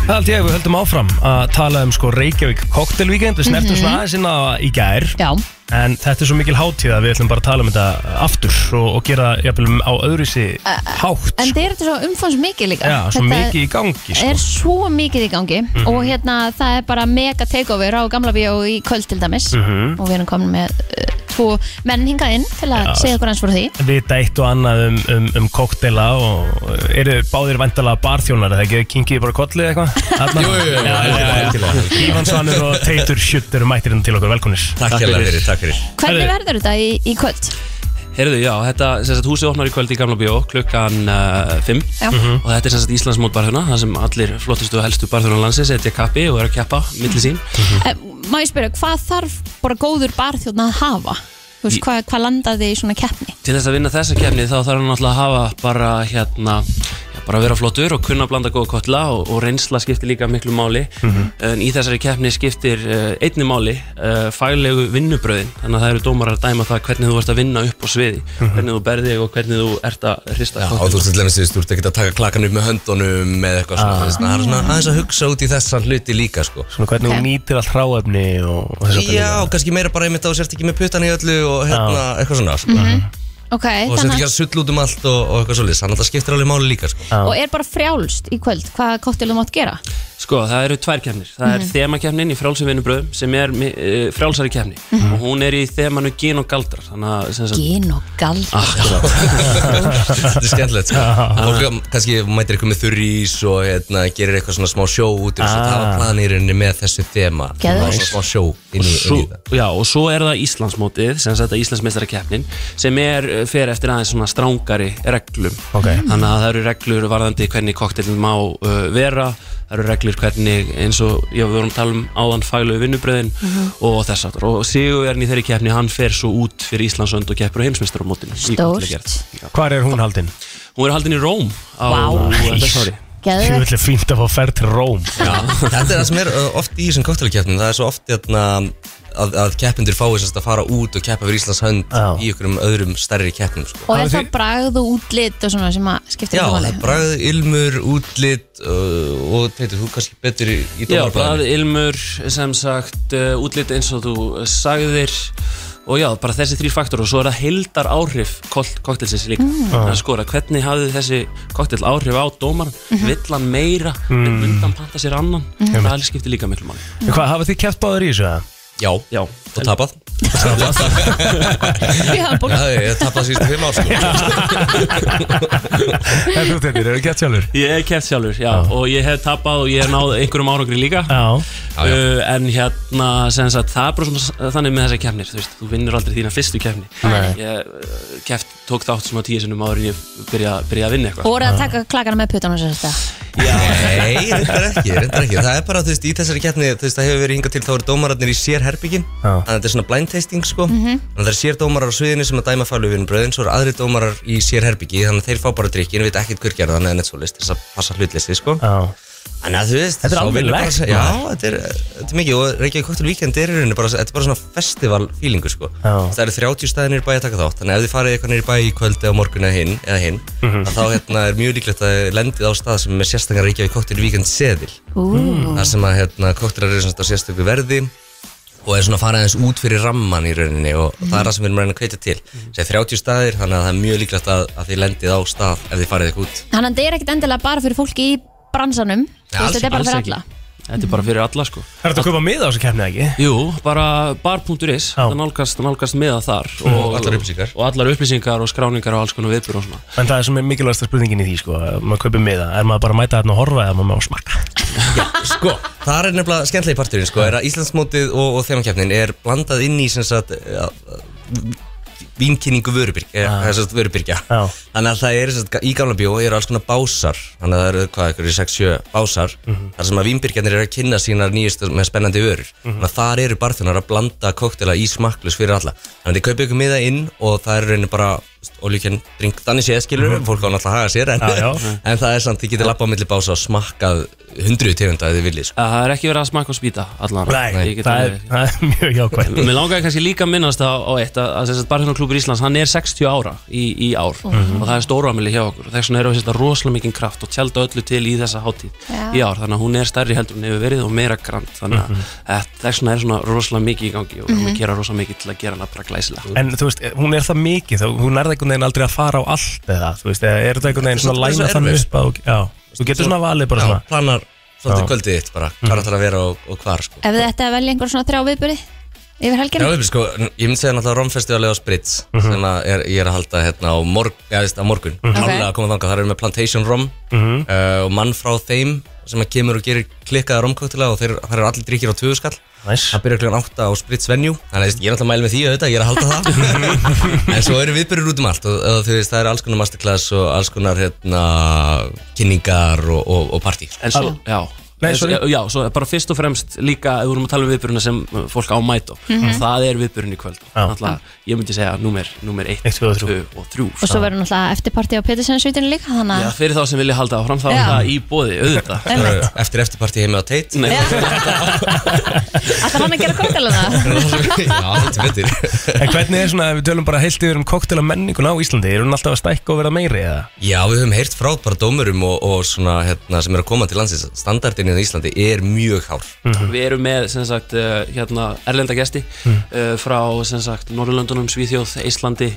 Speaker 2: Það held ég að við höldum áfram að tala um sko Reykjavík Cocktail Weekend Við snertum
Speaker 3: Mhm.
Speaker 2: svona aðeins inn á það í gær
Speaker 3: Já.
Speaker 2: En þetta er svo mikil hátíð að við ætlum bara að tala um þetta aftur og, og gera það jafnvel um- á öðruvísi hátt
Speaker 3: En það er þetta svo umfangsmikið líka
Speaker 2: Já, svo
Speaker 3: Þetta
Speaker 2: mikið í gangi sko.
Speaker 3: er svo mikið í gangi
Speaker 2: Mhm.
Speaker 3: og hérna það er bara mega takeover á gamla bíó í kvöld til dæmis
Speaker 2: Mhm.
Speaker 3: og við erum komin með uh, tvo menn hingað inn til að
Speaker 2: Já,
Speaker 3: segja okkur eins fyrir því
Speaker 2: Vita eitt og annað um, um, um kokteila og og eru báðir vandalega barþjónar eða ekki, kynkið bara kolli eða eitthvað
Speaker 12: Jú, jú, jú, algjörlega, algjörlega.
Speaker 2: Ívan Svanur og Teitur Sjutt eru mættir inn til okkur, velkomnir
Speaker 12: Takk hérlega fyrir, takk fyrir
Speaker 3: Hvernig verður þetta í, í kvöld?
Speaker 12: Herðu, já, þetta, sem sagt, húsið opnar í kvöld í Gamla Bíó klukkan uh, 5
Speaker 3: Já.
Speaker 2: Mhm.
Speaker 12: og þetta er sem sagt Íslands mót barþjóna þar sem allir flottustu og helstu barþjóna landsins setja kappi og eru að keppa milli sín
Speaker 2: Mhm.
Speaker 3: Eh, Má ég spyrja, hvað þarf bara góður barþjóðn að hafa? Þú veist, hvað, hvað landaði í svona keppni?
Speaker 12: Til þess að vinna þessa kefni þá þarf hann alltaf að hafa bara hérna já, bara að vera flottur og kunna að blanda góða kottla og, og reynsla skiptir líka miklu máli
Speaker 2: Mhm.
Speaker 12: en í þessari kefni skiptir uh, einni máli uh, faglegu vinnubröðin þannig að það eru dómarar að dæma það hvernig þú ert að vinna upp á sviði hvernig þú berði og hvernig þú ert að hrista
Speaker 13: Já,
Speaker 12: kokteilinn.
Speaker 13: og þú veist, til dæmis, þú veist, þú ert ekkert að taka klakan upp með höndunum eða eitthvað svona,
Speaker 12: Ah.
Speaker 13: þú veist, það er svona aðeins að hugsa út í þessan hluti líka, sko.
Speaker 2: Svona hvernig þú nýtir allt hráefni og, og þess að
Speaker 13: Já, kannski meira bara einmitt að þú sért ekki með puttana í öllu og hérna, eitthvað svona, sko.
Speaker 12: Mhm.
Speaker 3: Ok,
Speaker 13: Og þú sért ekki að sull út um allt og, og eitthvað svolítið, þannig að það skiptir alveg máli líka, sko.
Speaker 3: og er bara frjálst í kvöld hvað kóttilum mátt gera?
Speaker 12: Sko, það eru tvær kefnir. Það er
Speaker 3: Mhm.
Speaker 12: þemakefnin í frjálsum vinnubröðum sem er uh, frjálsari kefni
Speaker 3: Mhm.
Speaker 12: og hún er í þemanu gin og galdrar. Þannig að sem sagt...
Speaker 3: Gin og galdrar.
Speaker 13: Þetta er skemmtilegt, sko. Og fólk kannski mætir eitthvað með þurrís og hérna, gerir eitthvað svona smá sjó út, þú veist,
Speaker 12: Ah.
Speaker 13: það hafa planirinni með þessu þema.
Speaker 12: Geðveikt.
Speaker 13: Og Smá sjó inn í,
Speaker 12: og svo,
Speaker 13: inn í það.
Speaker 12: já, og svo er það Íslandsmótið sem sagt að Íslandsmeistarakeppnin sem er, eh, fer eftir aðeins svona strángari reglum
Speaker 2: Ok.
Speaker 12: þannig að það eru reglur varðandi hvernig koktelin má uh, vera það eru reglur hvernig eins og já, við vorum að tala um áðan faglegu vinnubröðin
Speaker 3: Mhm.
Speaker 12: og þess aftur og Sigurverðin í þeirri keppni hann fer svo út fyrir Íslandsönd og keppur á heimsmeistaramótinu í
Speaker 3: Stórt.
Speaker 12: kokteilgerð. Já.
Speaker 2: Hvar er hún haldin?
Speaker 12: Hún er haldin í Róm á
Speaker 3: Vá.
Speaker 12: þessu ári
Speaker 3: Geðveikt.
Speaker 2: Þú ætlir fínt að fá ferð til Róm
Speaker 13: uh, Þetta er það sem er ö, oft í þessum koktelkeppnum, það er svo oft hérna, að, að keppindur fái sérst að fara út og keppa fyrir Íslands hönd í ykkurum öðrum stærri keppnum sko.
Speaker 3: Og er það bragð og útlit og svona sem að skiptir
Speaker 13: Já,
Speaker 3: ekki
Speaker 13: það
Speaker 3: máli?
Speaker 13: er bragð, ilmur, útlit uh, og teitur, þú kannski betur í, í
Speaker 12: Já,
Speaker 13: dómarbræðinu
Speaker 12: brað, ilmur, sem sagt, uh, útlit eins og þú eh, sagðir og já, bara þessi þrý faktor og svo er það heildar áhrif koktelsins líka
Speaker 13: Mm.
Speaker 2: Ah.
Speaker 12: mm. skora, hvernig hafði þessi koktel áhrif á dómaran,
Speaker 13: Mhm.
Speaker 12: vill hann meira
Speaker 2: Mm.
Speaker 12: mm. undan panta sér annan
Speaker 2: Mhm.
Speaker 12: það skiptir líka miklu máli
Speaker 2: En Hvað, hafa þið kæft báður í þessu? eða?
Speaker 13: Já, já, og tapað
Speaker 3: Já, búin.
Speaker 13: Já, ég hef tapað síðustu fimm ár sko.
Speaker 2: En þú þetta, eru kæft sjálfur?
Speaker 12: Ég hef kæft sjálfur, já, og ég hef tapað og ég hef náð einhverjum árangri líka
Speaker 2: já.
Speaker 12: Uh, En hérna, sem sagt, það er bara svona þannig með þessar keppnir, þú veist, þú vinnur aldrei þína fyrstu keppni
Speaker 2: Nei.
Speaker 12: Ég uh, keft, tók þátt svona tíu sinnum áður en ég byrja, byrja að vinna eitthvað
Speaker 3: Og voruð að taka klakana með putanum sér þetta?
Speaker 13: Nei, reyndar ekki, reyndar ekki Það er bara, þú veist, í þessari keppni þú veist, það hefur verið hingað til, þá eru dómararnir í sér herbyggin Þannig að þetta er svona blind tasting, sko
Speaker 3: Mhm.
Speaker 13: Þannig að það er sér dómarar á sviðinu sem að dæma fælu við bröðin Svo eru aðri dómarar í sér herbyggi Þannig að þeir fá bara drikkin, við veit ekkert hver gerða Þannig að þetta er þess að passa hlutleysi, sko
Speaker 2: Já.
Speaker 13: Þannig að þú veist,
Speaker 2: Þetta er
Speaker 13: sá
Speaker 2: alveg
Speaker 13: vinnur bara
Speaker 2: lekt,
Speaker 13: að segja- Já,
Speaker 2: maður.
Speaker 13: þetta er, þetta er mikið Og Reykjavík Cocktail Weekend er í rauninni bara, þetta er bara svona festival feelingu, sko
Speaker 2: Já.
Speaker 13: Það eru 30 staðinir bæ að taka þátt Þannig að ef þið farið eitthvað nýr bæ í kvöldi á morgun eða hinn, eða hinn
Speaker 2: Mhm.
Speaker 13: að Þá hérna, er mjög líklegt að þið lendið á stað sem er með sérstakar Reykjavík Cocktail Weekend seðil
Speaker 3: Ú.
Speaker 13: Þar sem að hérna, koktelar eru svona á sérstöku verði og er svona að fara aðeins út fyrir ramman í rauninni og það er það sem við erum að reyna að kveita til Það er 30 staðir, þannig að það er mjög líklegt að, að þið lendið á stað ef þið farið eitthvað út
Speaker 3: Þannig að þetta er ekkit endilega bara fyrir fólki í bransanum Þú veist, Þetta er bara fyrir alla
Speaker 12: Þetta er bara fyrir alla sko
Speaker 2: Er þetta að köpa miða á þessu keppni ekki?
Speaker 12: Jú, bara bar.is Það nálgast, nálgast meða þar
Speaker 2: Mhm. Og allar upplýsingar.
Speaker 12: Og allar upplýsingar og skráningar og alls konar viðbjör og svona
Speaker 2: En það er sem er mikilvægasta spurningin í því sko, ef maður kaupir miða, er maður bara að mæta þarna og horfa eða maður má smakka?
Speaker 13: Sko, það er nefnilega skemmtilegi parturinn sko, er að Íslandsmótið og, og þeimakefnin er blandað inn í sem sagt eh, að- vínkynningu vörubyrgja, ah. sem sagt vörubyrgja.
Speaker 2: Ah.
Speaker 13: þannig að það er sem sagt, í gamla bjó eru alls konar básar þannig að það eru hvað, ykkur í 6-7 básar
Speaker 2: Mhm.
Speaker 13: þar sem að vínbyrgjarnir eru að kynna sínar nýjustu með spennandi vörur
Speaker 2: Mhm.
Speaker 13: þannig að þar eru barþjónar að blanda koktela í smakklus fyrir alla þannig að þið kaupið ykkur miða inn og það eru rauninni bara oljúkjörn drink þannig séð skilur
Speaker 2: Mhm.
Speaker 13: fólk á náttúrulega að haga sér en,
Speaker 2: Já, já.
Speaker 13: en það er samt, þið getur lappa á milli bása og smakkað hundruð tegunda ef þið viljið sko.
Speaker 12: Að Það er ekki verið að smaka og spýta allan
Speaker 2: Nei,
Speaker 12: Ég get
Speaker 2: það, er,
Speaker 12: alveg-
Speaker 2: það er mjög jákvæmt
Speaker 12: Mér langaði kannski líka að minnast á, á eitt að, að, að Barhjónaklúbur Íslands, hann er 60 ára í, í ár
Speaker 2: Mhm.
Speaker 12: og það er stóramili hjá okkur og þess vegna erum við sérst að rosalega mikinn kraft og tjálta öllu til í þessa hátíð
Speaker 2: Já.
Speaker 12: í ár þannig að hún er stærri heldur en hefur verið og meira grand þannig að
Speaker 2: Mhm.
Speaker 12: mm þess vegna er svona rosalega mikið í gangi og við erum að
Speaker 2: Mhm.
Speaker 12: gera rosalega mikið til að gera hana bara glæsilega
Speaker 2: En þú veist, hún er það mikið, þá- hún er það einhvern veginn aldrei að fara á allt eða, þú veist, eða er það einhvern veginn svona að
Speaker 13: Það er svo
Speaker 2: læna þannig
Speaker 13: erfitt. sko.
Speaker 2: upp að, já, þú getur svona valið bara
Speaker 13: Já,
Speaker 2: svona.
Speaker 13: planar
Speaker 2: Já. Mhm.
Speaker 13: svolítið kvöldið þitt bara, hvað það að vera og, og hvar sko.
Speaker 3: Ef þið ætti að velja einhver svona þrjá viðbyrði yfir
Speaker 13: Já,
Speaker 3: helgina
Speaker 13: við, sko, ég myndi segja náttúrulega Romfestivalið á Spritz sem að er, ég er að halda hérna á, morg, ja, veist, á morgun mm
Speaker 2: Mhm.
Speaker 13: -hmm.
Speaker 2: Ok.
Speaker 13: að koma þangað, það er með Plantation Rom
Speaker 2: Mhm.
Speaker 13: uh, og mann frá þeim sem að kemur og gerir klikkaða romkoktilega og þeir, það eru allir drikkir á tvöðu skall
Speaker 2: nice.
Speaker 13: það byrjar klukkan 8 á Spritz Venue þannig að veist, ég er náttúrulega að mæla með því auðvitað, ég er að halda það en svo eru viðbyrjur út um allt og, og þú veist, það eru alls konar masterclass og alls konar hérna, kynningar og, og, og partí
Speaker 12: En svo, já
Speaker 13: Nei,
Speaker 12: En svo-
Speaker 13: sorry.
Speaker 12: Já, svo bara fyrst og fremst líka ef við erum að tala um viðbyrjuna sem uh, fólk á mæta
Speaker 3: Mhm.
Speaker 12: það er viðbyrjun í kvöld Náttúrulega, ég myndi segja númer 1, 2 og sko. 3
Speaker 3: Og svo verður náttúrulega eftirparti á Petersen-svítinu líka Þannig
Speaker 12: Já,
Speaker 3: að
Speaker 12: fyrir þá sem vilja halda áfram þá er
Speaker 3: Já.
Speaker 12: það í bóði, auðvitað
Speaker 3: Einmitt.
Speaker 13: Eftir eftirparti heimi á Teit
Speaker 12: Nei,
Speaker 3: ætlar hann að gera koktelana
Speaker 13: þetta betur
Speaker 2: En hvernig er svona, ef við tölum bara heilt yfir um koktel og menningun á Íslandi, er hún alltaf að stækka og verða meiri eða?
Speaker 13: Já, við höfum heyrt frá bara dómurum og, og svona hérna, sem eru að koma til landsins standardin í Íslandi er mjög hár
Speaker 12: Við erum með sem sagt uh, hérna, erlenda gesti
Speaker 13: Mm.
Speaker 12: uh, frá sem sagt Norrlöndunum, Svíþjóð, Íslandi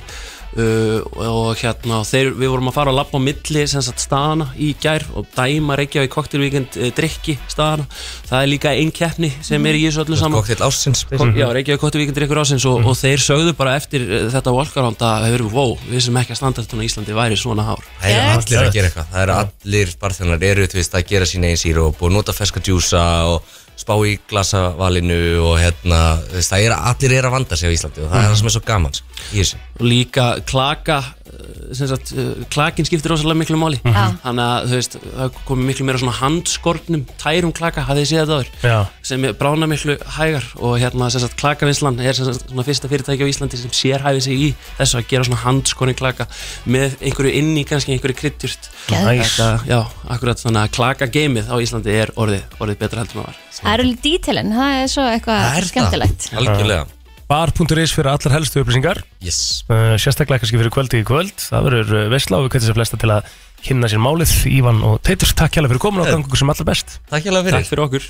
Speaker 12: uh, og hérna og þeir, við vorum að fara að labba á milli sem sagt staðana í gær og dæma reykja í koktelvíkend uh, drikki staðana það er líka einn keppni sem er í þessu öllu saman
Speaker 13: Koktel ásins
Speaker 12: Kom, já, Reykjavík Kottuvíkinn drikkur ásins og, og þeir sögðu bara eftir eh, þetta Walkaround að hefur við, wow, við sem ekki að standartun á Íslandi væri svona hár
Speaker 13: Það eru allir að gera eitthvað Það eru allir barþjónar eru þú veist að gera sína einn síru og búið að nota ferska djúsa og spá í glasavalinu og hérna, þú veist, það er allir er að vanda sig á Íslandi og það er það sem er svo gaman sko, í þessu
Speaker 12: og líka klaka eh, sem sagt, uh, klakin skiptir rosalega miklu máli
Speaker 5: Já.
Speaker 12: þannig að þú veist, það komi miklu meira svona handskornum, tærum klaka, hafið þið séð þetta áður
Speaker 2: Já.
Speaker 12: sem er brána miklu hægar og hérna sem sagt, klakavinslan er sem sagt, svona fyrsta fyrirtæki á Íslandi sem sérhæfið sig í þessu að gera svona handskorni klaka með einhverju inn í kannski einhverju kryddjurt
Speaker 2: Geðveikt.
Speaker 12: já, akkurat þannig að klaka geimið á Íslandi er orðið, orðið betra heldur en það var
Speaker 3: Það eru dítilinn, það er svo eitthvað skemmtilegt
Speaker 12: Algjörlega.
Speaker 2: Bar.is fyrir allar helstu upplýsingar Uh,
Speaker 13: yes.
Speaker 2: Sérstaklega kannski fyrir kvöldi í kvöld Það verður veistla og við kvöldum sér flesta til að kynna sér málið Ívan og Teitur, takk hérlega fyrir komin og gangu ykkur sem allar best
Speaker 13: Takk hérlega
Speaker 2: Takk fyrir okkur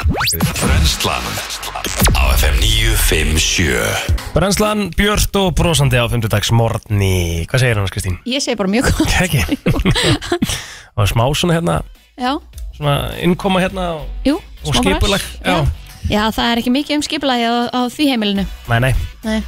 Speaker 1: Brennslan á FM 957
Speaker 2: Brennslan, Björn og brosandi á 5. dags morgni Hvað segir hann, Kristín?
Speaker 3: Ég segi bara mjög gott
Speaker 2: Ekki Og smá svona hérna,
Speaker 3: Já,
Speaker 2: svona innkoma hérna og,
Speaker 3: jú,
Speaker 2: og
Speaker 3: smá bras.
Speaker 2: skipulag Já,
Speaker 3: Já, það er ekki mikið um skipulagi á, á því heimilinu
Speaker 2: nei, nei,
Speaker 3: Nei,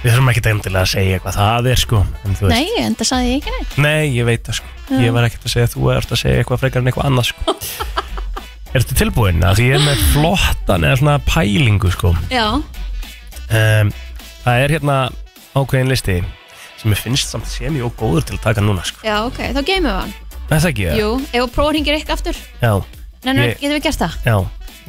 Speaker 2: við þurfum ekki endilega að segja hvað það er sko en þú veist-
Speaker 3: Nei en það sagði ég ekki neitt
Speaker 2: Nei, ég veit það sko
Speaker 3: Já.
Speaker 2: Ég var ekkert að segja að þú ert að segja eitthvað frekar en eitthvað annað sko Ertu tilbúin? Af Því ég er með flottan eða svona pælingu sko
Speaker 3: Já,
Speaker 2: um, Það er hérna ákveðin listi sem ég finnst samt sem ég og góður til að taka núna sko
Speaker 3: já, ok, þá geymum við hann
Speaker 2: Er Það ekki ég?
Speaker 3: Jú, ef þú prófa hringir eitthvað aftur
Speaker 2: Já
Speaker 3: Nei, nei,
Speaker 2: Ég-
Speaker 3: getum við gert það?
Speaker 2: Já,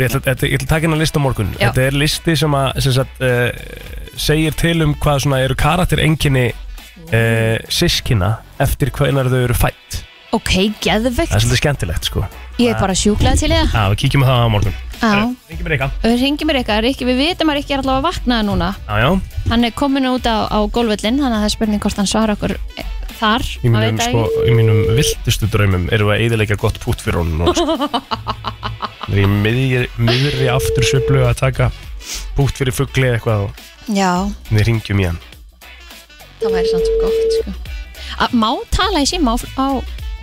Speaker 2: ég ætla, þetta- ég ætla að taka hérna list á morgun
Speaker 3: Já.
Speaker 2: Þetta er listi sem að sem sagt, uh, segir til um hvað svona eru karakter enginni uh, sískina eftir hvenar þau eru fætt
Speaker 3: Ok, geðvegt
Speaker 2: Það er svolítið skemmtilegt sko
Speaker 3: Ég er bara sjúklega til í það
Speaker 2: Já, við kíkjum á það á morgun
Speaker 3: Já,
Speaker 2: Ringi mér eitthvað
Speaker 3: við ringjum mér eitthvað, Rikki, við vitum að Rikki er allavega vaknaða núna
Speaker 2: Já, já
Speaker 3: Hann er komin út á, á gólvöllin, þannig að það er spurning hvort hann svarar okkur eh, þar
Speaker 2: Í
Speaker 3: maður veit
Speaker 2: mínum,
Speaker 3: það
Speaker 2: sko, í mínum viltustu draumum erum við að eyðileggja gott pútt fyrir honum núna, sko.
Speaker 3: ekki.
Speaker 2: Þannig að ég er í miðri, miðri aftur sveiflu að taka pútt fyrir fuggli eða eitthvað og
Speaker 3: Já,
Speaker 2: við ringjum í hann
Speaker 3: það væri samt svo gott sko. A, Má tala í síma á, á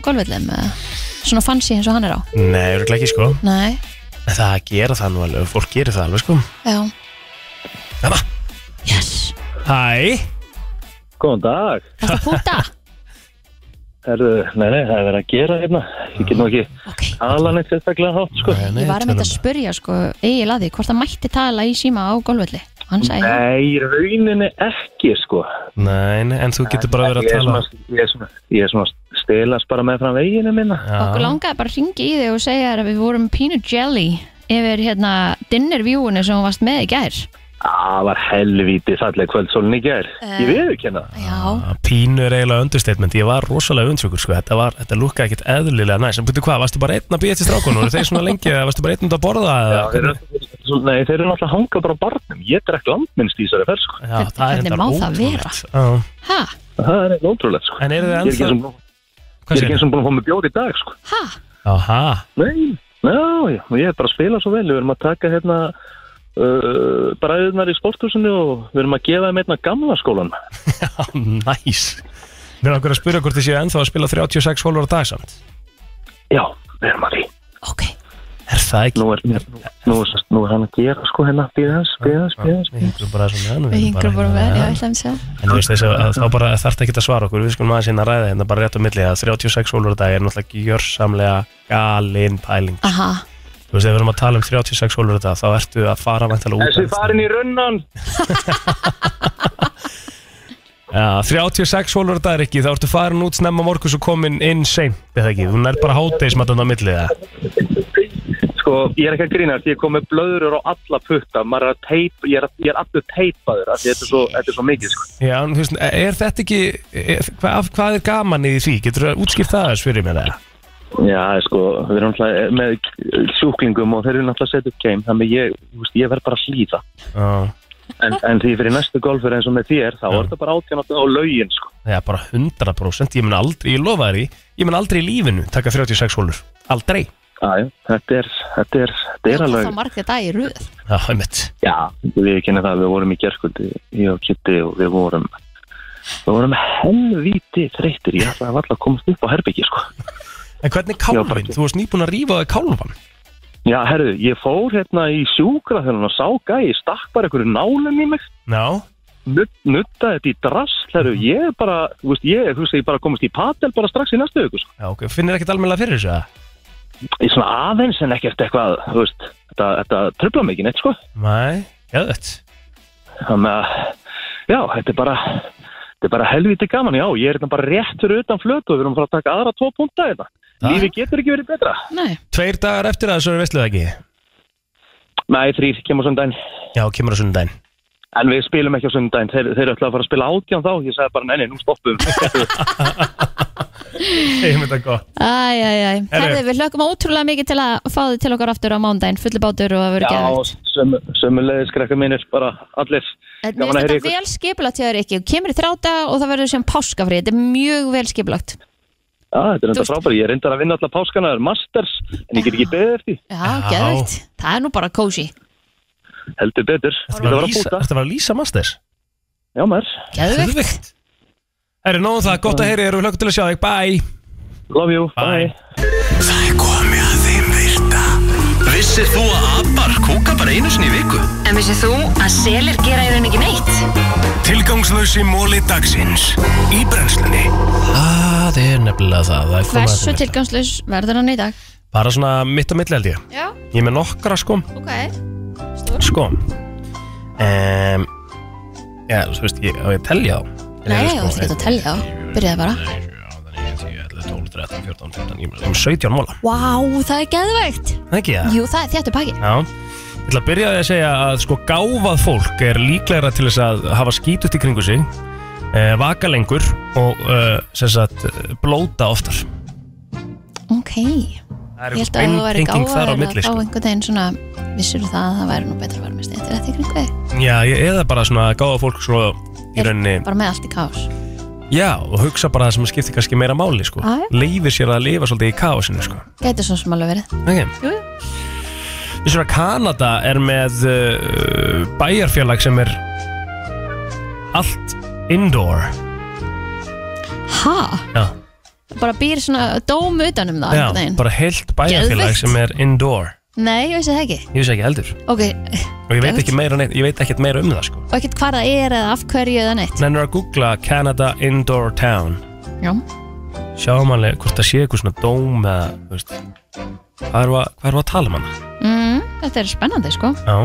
Speaker 3: gólvöllin með svona fancy eins og hann er á
Speaker 2: Nei, eru ekki sko
Speaker 3: Nei,
Speaker 2: En það gera það nú alveg, fólk gerir það alveg sko
Speaker 3: já,
Speaker 2: Hæ
Speaker 11: Góðan dag
Speaker 3: þetta er púta
Speaker 11: Herðu, nei, nei, það er verið að gera hérna Ég get nú ekki
Speaker 3: okay.
Speaker 11: tala neitt sérstaklega hátt, sko
Speaker 3: Ég var að mynda að spurja sko, Egil að því hvort hann mætti tala í síma á gólvölli Hann sagði já.
Speaker 11: Nei, í rauninni ekki, sko
Speaker 2: Nei, nei, en þú getur bara verið
Speaker 11: Ég
Speaker 2: að
Speaker 11: er
Speaker 2: tala
Speaker 11: svona- Ég er svona, ég er svona að stelast bara með fram veginu minna
Speaker 3: Okkur langaði bara að ringi í þig og segja þér að við vorum pínu jelly yfir hérna dinnervjúinu sem hún varst með í gær
Speaker 11: Það var helvíti falleg kvöldsólinn í gær
Speaker 2: Eh.
Speaker 11: Ég veður kenna
Speaker 3: Já
Speaker 2: Pínu er eiginlega understatement, ég var rosalega undsökur sko Þetta, var, þetta lúkkaði ekkert eðlilega næs En búttu hvað, varstu bara einn að býja til strákunum Þeir svona lengi, eða varstu bara einn út að borða eða,
Speaker 11: Já, þeir, eru- nei, þeir eru náttúrulega hangað bara á barnum Ég drekk landminnst í þessari ferð, sko
Speaker 2: Já, það er
Speaker 3: Hvernig
Speaker 2: reyndar
Speaker 3: má það vera?
Speaker 2: Já.
Speaker 3: Hæ?
Speaker 11: Það er ótrúlegt, sko
Speaker 2: En eru þið
Speaker 11: Ég er ekki eins og búinn- ég er
Speaker 2: ennþá-
Speaker 11: ekki eins og búin að fá mig bjóð í dag, sko
Speaker 3: Hæ?
Speaker 2: Aha.
Speaker 11: Nei, já, já, og ég er bara að spila svo vel Við erum að taka hérna uh, bræðunar í sporthúsinu og við erum að gefa þeim einna gamla skólan
Speaker 2: Næs Mér er okkur að spyrja hvort þið séu ennþá að spila 36 hólur á dag samt
Speaker 11: Já, við erum að því
Speaker 2: Er það ekki?
Speaker 11: Nú er, nú, nú, er, nú er hann að gera sko hérna Býða hans, býða hans, býða hans
Speaker 2: Við hingum bara svona hann
Speaker 3: Við hingur bara hérna- með, já, ég ætla að segja
Speaker 2: En þú veist þess að að þá bara þarf ekki að svara okkur Við skulum aðeins hérna ræða hérna bara rétt á milli að 36 hólur á dag er náttúrulega gjörsamlega galin pæling
Speaker 11: Ah.
Speaker 3: Aha,
Speaker 2: Þú veist, ef við erum að tala um 36 hólur á dag þá ertu að fara vantilega út
Speaker 11: Þessi farin í runnan
Speaker 2: Já, 36 hólur að dag er ekki, þá ertu farin út snemma morgus og komin inn seint, er það ekki? Þú nær bara hátegis matan á millið það.
Speaker 11: Sko, ég er ekki að grínast, ég kom með blöður á alla putta Maður er að teipa, ég er, að- ég er allur teipaður af því Þetta er svo, þetta er svo mikið sko
Speaker 2: Já, en þú veist, er þetta ekki, er, hvað, hvað er gaman í því? Getur þú að útskýrt það þess fyrir mér það?
Speaker 11: Já, sko, við erum náttúrulega með sjúklingum og þeir eru náttúrulega að setja upp game þannig að ég, þú veist, ég verð bara að hlýða
Speaker 2: Já,
Speaker 11: en, en því fyrir næstu golfur eins og með þér þá er það bara átján á laugin sko.
Speaker 2: það er bara 100%, ég mun aldrei, ég lofa þér í, ég mun aldrei í lífinu taka 36 hólur, aldrei.
Speaker 11: Aðjó, þetta er, þetta er, þetta er
Speaker 3: það
Speaker 11: alveg
Speaker 3: margir dag í röð
Speaker 2: Já, einmitt.
Speaker 11: Já, við kynna það, við vorum í gerskvöldi ég og Kitti og við vorum við vorum helvíti þreytir ég ætlaði varla að komast upp á herbyggi sko.
Speaker 2: En hvernig kálfinn? Þú varst nýbúin að rífa þig kálfann.
Speaker 11: Já, herru, ég fór hérna í sjúkra þegar hann sá gæi, stakk bara einhverju nálum í mig
Speaker 2: Já
Speaker 11: Nutta þetta í drass, herru, ég er bara þú veist, ég, þú veist, ég bara komast í patel bara strax í næstu viku, sko
Speaker 2: Já, ok, finnir ekkert almennilega fyrir þessu það?
Speaker 11: Í svona aðeins en ekkert eitthvað, þú veist þetta, þetta tröfla mikið neitt, sko
Speaker 2: Nei, geðvægt.
Speaker 11: Þannig að, já, þetta er bara þetta er bara helviti gaman, já, ég er hérna bara rétt fyrir utan flötu og við erum að fara að taka aðra tvo punta hérna. Lífi getur ekki verið betra.
Speaker 3: Nei.
Speaker 2: Tveir dagar eftir að þessu er veistluð ekki
Speaker 11: Nei, þrýr, kemur á sundaginn.
Speaker 2: Já, kemur á sundaginn.
Speaker 11: En við spilum ekki á sundaginn, þeir, þeir ætlaði að fara að spila átján þá, ég sagði bara, nei, nei, nú stoppum.
Speaker 2: Ég myndi að gott.
Speaker 3: Æj, æj, æj. Herðu, við hlökkum ótrúlega mikið til að fá þið til okkar aftur á mándaginn, fullu bátur og að vera geðvægt.
Speaker 11: Já, sömulegis krakka mínir, bara allir.
Speaker 3: En Mér finnst þetta vel skipulagt hjá þér ekki. Þú kemur í þráta og það verður sem páskafrið. Þetta er mjög vel skipulagt.
Speaker 11: Já, þetta er enda frábæri, ég er reyndar að vinna alla páskana, það er masters, en ég get ekki beðið eftir. því.
Speaker 3: Já, geðvægt. Það er nú bara kósi.
Speaker 11: Heldur betur. Þetta
Speaker 2: að
Speaker 11: var að
Speaker 2: lýsa-
Speaker 11: búta.
Speaker 2: Þetta var að lýsa masters.
Speaker 11: Já, maður.
Speaker 3: Geðvægt.
Speaker 2: Það er nóðum um það, gott að heyri, erum við hlökkum til að sjá þig, bye
Speaker 11: Love you, bye,
Speaker 1: Það er komið að þeim virta Vissir þú að abar kúka bara einu sinni í viku?
Speaker 14: En vissið þú að selir gera í rauninni ekki neitt?
Speaker 1: Tilgangslösi móli dagsins Í brennslunni
Speaker 2: Það er nefnilega það, það er komið að
Speaker 3: Hversu
Speaker 2: þeim.
Speaker 3: tilgangslaus verður hann í dag?
Speaker 2: Bara svona mitt á milli held ég
Speaker 3: Já,
Speaker 2: Ég er með nokkra sko
Speaker 3: ok.
Speaker 2: Sko um, Já, þú veist, ég, á ég að telja sko, þá
Speaker 3: Nei, þú ert ekki að telja þá. Byrjaði bara.
Speaker 2: 12, 13, 14, 15, ég er með 17 móla
Speaker 3: Vá, það er geðvægt.
Speaker 2: Það ekki það?
Speaker 3: Jú, það er þjættu pakki.
Speaker 2: Já Ég ætla að byrja á því að segja að sko gáfað fólk er líklegra til þess að hafa skítut í kringu sig eh, vaka lengur og eh, sem sagt eh, blóta oftar
Speaker 3: Ok.
Speaker 2: Það er
Speaker 3: Ég held að
Speaker 2: einhver
Speaker 3: þú væri
Speaker 2: beintenging þar á
Speaker 3: gáfaður
Speaker 2: milli,
Speaker 3: að þá
Speaker 2: sko.
Speaker 3: einhvern veginn svona vissur það að það væri nú betra að vera með stættir eftir kring þig.
Speaker 2: Já, ég, eða bara svona gáfað fólk svo í rauninni
Speaker 3: Bara með allt í kás.
Speaker 2: Já, og hugsa bara það sem skiptir kannski meira máli sko.
Speaker 3: Já, já.
Speaker 2: Leifir sér að lifa svolítið í kaosinu sko.
Speaker 3: Gæti svo sem alveg verið.
Speaker 2: okay.
Speaker 3: Jú,
Speaker 2: Við svona Kanada er með uh, bæjarfélag sem er allt indoor
Speaker 3: Hæ?
Speaker 2: Já,
Speaker 3: Bara býr svona dóm utanum það
Speaker 2: já
Speaker 3: einhvern veginn.
Speaker 2: bara heilt bæjarfélag
Speaker 3: Geðveikt.
Speaker 2: sem er indoor
Speaker 3: Nei, ég vissi það ekki
Speaker 2: Ég vissi ekki heldur
Speaker 3: Ok,
Speaker 2: Og ég veit ekki meira, neitt, ég veit ekkert meira um það sko.
Speaker 3: og ekkert hvað það er eða af hverju eða neitt
Speaker 2: Nennir að googla Canada Indoor Town
Speaker 3: Já,
Speaker 2: Sjáum alveg hvort það sé eitthvað svona dóm eða, þú veist Hvað erum við að- hvað erum við að tala um hana?
Speaker 3: mm, þetta er spennandi sko
Speaker 2: Já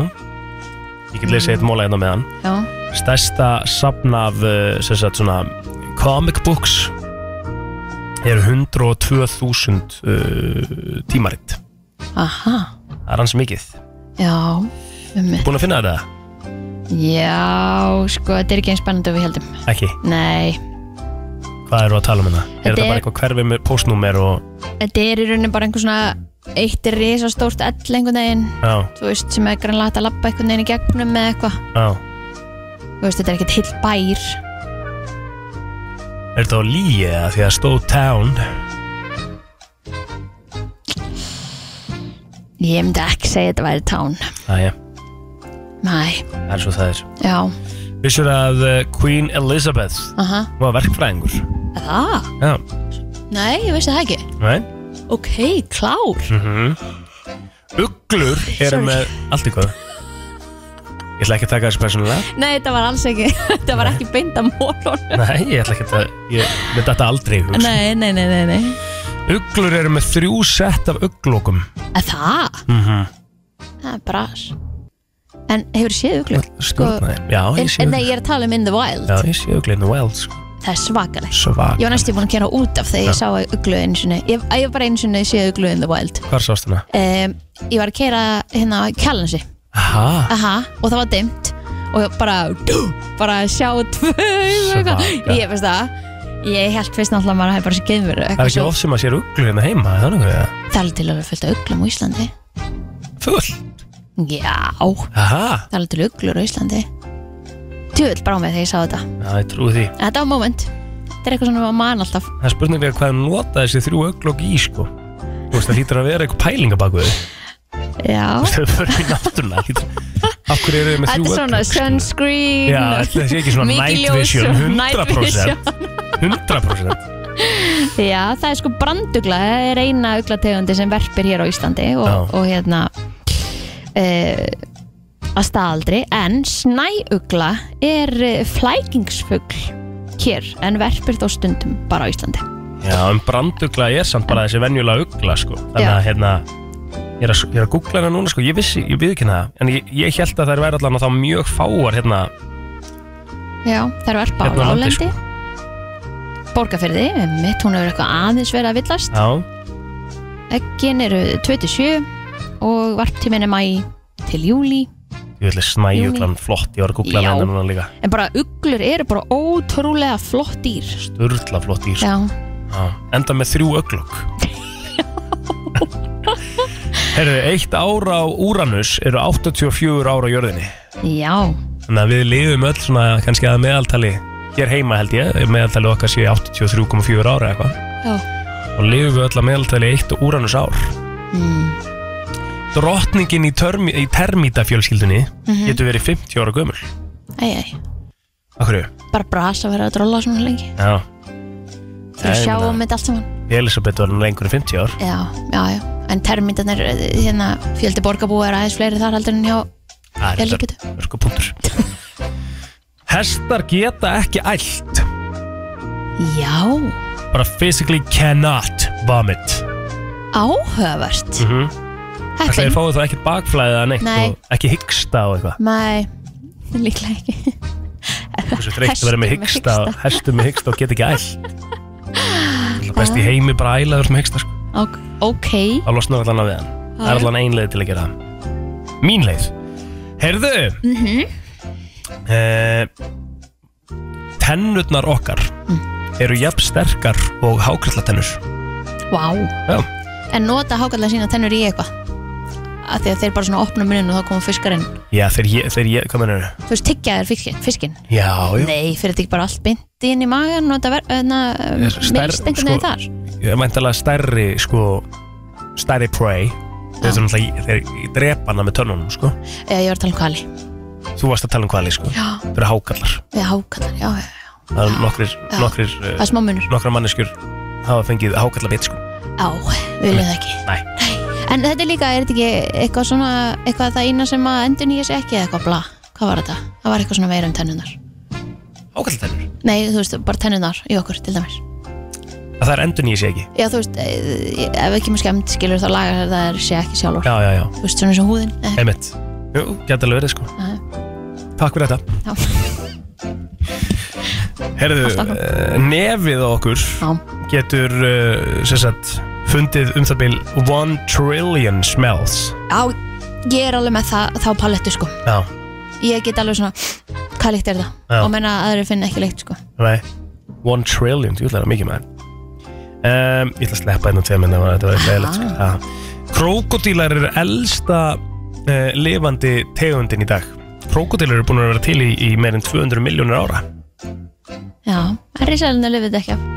Speaker 2: Ég get lesið eitt móla hérna með hann
Speaker 3: Já,
Speaker 2: Stærsta safn af uh, sem sagt, svona, comic books er 102.000 uh, tímaritt
Speaker 3: aha,
Speaker 2: Það er hans mikið
Speaker 3: já, um mig
Speaker 2: Búin að finna þetta?
Speaker 3: Já, sko, þetta er ekki eins spennandi og við heldum
Speaker 2: Ekki
Speaker 3: Nei,
Speaker 2: Hvað eru að tala um hérna?
Speaker 3: Þetta
Speaker 2: Er þetta
Speaker 3: er-
Speaker 2: bara eitthvað hverfið með postnúmer og
Speaker 3: þetta er í rauninni bara einhver svona eitt risastórt ell einhvern veginn
Speaker 2: Já,
Speaker 3: Þú veist, sem er grannlega hægt að labba einhvern veginn í gegnum með eitthvað
Speaker 2: já
Speaker 3: Þú veist, þetta er ekkert heill bær
Speaker 2: Er þetta á líi eða því að stóð town
Speaker 3: Ég myndi ekki segja þetta væri tán
Speaker 2: Æja,
Speaker 3: Nei,
Speaker 2: það er svo það er
Speaker 3: já,
Speaker 2: Vissur að uh, Queen Elizabeth
Speaker 3: aha,
Speaker 2: hún var verkfræðingur
Speaker 3: það
Speaker 2: Já,
Speaker 3: Nei, ég vissi það ekki
Speaker 2: nei
Speaker 3: Ok, klár
Speaker 2: mm Uglur eru með allt í hvað Ég ætla ekki að taka þessu persónulega
Speaker 3: Nei, þetta var alls ekki Þetta var ekki beint að mólun
Speaker 2: Nei, ég ætla ekki að Ég veit þetta aldrei hugsa.
Speaker 3: Nei, nei, nei, nei, nei.
Speaker 2: Uglur eru með þrjú sett af uglokum
Speaker 3: Að Það?
Speaker 2: mm -hmm.
Speaker 3: Það er bras En hefur séð uglur?
Speaker 2: Já, ég
Speaker 3: En-
Speaker 2: sé
Speaker 3: en Nei,
Speaker 2: uglur
Speaker 3: ég er að tala um in the wild
Speaker 2: Já, ég sé uglur in the wild sko.
Speaker 3: Það er svakalegt
Speaker 2: Svak
Speaker 3: Ég var næstu búin að gera út af þegar ég
Speaker 2: Já.
Speaker 3: sá uglu einu sinni Ég ég var bara einu sinni að séð uglu in the wild
Speaker 2: Hvar sást hana?
Speaker 3: um, Ég var að kera hérna á Kjallansi
Speaker 2: Aha
Speaker 3: Aha, og það var dimmt Og ég bara, dú, bara að sjá tvö augu eitthvað.
Speaker 2: Svaka.
Speaker 3: Ég veist það Ég held fyrst náttúrulega að maður hefði bara sér geimur
Speaker 2: Það er ekki oft sem að sér uglur hérna heima er Það er einhverja
Speaker 3: Það er til að vera fullt af uglum á Íslandi
Speaker 2: Full?
Speaker 3: Já
Speaker 2: Aha
Speaker 3: Það er alveg til uglur á Íslandi Tjöfull brá mig þegar ég sá þetta
Speaker 2: Já, ég trúi því
Speaker 3: Þetta var moment Þetta er eitthvað svona maður man alltaf
Speaker 2: Það er spurning við hvað hann nota þessi þrjú uglok í sko Þú veist, það hlýtur að vera eitthvað pælinga baku þau
Speaker 3: Já
Speaker 2: Þú veist, það er bara í náttúruna hlýtur- Af hverju eru þau með
Speaker 3: Þetta
Speaker 2: þrjú
Speaker 3: er svona
Speaker 2: uglok?
Speaker 3: sunscreen
Speaker 2: Já, þetta sé ekki svona
Speaker 3: mikið
Speaker 2: night
Speaker 3: ljós
Speaker 2: vision,
Speaker 3: og
Speaker 2: 100% 100%
Speaker 3: vision. Já, það er sko brandugla Það er eina uglategundi sem verpir hér á Íslandi og,
Speaker 2: Já.
Speaker 3: og hérna uh, að staðaldri en snæugla er eh, flækingsfugl hér en verpir þó stundum bara á Íslandi
Speaker 2: Já, en brandugla er samt bara þessi venjulega ugla sko. Þannig að
Speaker 3: Já.
Speaker 2: hérna Ég er að, ég er að googla hérna núna sko. Ég vissi, ég við ekki það En ég, ég held að þær væri allan að þá mjög fáar hérna
Speaker 3: Já, það eru verpa á
Speaker 2: Hérna á landi,
Speaker 3: lálendi
Speaker 2: sko.
Speaker 3: borgarferði mitt hún hefur eitthvað aðeins verið að villast
Speaker 2: Já,
Speaker 3: Eggin eru 27 og varptíminn er mæ til júli
Speaker 2: ég vil snæjuglan flott, ég var að googla
Speaker 3: Já.
Speaker 2: hana núna líka
Speaker 3: en bara uglur eru bara ótrúlega flott dýr
Speaker 2: Urla flott dýr
Speaker 3: Já,
Speaker 2: Já. Enda með þrjú öglokk Herðu, eitt ár á Úranus eru 84 ár á jörðinni
Speaker 3: já,
Speaker 2: Þannig að við lifum öll svona kannski að meðaltali Hér heima held ég, meðaltali okkar sé 83,4 ára eitthvað
Speaker 3: já.
Speaker 2: Og lifum við öll að meðaltali eitt Úranus ár
Speaker 3: Mm.
Speaker 2: Drottningin í, törmi, í termítafjölskyldunni
Speaker 3: Mhm.
Speaker 2: getur verið 50 ára gömul
Speaker 3: Æ, æ,
Speaker 2: Akkurju?
Speaker 3: bara bras að vera að drolla svona lengi
Speaker 2: Já
Speaker 3: Þú
Speaker 2: Ég
Speaker 3: sjá
Speaker 2: meina,
Speaker 3: um þetta allt saman
Speaker 2: Elisabeth var nú lengur en 50 ár
Speaker 3: Já, já, já, en termítanir hérna, fjöldi borgarbúi er aðeins fleiri þar heldur en hjá
Speaker 2: Það er
Speaker 3: Elísabetu.
Speaker 2: þetta örku punktur Hestar geta ekki ælt
Speaker 3: Já,
Speaker 2: Bara physically cannot vomit
Speaker 3: áhöfast
Speaker 2: mm -hmm.
Speaker 3: Heppin.
Speaker 2: Þeir fáið þá ekkert bakflæðið eða neitt
Speaker 3: Nei.
Speaker 2: og ekki hyggsta og eitthvað
Speaker 3: Nei, líklega ekki
Speaker 2: Þessu þreytt að vera
Speaker 3: Hestur
Speaker 2: með
Speaker 3: með
Speaker 2: hyggsta
Speaker 3: hiksta.
Speaker 2: Hestur með hyggsta og geta ekki ælt Það er best í heimi bara að ælaður með hyggsta sko.
Speaker 3: Ok, ok.
Speaker 2: Það losnar allan að við hann Það er
Speaker 3: Já.
Speaker 2: allan ein leið til að gera það Mín leið Heyrðu
Speaker 3: Mhm.
Speaker 2: uh, Tennurnar okkar eru jafn sterkar og hákrislatennur
Speaker 3: Vá
Speaker 2: Já,
Speaker 3: En nota hákallega sína tennur í eitthvað af því að þeir bara svona opna munnin og þá koma fiskarinn
Speaker 2: já þeir ég, þeir ég, hvað mennur
Speaker 3: þú veist, tyggja þér fiskin, fiskin.
Speaker 2: Já, já
Speaker 3: nei, fyrir þetta ekki bara allt bynd inn í magan og þetta verður
Speaker 2: Ég er svo stærri,
Speaker 3: hérna, minnst einhvern veginn
Speaker 2: sko.
Speaker 3: þar
Speaker 2: Ég er væntalega stærri, sko Stærri prey Þeir eru náttúrulega, þeir drepa hana með tönnunum, sko
Speaker 3: Já, ég var að tala um hvali
Speaker 2: Þú varst að tala um hvali, sko
Speaker 3: Já.
Speaker 2: Þeir eru hákallar
Speaker 3: Já, hákallar, já, já, já.
Speaker 2: Það eru nokkrir,
Speaker 3: Já.
Speaker 2: nokkrir
Speaker 3: Það er smá munur.
Speaker 2: Nokkra manneskjur hafa fengið hákallabit, sko
Speaker 3: á, við viljum það ekki
Speaker 2: Nei.
Speaker 3: En þetta er líka, er þetta ekki eitthvað svona eitthvað það eina sem að endur nýja sig ekki eða eitthvað bla, hvað var þetta? Það var eitthvað svona veira um tennunar
Speaker 2: Hákallatennur?
Speaker 3: Nei, þú veist, bara tennunar í okkur, til dæmis
Speaker 2: Að það er endur nýja sér ekki
Speaker 3: Já, þú veist, eh, ef ekki með skemmt skilur þá lagar það er sé ekki sjálfur
Speaker 2: Já, já, já
Speaker 3: Þú veist, svona eins og húðin eh,
Speaker 2: Einmitt Jú, geta alveg verið, sko
Speaker 3: Nei.
Speaker 2: Takk fyrir þetta
Speaker 3: Já.
Speaker 2: Herðu,
Speaker 3: Alltaf.
Speaker 2: uh, nefið á okkur
Speaker 3: Já.
Speaker 2: getur uh, sem sagt fundið um það bil 1 trillion smells
Speaker 3: Já, ég er alveg með það, þá palettu sko
Speaker 2: Já,
Speaker 3: Ég get alveg svona, hvað líkt er það?
Speaker 2: Já.
Speaker 3: Og menna að aðri finna ekki líkt sko
Speaker 2: nei 1 trillion, þú ætlaði mikið með um, Ég ætla að sleppa einn og tveim en það var þetta var eitthvað eðlert sko. Já. Krókódílar eru elsta uh, lifandi tegundin í dag Krókódílar eru búin að vera til í, í meirinn 200 miljónir ára
Speaker 3: Já, en risalina lifið þetta ekki af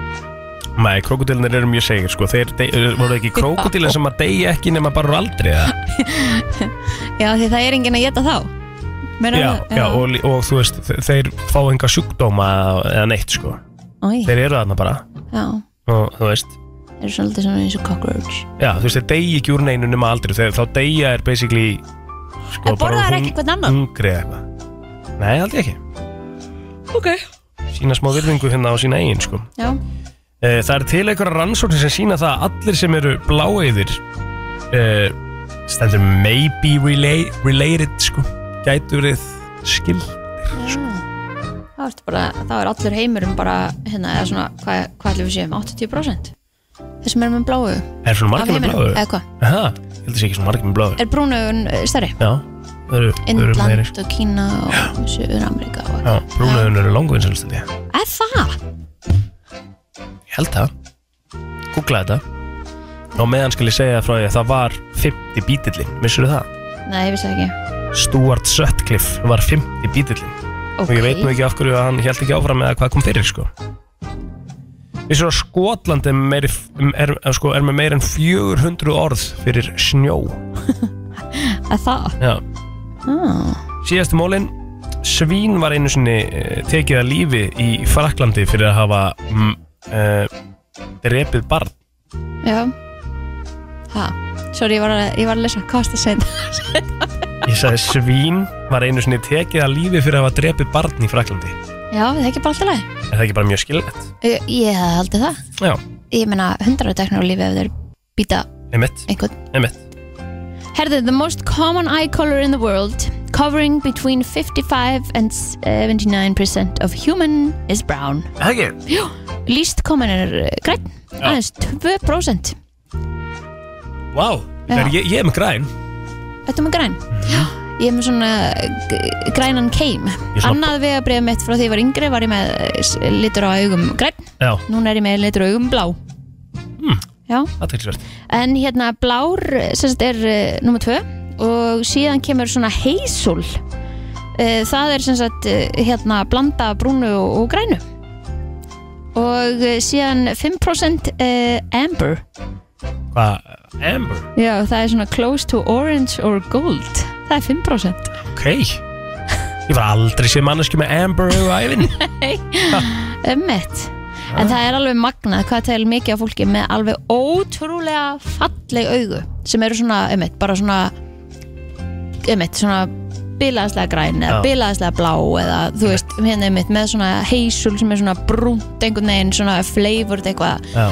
Speaker 2: Nei, krokodilnir eru mjög segir sko Þeir dey- eh, voru ekki krokodilin sem að deyja ekki nema bara úr aldrei eða?
Speaker 3: Já, því það er enginn að geta þá Meira
Speaker 2: já,
Speaker 3: alveg-
Speaker 2: já, og, lí- og þú veist þe- Þeir fá enga sjúkdóma eða- eða neitt sko
Speaker 3: Oj.
Speaker 2: Þeir eru þarna bara
Speaker 3: Já,
Speaker 2: og þú veist
Speaker 3: þeir eru svolítið svona eins og cockroach
Speaker 2: Já, þú veist, þeir deyja ekki úr neinu nema aldrei Þegar þá deyja er basically sko,
Speaker 3: En borða
Speaker 2: bara
Speaker 3: þær
Speaker 2: hung-
Speaker 3: ekki hvern annan?
Speaker 2: Hungri eða eitthvað Nei, aldrei ekki
Speaker 3: Ok
Speaker 2: Sína smá virðingu hérna á sína eigin sko
Speaker 3: Já,
Speaker 2: Eh, Það er til einhverja rannsóknir sem sína það að allir sem eru bláeyðir uh, stendur maybe relate, related sko, gætu verið skil sko.
Speaker 3: Mm. þá ertu bara, þá er allur heimurum bara hérna, eða svona, hvað, hvað ætlum við um séum 80% þeir sem eru með bláu
Speaker 2: Er
Speaker 3: Af
Speaker 2: svona margir með
Speaker 3: heiminum,
Speaker 2: bláu?
Speaker 3: eða hvað?
Speaker 2: Aha, ég held að sé ekki svona margir með bláu
Speaker 3: er brúnaugun eh, stærri
Speaker 2: Já, það eru, það eru meiri
Speaker 3: Indland og Kína og Suður Amerika og...
Speaker 2: Já, brúnaðun eru langvinnselst þetta
Speaker 3: er það?
Speaker 2: Ég held það Googla þetta Og á meðan skal ég segja frá því að það var 50 bítillinn, vissur það?
Speaker 3: Nei, ég vissi það ekki
Speaker 2: Stuart Sutcliffe var 50 bítillinn og ég
Speaker 3: Ok.
Speaker 2: veit nú ekki af hverju að hann held ekki áfram með hvað kom fyrir sko Við séum að Skotland er, meiri, er, er, sko, er með meir en 400 orð fyrir snjó
Speaker 3: er það?
Speaker 2: Já.
Speaker 3: Ah.
Speaker 2: Síðastu mólin Svín var einu sinni eh, tekið að lífi í Fraklandi fyrir að hafa mm, uh, drepið barn
Speaker 3: Já ha. Sorry, ég var, að, ég var að lesa hvað varst að segja
Speaker 2: Ég sagði svín var einu sinni tekið að lífi fyrir að hafa drepið barn í Fraklandi
Speaker 3: Já, það er ekki bara alltaf leið
Speaker 2: Er það ekki bara mjög skilvægt?
Speaker 3: Ég, ég hefði haldið það
Speaker 2: Já,
Speaker 3: Ég meina, hundra teknar á lífi ef þeir býta
Speaker 2: einmitt
Speaker 3: einhvern
Speaker 2: Einmitt
Speaker 3: Herðu, the most common eye color in the world Covering between 55 and 79% of human is brown
Speaker 2: Ekki?
Speaker 3: Jú, líst komin er eh, grænn
Speaker 2: Já.
Speaker 3: aðeins 2%
Speaker 2: Vá, þetta er- ég, ég er með græn
Speaker 3: Þetta er með græn
Speaker 2: Mhm.
Speaker 3: Já, ég er með svona g- grænan keim
Speaker 2: Ég svona-
Speaker 3: Annað vegabrið mitt frá því ég var yngri var ég með eh, s- litur á augum grænn
Speaker 2: Já,
Speaker 3: Núna er ég með litur á augum blá
Speaker 2: Hmm.
Speaker 3: Já
Speaker 2: aðtilsvært
Speaker 3: En hérna blár sérst er uh, nummer tvö og síðan kemur svona heisul uh, það er sérst uh, hérna blanda af brúnu og, og grænu og uh, síðan 5% uh, amber
Speaker 2: Hvað, Amber?
Speaker 3: já það er svona close to orange or gold það er 5%
Speaker 2: Ok Ég var aldrei séð mannesku með Amber og ævin
Speaker 3: ömmett en það er alveg magnað hvað til mikið af fólki með alveg ótrúlega falleg augu sem eru svona ömmett bara svona ömmett svona bilaðslega græn eða
Speaker 5: Já.
Speaker 3: bilaðslega blá eða þú veist hérna einmitt með svona heisul sem er svona brúnt einhvern veginn svona flavored eitthvað
Speaker 2: Já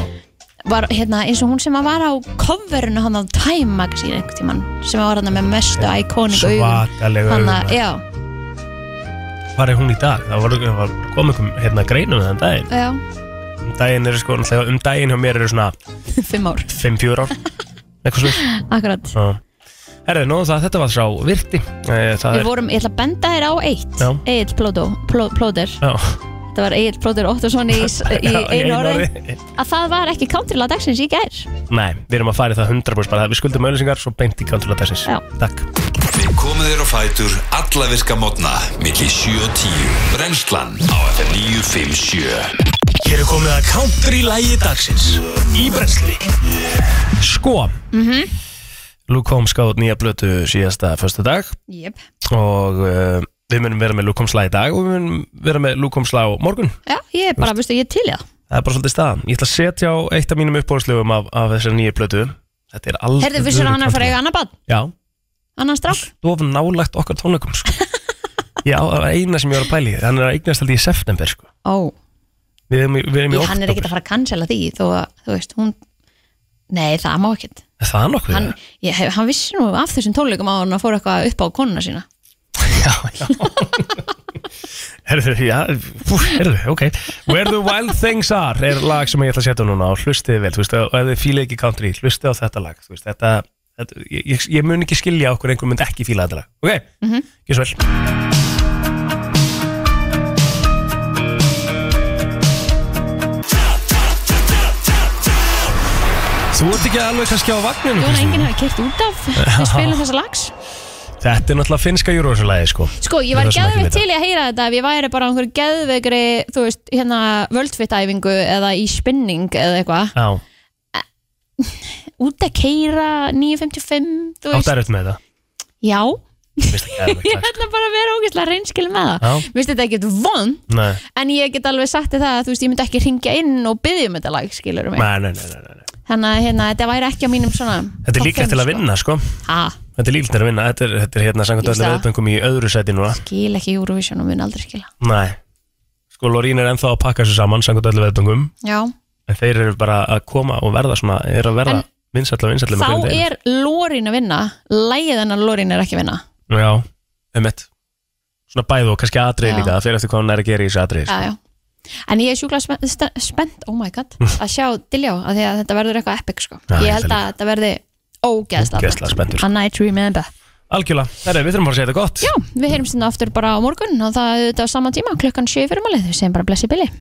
Speaker 3: var hérna eins og hún sem að var á coverinu hann á Time Magazine einhvern tíman sem var hann með mestu íkónik
Speaker 2: Svakaleg augu, maður.
Speaker 3: já,
Speaker 2: Hvar er hún í dag? Það var, var komið einhver hérna greinum þann daginn
Speaker 3: já,
Speaker 2: Um daginn eru sko, náttúrulega um daginn hjá mér eru svona
Speaker 3: fimm ár
Speaker 2: 5-4 ár Eitthvað svo
Speaker 3: akkurat
Speaker 2: Herði, nú það, þetta var sá virti Eh, Það
Speaker 3: Við vorum, ég ætla að benda þér á eitt
Speaker 2: Já.
Speaker 3: Egil Plótó, Pló- Plóter
Speaker 2: Já.
Speaker 3: Þetta var Egil Plóter Óttarsson í, í
Speaker 2: Já, í
Speaker 3: einu
Speaker 2: einu
Speaker 3: orði
Speaker 2: orði.
Speaker 3: Að það var ekki countrylag dagsins í gær
Speaker 2: Nei, við erum að fara í það 100% bara, Við skuldum auðlýsingar svo beint í kantúlega þessins
Speaker 3: Já.
Speaker 2: Takk
Speaker 15: Við komum þér á fætur alla virka mótna millir 7 og 10 Brennslan á FM 957
Speaker 2: Hér er komið að country lægi dagsins Í brensli Sko
Speaker 3: mm -hmm.
Speaker 2: Luke Holmes gáði út nýja blötu síðasta Föstu dag
Speaker 3: Jep,
Speaker 2: Og uh, við munum vera með Luke Holmes lag í dag Og við munum vera með Luke Holmes lag á morgun
Speaker 3: já, ég er bara, veistu, ég er til í það
Speaker 2: Það er bara svolítið staðan Ég ætla að setja á eitt af mínum uppbóðslöfum af, af þessari nýju blötu Þetta er alveg
Speaker 3: Herðu, vissir hann er að fara að eiga annar bad,
Speaker 2: Já,
Speaker 3: annan strák
Speaker 2: stof nálægt okkar tónleikum sko. Já, það var eina sem ég var að pæli Hann er að eignast held ég í september sko.
Speaker 3: Ó,
Speaker 2: Við erum, í- við erum í
Speaker 3: ég, hann er
Speaker 2: október.
Speaker 3: ekkert að fara að cancela því Þó að, þú veist, hún Nei, það má ekkert
Speaker 2: Er Það nokkuð
Speaker 3: hann, ég, hann vissi nú af þessum tónleikum á hann að fóra eitthvað upp á konuna sína
Speaker 2: Herðu, já, fú, herðu, ok Where the Wild Things Are er lag sem ég ætla að setja núna og hlustið vel, þú veist, og ef þið fílið ekki country hlustið á þetta lag, þú veist, þetta, þetta ég, ég- ég mun ekki skilja okkur einhver mynd ekki fíla þetta lag, ok? Mm
Speaker 3: Mhm.
Speaker 2: -hmm. Gjör svo vel Þú ert ekki alveg kannski á vagninu
Speaker 3: Jón,
Speaker 2: Kristín.
Speaker 3: enginn hefur kert út af Við spilum þessa lags
Speaker 2: Þetta er náttúrulega finska júruvísulagi, sko
Speaker 3: Sko, ég var
Speaker 2: Það er það sem ekki
Speaker 3: geðveikt
Speaker 2: vita.
Speaker 3: til í að heyra þetta ef ég væri bara á einhverju geðveikri, þú veist, hérna völdfittæfingu eða í spinning eða eitthvað.
Speaker 2: Já,
Speaker 3: Út að keira 9.55, þú
Speaker 2: átt
Speaker 3: veist.
Speaker 2: erut með það
Speaker 3: Já.
Speaker 2: Mér finnst það geðveikt,
Speaker 3: ég ætla bara að vera ógeðslega reynskil með það.
Speaker 2: Já.
Speaker 3: Mér finnst þetta ekkert von,
Speaker 2: Nei,
Speaker 3: en ég get alveg sagt þér það að þú veist, ég myndi ekki ringja inn og byggja um þetta lag, skilur mig.
Speaker 2: nei, nei, nei, nei, nei.
Speaker 3: Þannig að hérna, þetta væri ekki á mínum svona...
Speaker 2: Þetta er líklegt til að vinna, sko
Speaker 3: Ha,
Speaker 2: Þetta er líklegt til að vinna, þetta er, þetta er hérna samkvæmt
Speaker 3: Ég veist
Speaker 2: öllu
Speaker 3: það.
Speaker 2: veðböngum í öðru sæti núna
Speaker 3: gil ekki Eurovision og mun aldrei skila.
Speaker 2: Nei, sko Lorín er ennþá að pakka sér saman samkvæmt öllu veðböngum
Speaker 3: Já.
Speaker 2: En þeir eru bara að koma og verða svona, er að verða
Speaker 3: En
Speaker 2: vinsætla vinsætla
Speaker 3: Þá er Lorin að vinna, lægið hennar Lorin er ekki að vinna.
Speaker 2: Já, um Svona bæðu og kannski atriði
Speaker 3: Já.
Speaker 2: líka, það fyrir eftir hvað hann er að gera í þessu atriði sko.
Speaker 3: já, já. En ég er sjúkla spennt, oh my god, að sjá Diljá að því að þetta verður eitthvað epic sko.
Speaker 2: Já,
Speaker 3: ég
Speaker 2: ég
Speaker 3: held
Speaker 2: líka.
Speaker 3: að þetta verði ógeðsla.
Speaker 2: Ógeðslega spenntur. sko.
Speaker 3: A night to remember.
Speaker 2: Algjörlega, herri, við þurfum bara að segja þetta gott
Speaker 3: hérna Já, við heyrum sinna aftur bara á morgun og það er þetta á sama tíma, klukkan 7 fyrir málið, við segjum bara blessi Billy.